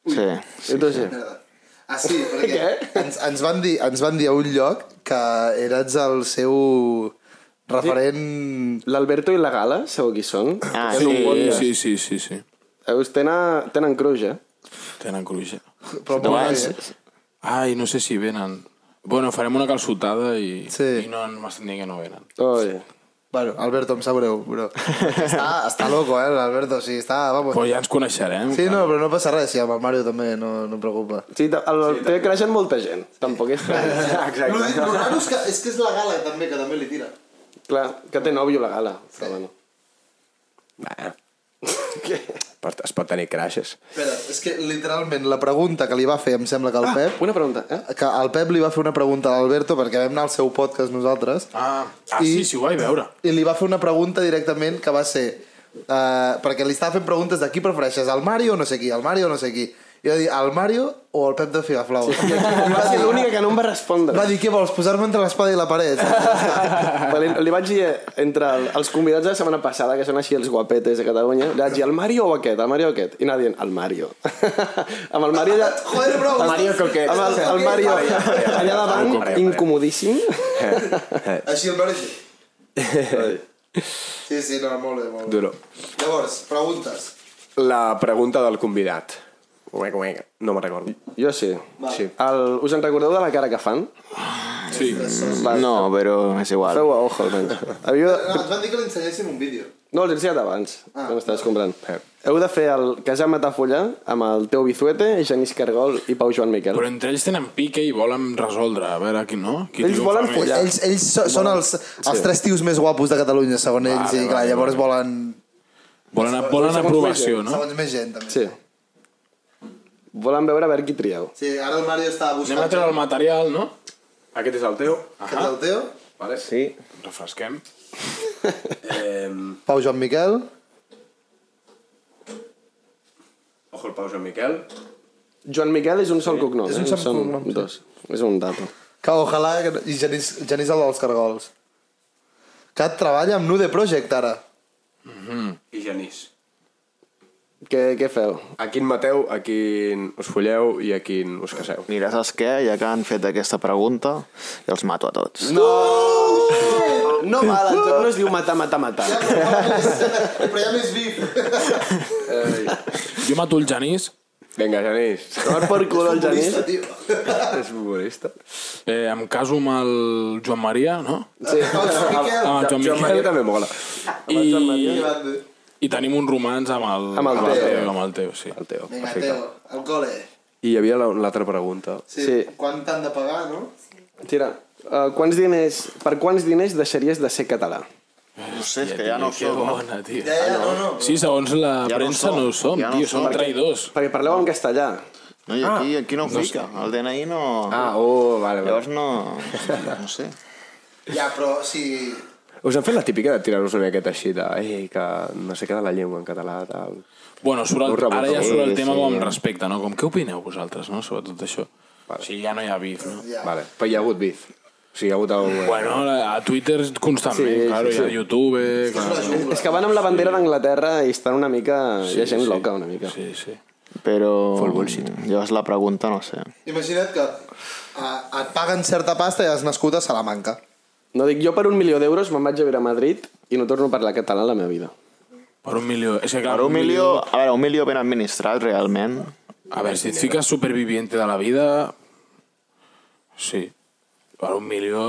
[SPEAKER 7] Sí.
[SPEAKER 6] Sí, tu sí.
[SPEAKER 2] Merda. Ah, sí, perquè ens, ens, van dir, ens van dir a un lloc que eres el seu referent...
[SPEAKER 6] L'Alberto i la Gala, segur qui són.
[SPEAKER 7] Ah,
[SPEAKER 1] Sí,
[SPEAKER 7] sí.
[SPEAKER 1] sí, sí, sí, sí.
[SPEAKER 6] Us tenen, tenen eh? cruja.
[SPEAKER 1] Tenen cruixa.
[SPEAKER 2] Però molt
[SPEAKER 1] Demà
[SPEAKER 2] bé,
[SPEAKER 1] ens-
[SPEAKER 2] eh?
[SPEAKER 1] Ai, no sé si venen. Bueno, farem una calçotada i,
[SPEAKER 2] Sí.
[SPEAKER 1] i no em vas dir que no venen.
[SPEAKER 6] Oi.
[SPEAKER 2] Bueno, Alberto, em sap greu, però... Està, està loco, eh, l'Alberto, sí, està... Vamos.
[SPEAKER 1] Però ja ens coneixerem.
[SPEAKER 2] Sí, no, però no passa res, sí, amb el Mario també, no, no em preocupa.
[SPEAKER 6] Sí, ta- el, sí, té creixen molta gent. Tampoc és clar.
[SPEAKER 2] Lo, lo raro és que, és que és la gala també, que també li tira.
[SPEAKER 6] clar, que té nòvio la Gala. Però bueno.
[SPEAKER 3] Bah. Pot- Es pot tenir crashes.
[SPEAKER 2] Espera, és que literalment la pregunta que li va fer, em sembla que el Pep,
[SPEAKER 6] Una pregunta, eh?
[SPEAKER 2] que el Pep li va fer una pregunta a l'Alberto perquè vam anar al seu podcast nosaltres
[SPEAKER 1] Ah, ah sí, sí, ho vaig veure.
[SPEAKER 2] i li va fer una pregunta directament que va ser uh, perquè li estava fent preguntes de qui prefereixes, el Mario o no sé qui, el Mario o no sé qui i va dir, el Mario o el Pep de Figaflau sí.
[SPEAKER 6] Va ser l'única que no em va respondre.
[SPEAKER 2] va dir, què vols, posar-me entre l'espada i la paret
[SPEAKER 6] Però li, li vaig dir eh, entre el, els convidats de la setmana passada, que són així els guapetes de Catalunya, li vaig dir el Mario o aquest, el Mario o aquest? I anava dient, el Mario. amb el Mario ja...
[SPEAKER 2] joder, bro,
[SPEAKER 6] el
[SPEAKER 2] Mario
[SPEAKER 6] Coquet. Amb el, el Mario
[SPEAKER 2] Vale,
[SPEAKER 6] allà davant,
[SPEAKER 3] Vale, vale.
[SPEAKER 6] incomodíssim.
[SPEAKER 2] així el Mario sí, sí, no, molt bé, molt bé.
[SPEAKER 3] Duro.
[SPEAKER 2] llavors, preguntes
[SPEAKER 3] La pregunta del convidat. Uec, uec. No me'n recordo.
[SPEAKER 6] Jo sí.
[SPEAKER 3] Sí.
[SPEAKER 6] El, us en recordeu de la cara que fan?
[SPEAKER 1] Sí.
[SPEAKER 7] No, però és igual.
[SPEAKER 6] Feu a ojo, almenys. Havia...
[SPEAKER 2] no, Ah, ens van dir que li ensenyéssim un vídeo
[SPEAKER 6] No, els he ensenyat abans, ah, quan estaves comprant.
[SPEAKER 3] Eh.
[SPEAKER 6] Heu de fer el Casar Matafollà amb el Teo Bizuete, Genís Cargol i Pau Joan Miquel.
[SPEAKER 1] Però entre ells tenen pique i volen resoldre. A veure, qui no? Qui
[SPEAKER 6] Ells
[SPEAKER 1] triomfa
[SPEAKER 6] volen
[SPEAKER 1] més.
[SPEAKER 6] follar.
[SPEAKER 2] ells, ells so, són els, els tres tios més guapos de Catalunya, segons ells,
[SPEAKER 1] Vale,
[SPEAKER 2] i clar,
[SPEAKER 1] vale,
[SPEAKER 2] llavors
[SPEAKER 1] vale.
[SPEAKER 2] volen...
[SPEAKER 1] Volen, volen
[SPEAKER 6] segons
[SPEAKER 1] aprovació, no?
[SPEAKER 2] Segons més gent, també.
[SPEAKER 6] Sí. Volen veure a veure qui trieu.
[SPEAKER 2] Sí, ara el Mario està
[SPEAKER 1] Anem a treure el Ah. material, no?
[SPEAKER 3] Aquest és el teu.
[SPEAKER 2] Aquest és el teu.
[SPEAKER 3] Vale.
[SPEAKER 6] Sí.
[SPEAKER 1] Refresquem.
[SPEAKER 3] Eh,
[SPEAKER 2] Pau Joan Miquel.
[SPEAKER 3] ojo el Pau Joan Miquel.
[SPEAKER 6] Joan Miquel és un sol cognom.
[SPEAKER 2] és un
[SPEAKER 6] eh?
[SPEAKER 2] sol
[SPEAKER 6] Són
[SPEAKER 2] cognom, sí.
[SPEAKER 6] Dos. És un dato.
[SPEAKER 2] Que ojalà... que no- I Genís, Genís el dels cargols. Que treballa amb Nude Project, ara.
[SPEAKER 3] I Genís.
[SPEAKER 6] Què, què feu?
[SPEAKER 3] A quin mateu, a quin us folleu i a quin us caseu.
[SPEAKER 7] Mira, saps què? Ja que han fet aquesta pregunta, jo els mato a tots.
[SPEAKER 6] No! No val, el joc no es diu matar, matar, matar.
[SPEAKER 2] Però ja més vif.
[SPEAKER 1] Jo mato el Janís.
[SPEAKER 3] Vinga, Genís.
[SPEAKER 6] Tomar per cul el Genís.
[SPEAKER 3] és futbolista.
[SPEAKER 1] Eh, em caso amb el Joan Maria, no?
[SPEAKER 6] Sí.
[SPEAKER 7] Ah,
[SPEAKER 1] Amb el Joan
[SPEAKER 3] Joan Miquel
[SPEAKER 1] Miquel.
[SPEAKER 3] també mola.
[SPEAKER 1] I, i tenim un romans amb el,
[SPEAKER 6] Amb el Teo.
[SPEAKER 1] Teo, amb el Teo, sí.
[SPEAKER 3] El teu.
[SPEAKER 2] Vinga, Teo, el cole.
[SPEAKER 3] I hi havia la- l'altra pregunta.
[SPEAKER 2] Sí.
[SPEAKER 6] Sí.
[SPEAKER 2] Quan t'han de pagar, no?
[SPEAKER 6] Tira. Uh, quants diners, per quants diners deixaries de ser català?
[SPEAKER 7] No sé, és que
[SPEAKER 1] Tio,
[SPEAKER 7] ja no ho
[SPEAKER 1] que
[SPEAKER 7] sé.
[SPEAKER 1] bona, tio.
[SPEAKER 2] Ja, ja, no, no.
[SPEAKER 1] Sí, segons la
[SPEAKER 7] Ja no
[SPEAKER 1] premsa
[SPEAKER 7] som,
[SPEAKER 1] no ho som,
[SPEAKER 7] ja no
[SPEAKER 1] tio,
[SPEAKER 7] som.
[SPEAKER 1] som traïdors.
[SPEAKER 6] Perquè parleu en castellà.
[SPEAKER 7] No, i aquí, aquí no ho fica. El DNI no...
[SPEAKER 3] Ah, oh, vale, vale.
[SPEAKER 7] Llavors no... No sé.
[SPEAKER 2] Ja, però si...
[SPEAKER 3] Us han fet la típica de tirar-vos una miqueta així de ei, que no sé què de la llengua en català, tal.
[SPEAKER 1] Bueno, surt el,
[SPEAKER 3] Ho rebuto.
[SPEAKER 1] ara ja surt el
[SPEAKER 7] Sí,
[SPEAKER 1] tema
[SPEAKER 7] sí.
[SPEAKER 1] com respecte, no? Com què opineu vosaltres, no? Sobre tot això. O sigui, ja no hi ha bif, no?
[SPEAKER 2] Ja.
[SPEAKER 3] Vale. Però hi ha hagut bif. O sigui, hi ha hagut algun...
[SPEAKER 1] Bueno, a Twitter constantment,
[SPEAKER 6] Sí,
[SPEAKER 1] claro,
[SPEAKER 6] sí,
[SPEAKER 1] hi ha YouTube... Claro.
[SPEAKER 6] És que van amb la bandera d'Anglaterra i estan una mica... Hi ha gent loca, una mica.
[SPEAKER 1] Sí, sí.
[SPEAKER 7] Però... Llavors la pregunta no sé.
[SPEAKER 2] Imagina't que a, et paguen certa pasta i has nascut a Salamanca.
[SPEAKER 6] No dic, jo per un milió d'euros me'n vaig a viure a Madrid i no torno a parlar català a la meva vida.
[SPEAKER 1] Per un milió... És que, clar,
[SPEAKER 7] Per un milió... A veure, un milió ben administrat, realment.
[SPEAKER 1] A veure, si et fiques superviviente de la vida... Sí. Per un milió...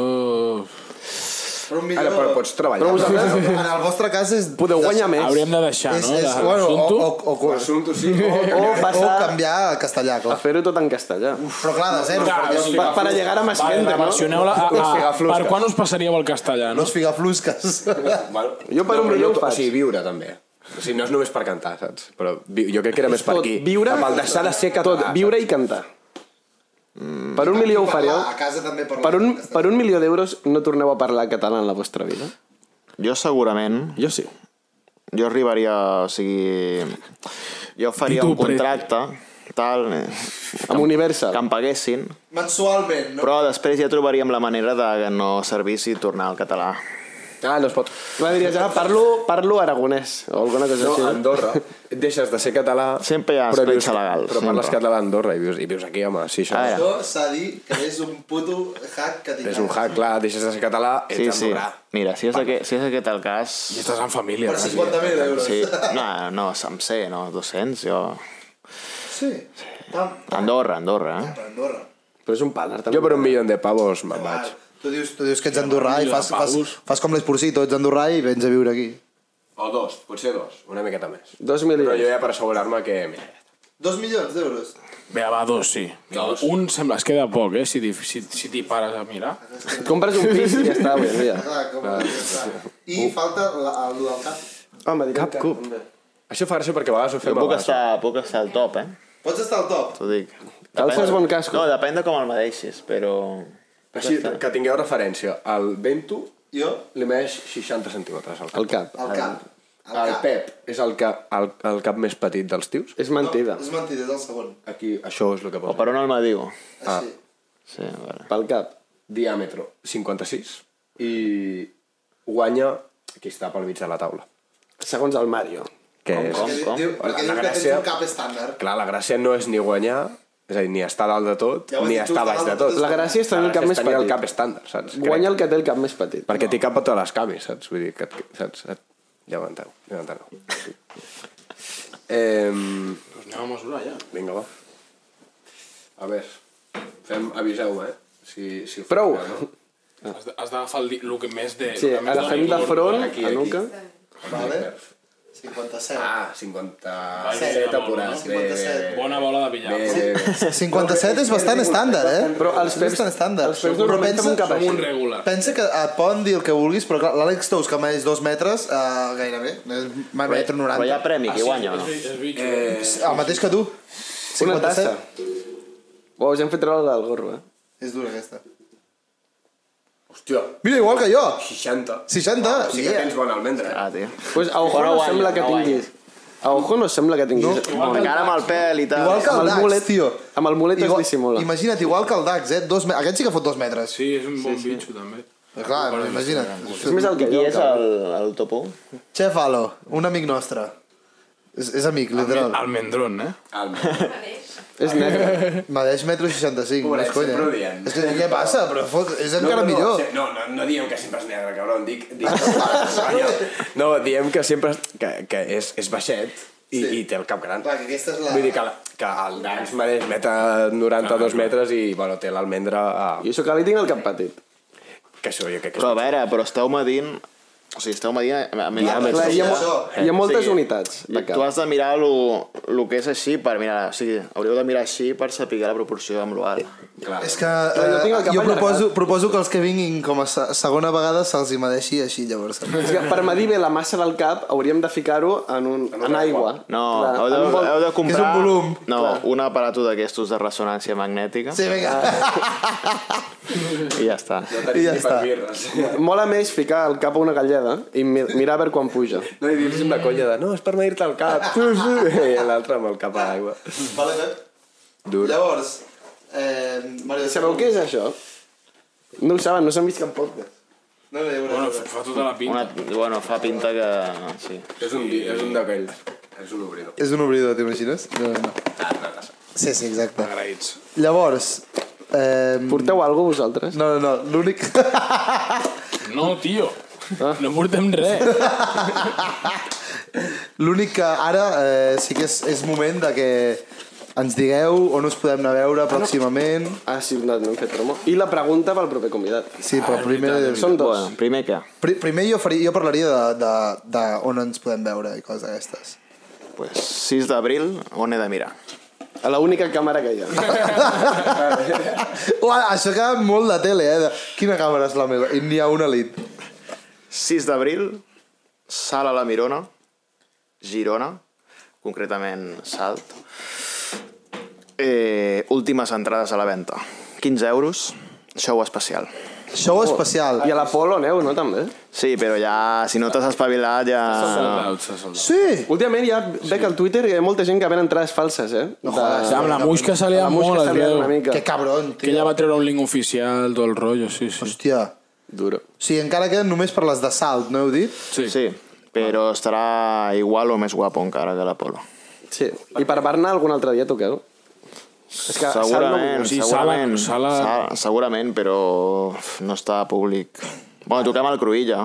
[SPEAKER 2] Per un
[SPEAKER 3] Ara, però pots treballar.
[SPEAKER 6] Però vosaltres-
[SPEAKER 2] En el vostre cas és...
[SPEAKER 6] Podeu guanyar més.
[SPEAKER 1] Hauríem de deixar,
[SPEAKER 2] és,
[SPEAKER 1] no?
[SPEAKER 2] és,
[SPEAKER 1] de-
[SPEAKER 2] bueno, o,
[SPEAKER 1] l'assumpto.
[SPEAKER 2] o, o, o,
[SPEAKER 3] L'assumpto sí.
[SPEAKER 6] O
[SPEAKER 2] o
[SPEAKER 6] passar
[SPEAKER 2] canviar a castellà,
[SPEAKER 6] a
[SPEAKER 2] clar.
[SPEAKER 6] fer-ho tot en castellà.
[SPEAKER 2] Però clar, de zero,
[SPEAKER 1] Clar,
[SPEAKER 2] perquè
[SPEAKER 1] o sigui,
[SPEAKER 6] Pa- para llegar a más
[SPEAKER 1] Vale,
[SPEAKER 6] gente, no?
[SPEAKER 1] reversioneu-la a, a,
[SPEAKER 3] Figaflusca.
[SPEAKER 1] per quan us passaríeu al castellà, no?
[SPEAKER 2] no es figa flusques.
[SPEAKER 3] Bueno,
[SPEAKER 6] Jo per un
[SPEAKER 3] però
[SPEAKER 6] milió
[SPEAKER 3] no-
[SPEAKER 6] ho faig.
[SPEAKER 3] O sigui, viure també. O sigui, no és només per cantar, saps? Però vi, jo crec que era més per
[SPEAKER 6] Tot,
[SPEAKER 3] aquí.
[SPEAKER 6] viure,
[SPEAKER 3] Amb el deixar de ser català. Mm.
[SPEAKER 6] Tot, viure i cantar. Per un milió ho fareu.
[SPEAKER 8] Ah,
[SPEAKER 2] A casa també parlar.
[SPEAKER 6] Per un, per un milió d'euros no torneu a parlar català en la vostra vida.
[SPEAKER 7] Jo segurament...
[SPEAKER 6] Jo sí.
[SPEAKER 7] jo arribaria, o sigui... Jo faria
[SPEAKER 1] Tito
[SPEAKER 7] un contracte, tal, eh,
[SPEAKER 6] Amb Universal.
[SPEAKER 7] que em paguessin,
[SPEAKER 8] Mensualment, no?
[SPEAKER 7] però després ja trobaríem la manera de que no servís i tornar al català.
[SPEAKER 6] Ah, no es pot. Clar, diries, ah, parlo, parlo aragonès o alguna cosa
[SPEAKER 3] No,
[SPEAKER 6] així.
[SPEAKER 3] a Andorra. Deixes de ser català...
[SPEAKER 7] Sempre hi ha
[SPEAKER 3] però
[SPEAKER 7] escletxa
[SPEAKER 3] vius-
[SPEAKER 7] legal,
[SPEAKER 3] Però parles
[SPEAKER 7] sempre. Ah,
[SPEAKER 3] català a Andorra i vius, i vius aquí, home. Sí, això
[SPEAKER 7] A veure.
[SPEAKER 8] Això s'ha dit que és un puto hack que tinc.
[SPEAKER 3] és un hack, clar. Deixes de ser català, ets
[SPEAKER 7] Sí, sí.
[SPEAKER 3] andorrà.
[SPEAKER 7] Mira, si és, aquest, si és aquest el cas...
[SPEAKER 1] I estàs en família,
[SPEAKER 8] Per
[SPEAKER 1] quasi.
[SPEAKER 8] 50.000 euros.
[SPEAKER 7] Sí, no, no, em sé, no, 200, jo...
[SPEAKER 8] Sí. Pam,
[SPEAKER 7] Andorra, Andorra, eh?
[SPEAKER 8] per Andorra.
[SPEAKER 6] Però és un pan, ara, també.
[SPEAKER 3] Jo per un milió de pavos me'n vaig.
[SPEAKER 2] Tu dius, tu dius que ets andorrà i fas, fas,
[SPEAKER 1] Paus.
[SPEAKER 2] fas com l'Esporcito, ets andorrà i vens a viure aquí.
[SPEAKER 3] O dos, potser dos, una miqueta més. Però
[SPEAKER 6] Dos
[SPEAKER 3] jo
[SPEAKER 6] milions.
[SPEAKER 3] ja per assegurar-me que... Mira,
[SPEAKER 8] Dos milions d'euros.
[SPEAKER 1] Bé, va, dos, sí. Un sembla, es queda poc, eh, si t'hi si, si t'hi pares a mirar.
[SPEAKER 6] Compres un pis i ja està, avui en dia.
[SPEAKER 8] Clar, com clar. I falta la, el del cap.
[SPEAKER 6] Home, dic,
[SPEAKER 3] cap cup. Això fa gràcia perquè a vegades ho
[SPEAKER 7] Jo
[SPEAKER 3] fem
[SPEAKER 7] puc
[SPEAKER 3] abans.
[SPEAKER 7] estar, puc estar al top, eh?
[SPEAKER 8] Pots estar al top.
[SPEAKER 7] T'ho dic.
[SPEAKER 6] Cal
[SPEAKER 7] Depèn-
[SPEAKER 6] fer bon casco.
[SPEAKER 7] No, depèn de com el medeixis, però...
[SPEAKER 3] Així, que tingueu referència. El Bento
[SPEAKER 8] Jo,
[SPEAKER 3] li meix 60 centímetres al cap.
[SPEAKER 8] al
[SPEAKER 6] Al cap.
[SPEAKER 8] cap.
[SPEAKER 3] El, Pep és el, cap, el, el cap més petit dels tios.
[SPEAKER 6] És mentida.
[SPEAKER 8] No, és mentida, és el segon.
[SPEAKER 3] Aquí, això és el que
[SPEAKER 7] O
[SPEAKER 3] posa.
[SPEAKER 7] per on el mediu?
[SPEAKER 8] Així. Ah.
[SPEAKER 7] Sí, a veure.
[SPEAKER 6] Pel cap.
[SPEAKER 3] Diàmetre 56 i guanya qui està pel mig de la taula.
[SPEAKER 6] Segons el Mario.
[SPEAKER 3] Que és...
[SPEAKER 7] Com,
[SPEAKER 8] Diu,
[SPEAKER 7] com?
[SPEAKER 8] diu, perquè
[SPEAKER 3] La
[SPEAKER 8] diu que tens
[SPEAKER 3] gràcia-
[SPEAKER 8] un cap estàndard.
[SPEAKER 3] Clar, la gràcia no és ni guanyar, és a dir, ni estar dalt de tot,
[SPEAKER 8] Ja ho has
[SPEAKER 3] ni
[SPEAKER 8] dit tu,
[SPEAKER 3] estar
[SPEAKER 8] estar
[SPEAKER 3] baix de
[SPEAKER 8] dalt de
[SPEAKER 3] tot.
[SPEAKER 8] tot.
[SPEAKER 6] La gràcia és tenir el cap
[SPEAKER 3] gràcia és
[SPEAKER 6] més
[SPEAKER 3] tenir el
[SPEAKER 6] petit.
[SPEAKER 3] cap estàndard, saps? Crec.
[SPEAKER 6] Guanya el que té el cap més petit.
[SPEAKER 3] Perquè té cap a totes les cames, saps? Vull dir, que, que saps? Et... Llevanteu, llevanteu. eh,
[SPEAKER 1] Pues anem a mesurar, ja.
[SPEAKER 3] vinga, va. A veure, fem, aviseu-me, eh? Si, si ho feu
[SPEAKER 6] Prou!
[SPEAKER 3] bé, no?
[SPEAKER 1] Has de- Has d'agafar el, di- el que més de...
[SPEAKER 6] Sí,
[SPEAKER 1] el que més
[SPEAKER 6] ara fem de
[SPEAKER 1] rigor.
[SPEAKER 6] front,
[SPEAKER 3] Aquí,
[SPEAKER 6] a
[SPEAKER 3] aquí.
[SPEAKER 6] nuca.
[SPEAKER 8] Vale? 57.
[SPEAKER 3] Ah, 57
[SPEAKER 1] 57
[SPEAKER 3] apurats. Eh, Bé, bé, bé.
[SPEAKER 1] Bona bola de billar.
[SPEAKER 3] Bé, bé, bé.
[SPEAKER 2] 57 és bastant estàndard, eh?
[SPEAKER 6] Però els
[SPEAKER 2] És
[SPEAKER 6] peps-
[SPEAKER 2] bastant estàndard.
[SPEAKER 6] els peps normalment tenen un cap
[SPEAKER 1] Som
[SPEAKER 6] així.
[SPEAKER 1] un regular.
[SPEAKER 2] Pensa que et poden dir el que vulguis, però clar, l'Àlex Tous, que medeix dos metres, eh, gairebé, és mai metro
[SPEAKER 7] Però hi
[SPEAKER 2] 90.
[SPEAKER 7] ha premi,
[SPEAKER 3] Ah,
[SPEAKER 7] qui guanya o no?
[SPEAKER 1] És eh? bitxo.
[SPEAKER 3] eh,
[SPEAKER 2] El mateix que tu.
[SPEAKER 6] Una tassa.
[SPEAKER 2] 57.
[SPEAKER 6] Uau, us hem fet treure del gorro, eh?
[SPEAKER 2] És dura aquesta.
[SPEAKER 3] Hòstia,
[SPEAKER 2] Mira, igual que jo.
[SPEAKER 3] 60.
[SPEAKER 2] 60.
[SPEAKER 3] Sí que tens bona almendra, eh?
[SPEAKER 7] Ah, tio.
[SPEAKER 6] Pues a ojo no
[SPEAKER 7] guanya,
[SPEAKER 6] sembla que
[SPEAKER 7] no guanya.
[SPEAKER 6] tinguis... A ojo no sembla que tinguis...
[SPEAKER 7] Perquè ara amb el pèl i tal...
[SPEAKER 2] Igual que
[SPEAKER 6] Amb
[SPEAKER 2] el
[SPEAKER 6] el
[SPEAKER 2] Dax,
[SPEAKER 6] mulet-
[SPEAKER 2] tio.
[SPEAKER 6] amb el mulet es
[SPEAKER 2] Igual-
[SPEAKER 6] dissimula.
[SPEAKER 2] Imagina't, igual que el Dax, eh? Dos me... Aquest sí que fot dos metres.
[SPEAKER 1] Sí, és un bon bitxo, també.
[SPEAKER 2] Però clar, imagina't.
[SPEAKER 6] És més el que
[SPEAKER 7] Qui
[SPEAKER 6] jo.
[SPEAKER 7] és el, el top 1?
[SPEAKER 2] Chef Alo, un amic nostre. És, és amic, literal.
[SPEAKER 1] El mendrón, eh?
[SPEAKER 3] Almendra.
[SPEAKER 6] És negre.
[SPEAKER 2] Medeix metro 65, no
[SPEAKER 3] Pobret,
[SPEAKER 2] és conya.
[SPEAKER 3] sempre ho diem.
[SPEAKER 2] És que què passa? Però fot, és encara
[SPEAKER 3] no,
[SPEAKER 2] millor.
[SPEAKER 3] sí, No, no, no diem que sempre és negre, cabron, dic... dic no, diem que sempre és, que, que és, és baixet i, sí. i té el cap gran.
[SPEAKER 8] Clar, que aquesta és la...
[SPEAKER 3] Vull dir que, la, que el Dans mereix metre
[SPEAKER 2] Ah,
[SPEAKER 3] 92 metres i bueno, té l'almendra a...
[SPEAKER 6] I això que li tinc el cap petit.
[SPEAKER 3] Que això jo crec que és...
[SPEAKER 7] Però a veure, però esteu medint... O sigui, esteu medint... A més,
[SPEAKER 6] Clar, hi, ha, mo- hi ha moltes
[SPEAKER 7] Sí.
[SPEAKER 6] unitats de
[SPEAKER 7] Tu
[SPEAKER 6] cap.
[SPEAKER 7] has de mirar el que és així per mirar... O sigui, hauríeu de mirar així per saber la proporció
[SPEAKER 6] Eh,
[SPEAKER 7] amb l'oal.
[SPEAKER 3] Clar.
[SPEAKER 2] És que
[SPEAKER 6] jo tinc el
[SPEAKER 2] eh,
[SPEAKER 6] cap
[SPEAKER 2] jo
[SPEAKER 6] allargat.
[SPEAKER 2] proposo, proposo que els que vinguin com a se- segona vegada se'ls hi medeixi així, llavors.
[SPEAKER 6] És que per medir bé la massa del cap hauríem de ficar-ho en, un, en aigua.
[SPEAKER 7] No,
[SPEAKER 6] Clar,
[SPEAKER 7] heu, de,
[SPEAKER 6] en un vol-
[SPEAKER 7] heu de comprar...
[SPEAKER 2] És un volum.
[SPEAKER 7] No, un aparato d'aquestos de ressonància magnètica
[SPEAKER 2] Sí, vinga.
[SPEAKER 7] i ja està.
[SPEAKER 2] I ja està.
[SPEAKER 3] doncs.
[SPEAKER 6] Mola més ficar el cap a una galleda i mi- mirar a veure quan puja.
[SPEAKER 3] No, i dir-los una colla de no, és per medir-te el cap. Sí, sí. I l'altre amb el cap a l'aigua.
[SPEAKER 8] Vale, Pep?
[SPEAKER 3] Dur.
[SPEAKER 8] Llavors, eh, Mario...
[SPEAKER 6] Sabeu què és això? No ho saben, no s'han vist cap podcast.
[SPEAKER 8] No, no, no,
[SPEAKER 1] Bueno,
[SPEAKER 8] no.
[SPEAKER 1] fa fa tota la
[SPEAKER 7] Una,
[SPEAKER 1] pinta.
[SPEAKER 7] bueno, fa pinta que... Sí.
[SPEAKER 3] És un, és un d'aquells. És un obridor.
[SPEAKER 2] És un obridor, t'imagines? No, no, no. Sí, sí, exacte.
[SPEAKER 1] Agraïts.
[SPEAKER 2] Llavors, eh,
[SPEAKER 6] Porteu alguna cosa vosaltres?
[SPEAKER 2] no, no, no, l'únic...
[SPEAKER 1] No, tio. No portem res.
[SPEAKER 2] L'únic que ara eh, sí que és, és moment de que ens digueu on us podem anar a veure pròximament.
[SPEAKER 6] Ah, sí, no, no hem fet promo. I la pregunta pel proper convidat.
[SPEAKER 2] Sí, però
[SPEAKER 6] Ah,
[SPEAKER 2] primer...
[SPEAKER 6] Són dos.
[SPEAKER 7] Bueno, primer què?
[SPEAKER 2] Pri, primer jo, faria, jo parlaria de, de, de on ens podem veure i coses d'aquestes.
[SPEAKER 7] Pues 6 d'abril, on he de mirar?
[SPEAKER 6] A la única càmera que hi ha.
[SPEAKER 2] Uà, això queda molt de tele, eh? De, quina càmera és la meva? I n'hi ha una elit.
[SPEAKER 7] 6 d'abril, Sala a la Mirona, Girona, concretament Salt. Eh, últimes entrades a la venda. 15 euros, show especial.
[SPEAKER 2] Show especial.
[SPEAKER 6] Oh. I a l'Apolo aneu, no, també?
[SPEAKER 7] Sí, però ja, si no t'has espavilat, ja...
[SPEAKER 1] Sold out, s'ha sold out.
[SPEAKER 2] Sí!
[SPEAKER 6] Últimament ja veig al Twitter que hi ha molta gent que ven entrades falses, eh? No
[SPEAKER 2] jodes.
[SPEAKER 1] Ja, Ah, amb la Muixca se li ha molt, es veu.
[SPEAKER 6] una mica.
[SPEAKER 2] Que cabron,
[SPEAKER 1] Que
[SPEAKER 2] tio.
[SPEAKER 1] ella va treure un link oficial, tot el rotllo, sí, sí.
[SPEAKER 2] Hòstia.
[SPEAKER 6] Duro.
[SPEAKER 2] O sigui, encara queden només per les de salt, no heu dit?
[SPEAKER 1] Sí.
[SPEAKER 7] Sí, però estarà igual o més guapo encara que l'Apolo.
[SPEAKER 6] Sí. I per Barna algun altre dia toqueu? És que Salt no-
[SPEAKER 7] Segurament,
[SPEAKER 1] o sigui,
[SPEAKER 7] segurament.
[SPEAKER 1] sala- sala-
[SPEAKER 7] sa- Segurament, però uf, no està a públic. Bueno, toquem al Cruïlla,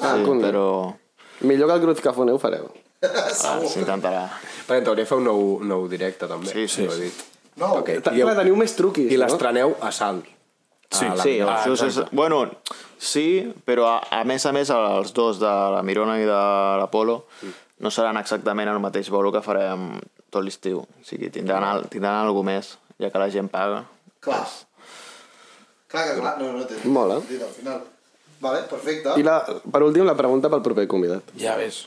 [SPEAKER 6] Ah,
[SPEAKER 7] sí,
[SPEAKER 6] Cunde.
[SPEAKER 7] però
[SPEAKER 6] Millor que el Cruz Cafone ho fareu.
[SPEAKER 7] ah, s'intentarà.
[SPEAKER 3] Perquè t'hauria de fer un nou, nou directe, també.
[SPEAKER 7] Sí, sí,
[SPEAKER 3] si ho he
[SPEAKER 7] sí.
[SPEAKER 3] dit.
[SPEAKER 2] No.
[SPEAKER 3] Okay.
[SPEAKER 6] Ta-
[SPEAKER 3] Eh, I,
[SPEAKER 6] Clar, teniu més truquis,
[SPEAKER 3] I
[SPEAKER 6] no?
[SPEAKER 3] l'estreneu a Salt. Sí, a la
[SPEAKER 7] Sí,
[SPEAKER 3] Mirona.
[SPEAKER 7] això és,
[SPEAKER 3] Exacte.
[SPEAKER 7] bueno, sí, però a, a més a més els dos de la Mirona i de l'Apolo no seran exactament el mateix bolo que farem tot l'estiu. O sigui, tindran, al, tindran alguna més, ja que la gent paga.
[SPEAKER 2] Clar. Clar que clar. No, no, té.
[SPEAKER 6] Mola.
[SPEAKER 2] Dit al final. Vale, perfecte.
[SPEAKER 6] I la, per últim, la pregunta pel proper convidat.
[SPEAKER 1] Ja ves.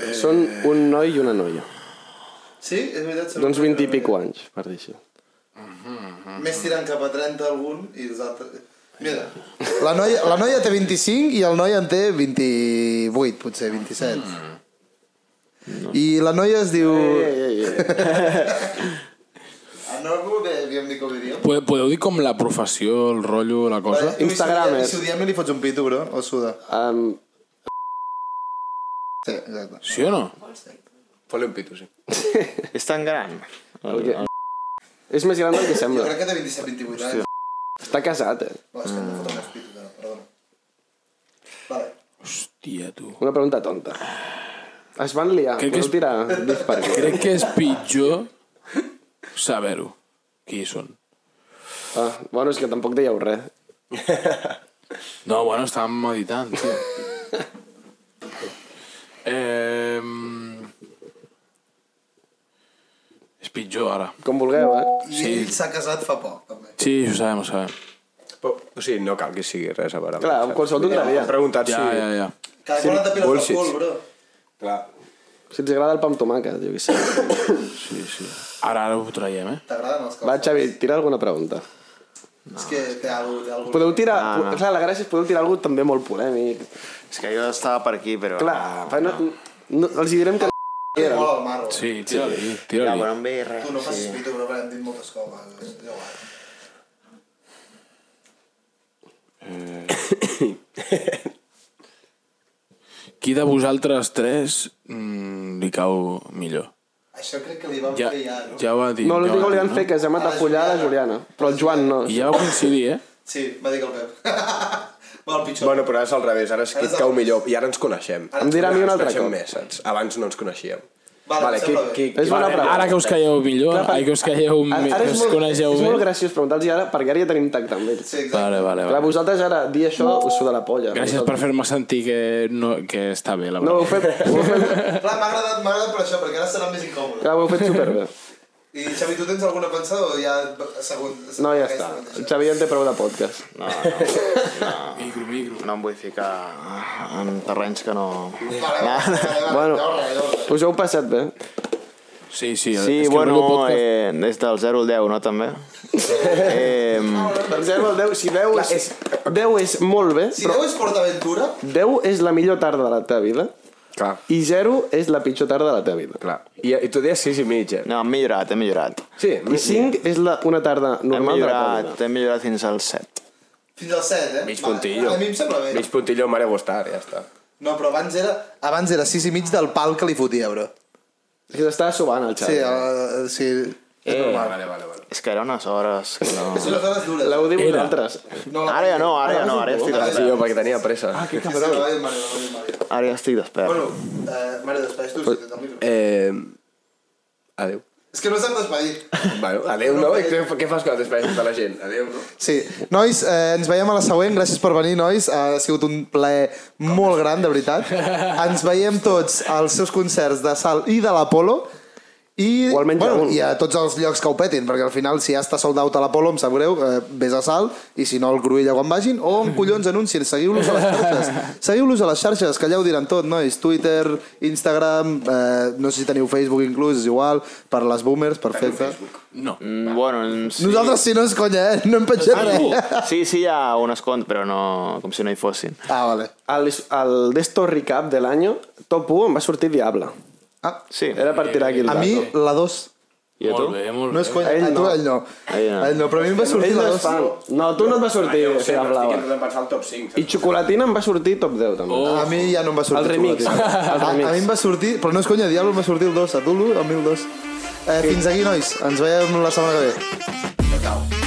[SPEAKER 6] Eh... Són un noi i una noia.
[SPEAKER 2] Sí, és veritat.
[SPEAKER 6] D'uns 20 Doncs i pico anys, per dir així.
[SPEAKER 2] Més tirant cap a 30 algun i els altres... Mira. La noia, la noia té 25 i el noi en té 28, potser, 27. Mm. I la noia es diu...
[SPEAKER 6] Mm. Ei, ei, ei.
[SPEAKER 2] A Norbu li havíem dit que ho diríem.
[SPEAKER 1] Podeu, podeu dir com la professió, el rotllo, la cosa?
[SPEAKER 6] Instagram, eh?
[SPEAKER 2] Si ho diem li fots un pito, bro, o suda.
[SPEAKER 6] Um,
[SPEAKER 2] Sí, exacte.
[SPEAKER 1] Sí o no?
[SPEAKER 3] Fot-li un pito, sí.
[SPEAKER 7] És tan gran.
[SPEAKER 6] el que... És més gran del que
[SPEAKER 2] Jo
[SPEAKER 6] sembla.
[SPEAKER 2] crec que té 27-28 anys.
[SPEAKER 6] Està casat, eh?
[SPEAKER 2] No, és que no foto més pito, no, perdona. Vale.
[SPEAKER 1] Hòstia, tu.
[SPEAKER 6] Una pregunta tonta. Es van liar,
[SPEAKER 1] Crec que
[SPEAKER 6] podeu
[SPEAKER 1] és-
[SPEAKER 6] tirar disc per aquí.
[SPEAKER 1] Crec que és pitjor saber-ho, qui són.
[SPEAKER 6] Ah, bueno, és que tampoc dèieu res.
[SPEAKER 1] No, bueno, estàvem meditant, tio. eh... És pitjor, ara.
[SPEAKER 6] Com vulgueu, eh?
[SPEAKER 2] I ell s'ha casat fa poc, també.
[SPEAKER 1] Sí, ho sabem, ho sabem.
[SPEAKER 3] Però, o sigui, no cal que sigui res a veure.
[SPEAKER 6] Clar, qualsevol tonteria.
[SPEAKER 3] Preguntat
[SPEAKER 1] Ja,
[SPEAKER 3] si...
[SPEAKER 1] ja, ja.
[SPEAKER 2] Cada
[SPEAKER 3] Sí,
[SPEAKER 2] sí, quan et depiles
[SPEAKER 3] bullshit.
[SPEAKER 2] el cul, bro.
[SPEAKER 3] Clar.
[SPEAKER 6] Si els agrada el pa amb tomàquet, jo què sé.
[SPEAKER 1] Sí, sí. Ara, ara ho traiem, eh?
[SPEAKER 2] T'agraden els
[SPEAKER 6] Va,
[SPEAKER 2] caps?
[SPEAKER 6] Xavi, tira alguna pregunta.
[SPEAKER 2] És que té alguna té algú...
[SPEAKER 6] Podeu tirar... No, no. Clar, la gràcia és podeu tirar alguna també molt polèmic.
[SPEAKER 7] És que jo estava per aquí, però... ah,
[SPEAKER 6] Clar, fa- no, no, els hi direm que...
[SPEAKER 2] Té molt al marro. Sí.
[SPEAKER 1] Sí, tira-li, tira-li.
[SPEAKER 7] però em ve res.
[SPEAKER 2] Tu no facis pito, bro, perquè hem dit moltes coses. És igual.
[SPEAKER 1] Qui de vosaltres tres mm, li cau millor?
[SPEAKER 2] Això crec que li vam
[SPEAKER 1] Ja,
[SPEAKER 2] fer ja, no?
[SPEAKER 1] ja ho va dir.
[SPEAKER 6] No,
[SPEAKER 1] ja
[SPEAKER 6] l'únic
[SPEAKER 1] ho
[SPEAKER 6] que
[SPEAKER 1] va
[SPEAKER 6] li
[SPEAKER 1] dir,
[SPEAKER 6] van fer que es llamat a follar a la Juliana, però el Joan no.
[SPEAKER 1] I ja va coincidir, eh?
[SPEAKER 2] Sí, va dir que el Pep. va, el pitjor.
[SPEAKER 3] Bueno, però ara és al revés, ara és qui
[SPEAKER 2] Ara és
[SPEAKER 3] et
[SPEAKER 2] al
[SPEAKER 3] cau
[SPEAKER 2] revés.
[SPEAKER 3] millor. I ara ens coneixem.
[SPEAKER 2] Ara
[SPEAKER 6] Em dirà a mi un
[SPEAKER 3] Ens
[SPEAKER 6] altre
[SPEAKER 3] coneixem
[SPEAKER 6] cop.
[SPEAKER 3] més, saps? Abans no ens coneixíem.
[SPEAKER 2] Vale, em
[SPEAKER 3] qui,
[SPEAKER 2] sembla bé.
[SPEAKER 3] qui,
[SPEAKER 6] És bona
[SPEAKER 3] vale,
[SPEAKER 6] pregunta.
[SPEAKER 1] Ara que us calleu millor,
[SPEAKER 6] Clar, per-
[SPEAKER 1] ai que us calleu,
[SPEAKER 6] Ara,
[SPEAKER 1] me-
[SPEAKER 6] ara
[SPEAKER 1] que
[SPEAKER 6] és,
[SPEAKER 1] us
[SPEAKER 6] molt, és
[SPEAKER 1] coneixeu
[SPEAKER 6] molt
[SPEAKER 1] bé.
[SPEAKER 6] graciós preguntar-los ara, perquè ara ja tenim tacte amb ells.
[SPEAKER 2] Sí, exacte.
[SPEAKER 1] Vale, vale,
[SPEAKER 6] Clar,
[SPEAKER 1] vale.
[SPEAKER 6] vosaltres ara, dir això, us suda la polla.
[SPEAKER 1] Gràcies per fer-me sentir que, no, que està bé, la
[SPEAKER 6] No, ho
[SPEAKER 1] veritat.
[SPEAKER 6] heu fet, ho heu fet,
[SPEAKER 2] Clar, m'ha agradat, m'ha agradat per això, perquè ara serà més incòmode.
[SPEAKER 6] clar, ho heu fet superbé.
[SPEAKER 2] I Xavi, tu tens alguna pensada o ja... Segon,
[SPEAKER 6] No, ja està. El Xavi ja en té prou de podcast.
[SPEAKER 7] No, no,
[SPEAKER 1] Micro, micro.
[SPEAKER 7] no em vull ficar en terrenys que no...
[SPEAKER 2] Vale,
[SPEAKER 7] Ah,
[SPEAKER 2] vale, vale, bueno.
[SPEAKER 6] Bueno.
[SPEAKER 2] Jorra, jorra.
[SPEAKER 6] Us heu passat bé?
[SPEAKER 1] Sí, sí. el-
[SPEAKER 7] Sí,
[SPEAKER 1] és que el meu
[SPEAKER 7] bueno,
[SPEAKER 1] podcast-
[SPEAKER 7] eh, és del 0 al 10, no, també? eh,
[SPEAKER 6] Del 0 al 10, si 10 és, 10 és molt bé,
[SPEAKER 2] Si
[SPEAKER 6] però
[SPEAKER 2] Déu és PortAventura,
[SPEAKER 6] 10 és la millor tarda de la teva vida
[SPEAKER 3] Clar,
[SPEAKER 6] i 0 és la pitjor tarda de la teva vida.
[SPEAKER 3] clar. I, i tu deies 6 i mig, eh?
[SPEAKER 7] no, hem millorat, hem millorat.
[SPEAKER 3] Sí,
[SPEAKER 6] I 5 és la, una tarda
[SPEAKER 7] Hem
[SPEAKER 6] normal de la teva vida.
[SPEAKER 7] millorat, hem millorat fins al 7.
[SPEAKER 2] fins al 7, eh?
[SPEAKER 3] Mig
[SPEAKER 2] Vale.
[SPEAKER 3] puntillo.
[SPEAKER 2] A mi em sembla bé.
[SPEAKER 3] Mig puntillo, mare gustar, ja està.
[SPEAKER 2] No, però abans era... Abans era 6 i mig del pal que li fotia, bro.
[SPEAKER 6] És que s'estava sobant el
[SPEAKER 2] Sí,
[SPEAKER 6] Xavi.
[SPEAKER 2] el, sí, és normal.
[SPEAKER 3] Eh, Vale, vale, vale.
[SPEAKER 7] És que eren unes hores que no...
[SPEAKER 2] Són les hores dures.
[SPEAKER 6] L'heu dit
[SPEAKER 1] Era.
[SPEAKER 6] vosaltres.
[SPEAKER 2] No, la-
[SPEAKER 7] Ara ja no, ara ja no, ara ja estic
[SPEAKER 3] Ah, Sí,
[SPEAKER 7] despert.
[SPEAKER 3] jo, perquè tenia pressa.
[SPEAKER 2] Sí, sí, la va dir el Mario, la va dir el Mario.
[SPEAKER 7] Ara ja estic
[SPEAKER 2] Bueno,
[SPEAKER 7] despert.
[SPEAKER 2] eh, Mario, despedeix tu, si tens el micro.
[SPEAKER 3] Eh... Adéu.
[SPEAKER 2] És que no s'han despedit.
[SPEAKER 3] Bueno, adéu, no? I què, què fas quan despedeixes de la gent? Adéu, no?
[SPEAKER 2] Sí, nois, eh, ens veiem a la següent. Gràcies per venir, nois. Ha sigut un plaer molt gran, de veritat. Ens veiem tots als seus concerts de Sal i de l'Apolo. I,
[SPEAKER 6] O almenys
[SPEAKER 2] bueno,
[SPEAKER 6] un.
[SPEAKER 2] I a tots els llocs que ho petin, perquè al final, si ja està sold out a l'Apolo, em sap greu, eh, vés a Salt, i si no, el Cruïlla quan vagin, o amb collons anuncien, seguiu-los a les xarxes. Seguiu-los a les xarxes, que allà ho diran tot, nois. Twitter, Instagram, eh, no sé si teniu Facebook inclús, és igual, per les boomers, perfecte.
[SPEAKER 1] No.
[SPEAKER 7] Mm, bueno, en- sí.
[SPEAKER 2] Nosaltres si no és conya, eh? No hem penjat res.
[SPEAKER 7] Sí, sí, hi ha unes comptes, però no... com si no hi fossin.
[SPEAKER 2] Ah, vale.
[SPEAKER 6] Al, al d'esto recap de l'any, top 1 em va sortir Diable.
[SPEAKER 2] Ah,
[SPEAKER 7] Sí.
[SPEAKER 6] Era per tirar aquí el
[SPEAKER 2] a mi,
[SPEAKER 6] dato.
[SPEAKER 2] la 2.
[SPEAKER 7] I
[SPEAKER 6] eh,
[SPEAKER 7] a tu?
[SPEAKER 1] Molt bé, molt
[SPEAKER 2] No és conya.
[SPEAKER 6] Ell
[SPEAKER 2] A tu,
[SPEAKER 6] no.
[SPEAKER 2] ell no.
[SPEAKER 7] Ell no.
[SPEAKER 2] Ell no, però a mi em va sortir
[SPEAKER 6] Ell
[SPEAKER 2] la
[SPEAKER 6] no és
[SPEAKER 2] 2.
[SPEAKER 6] fan. No, tu no et va sortir
[SPEAKER 5] Jo ho sé,
[SPEAKER 6] Fera
[SPEAKER 5] però estic
[SPEAKER 6] Blava.
[SPEAKER 5] intentant pensar al top 5.
[SPEAKER 6] I Xocolatina em va sortir top 10, també.
[SPEAKER 1] Oh.
[SPEAKER 2] A mi ja no em va sortir
[SPEAKER 6] El remix.
[SPEAKER 2] xocolatina.
[SPEAKER 6] El
[SPEAKER 2] A,
[SPEAKER 6] remix.
[SPEAKER 2] a mi em va sortir, però no és conya, Diablo em va sortir el 2, a tu l'1, el 1002. Eh, Fins aquí, nois. Ens veiem la setmana que ve.
[SPEAKER 8] Ciao.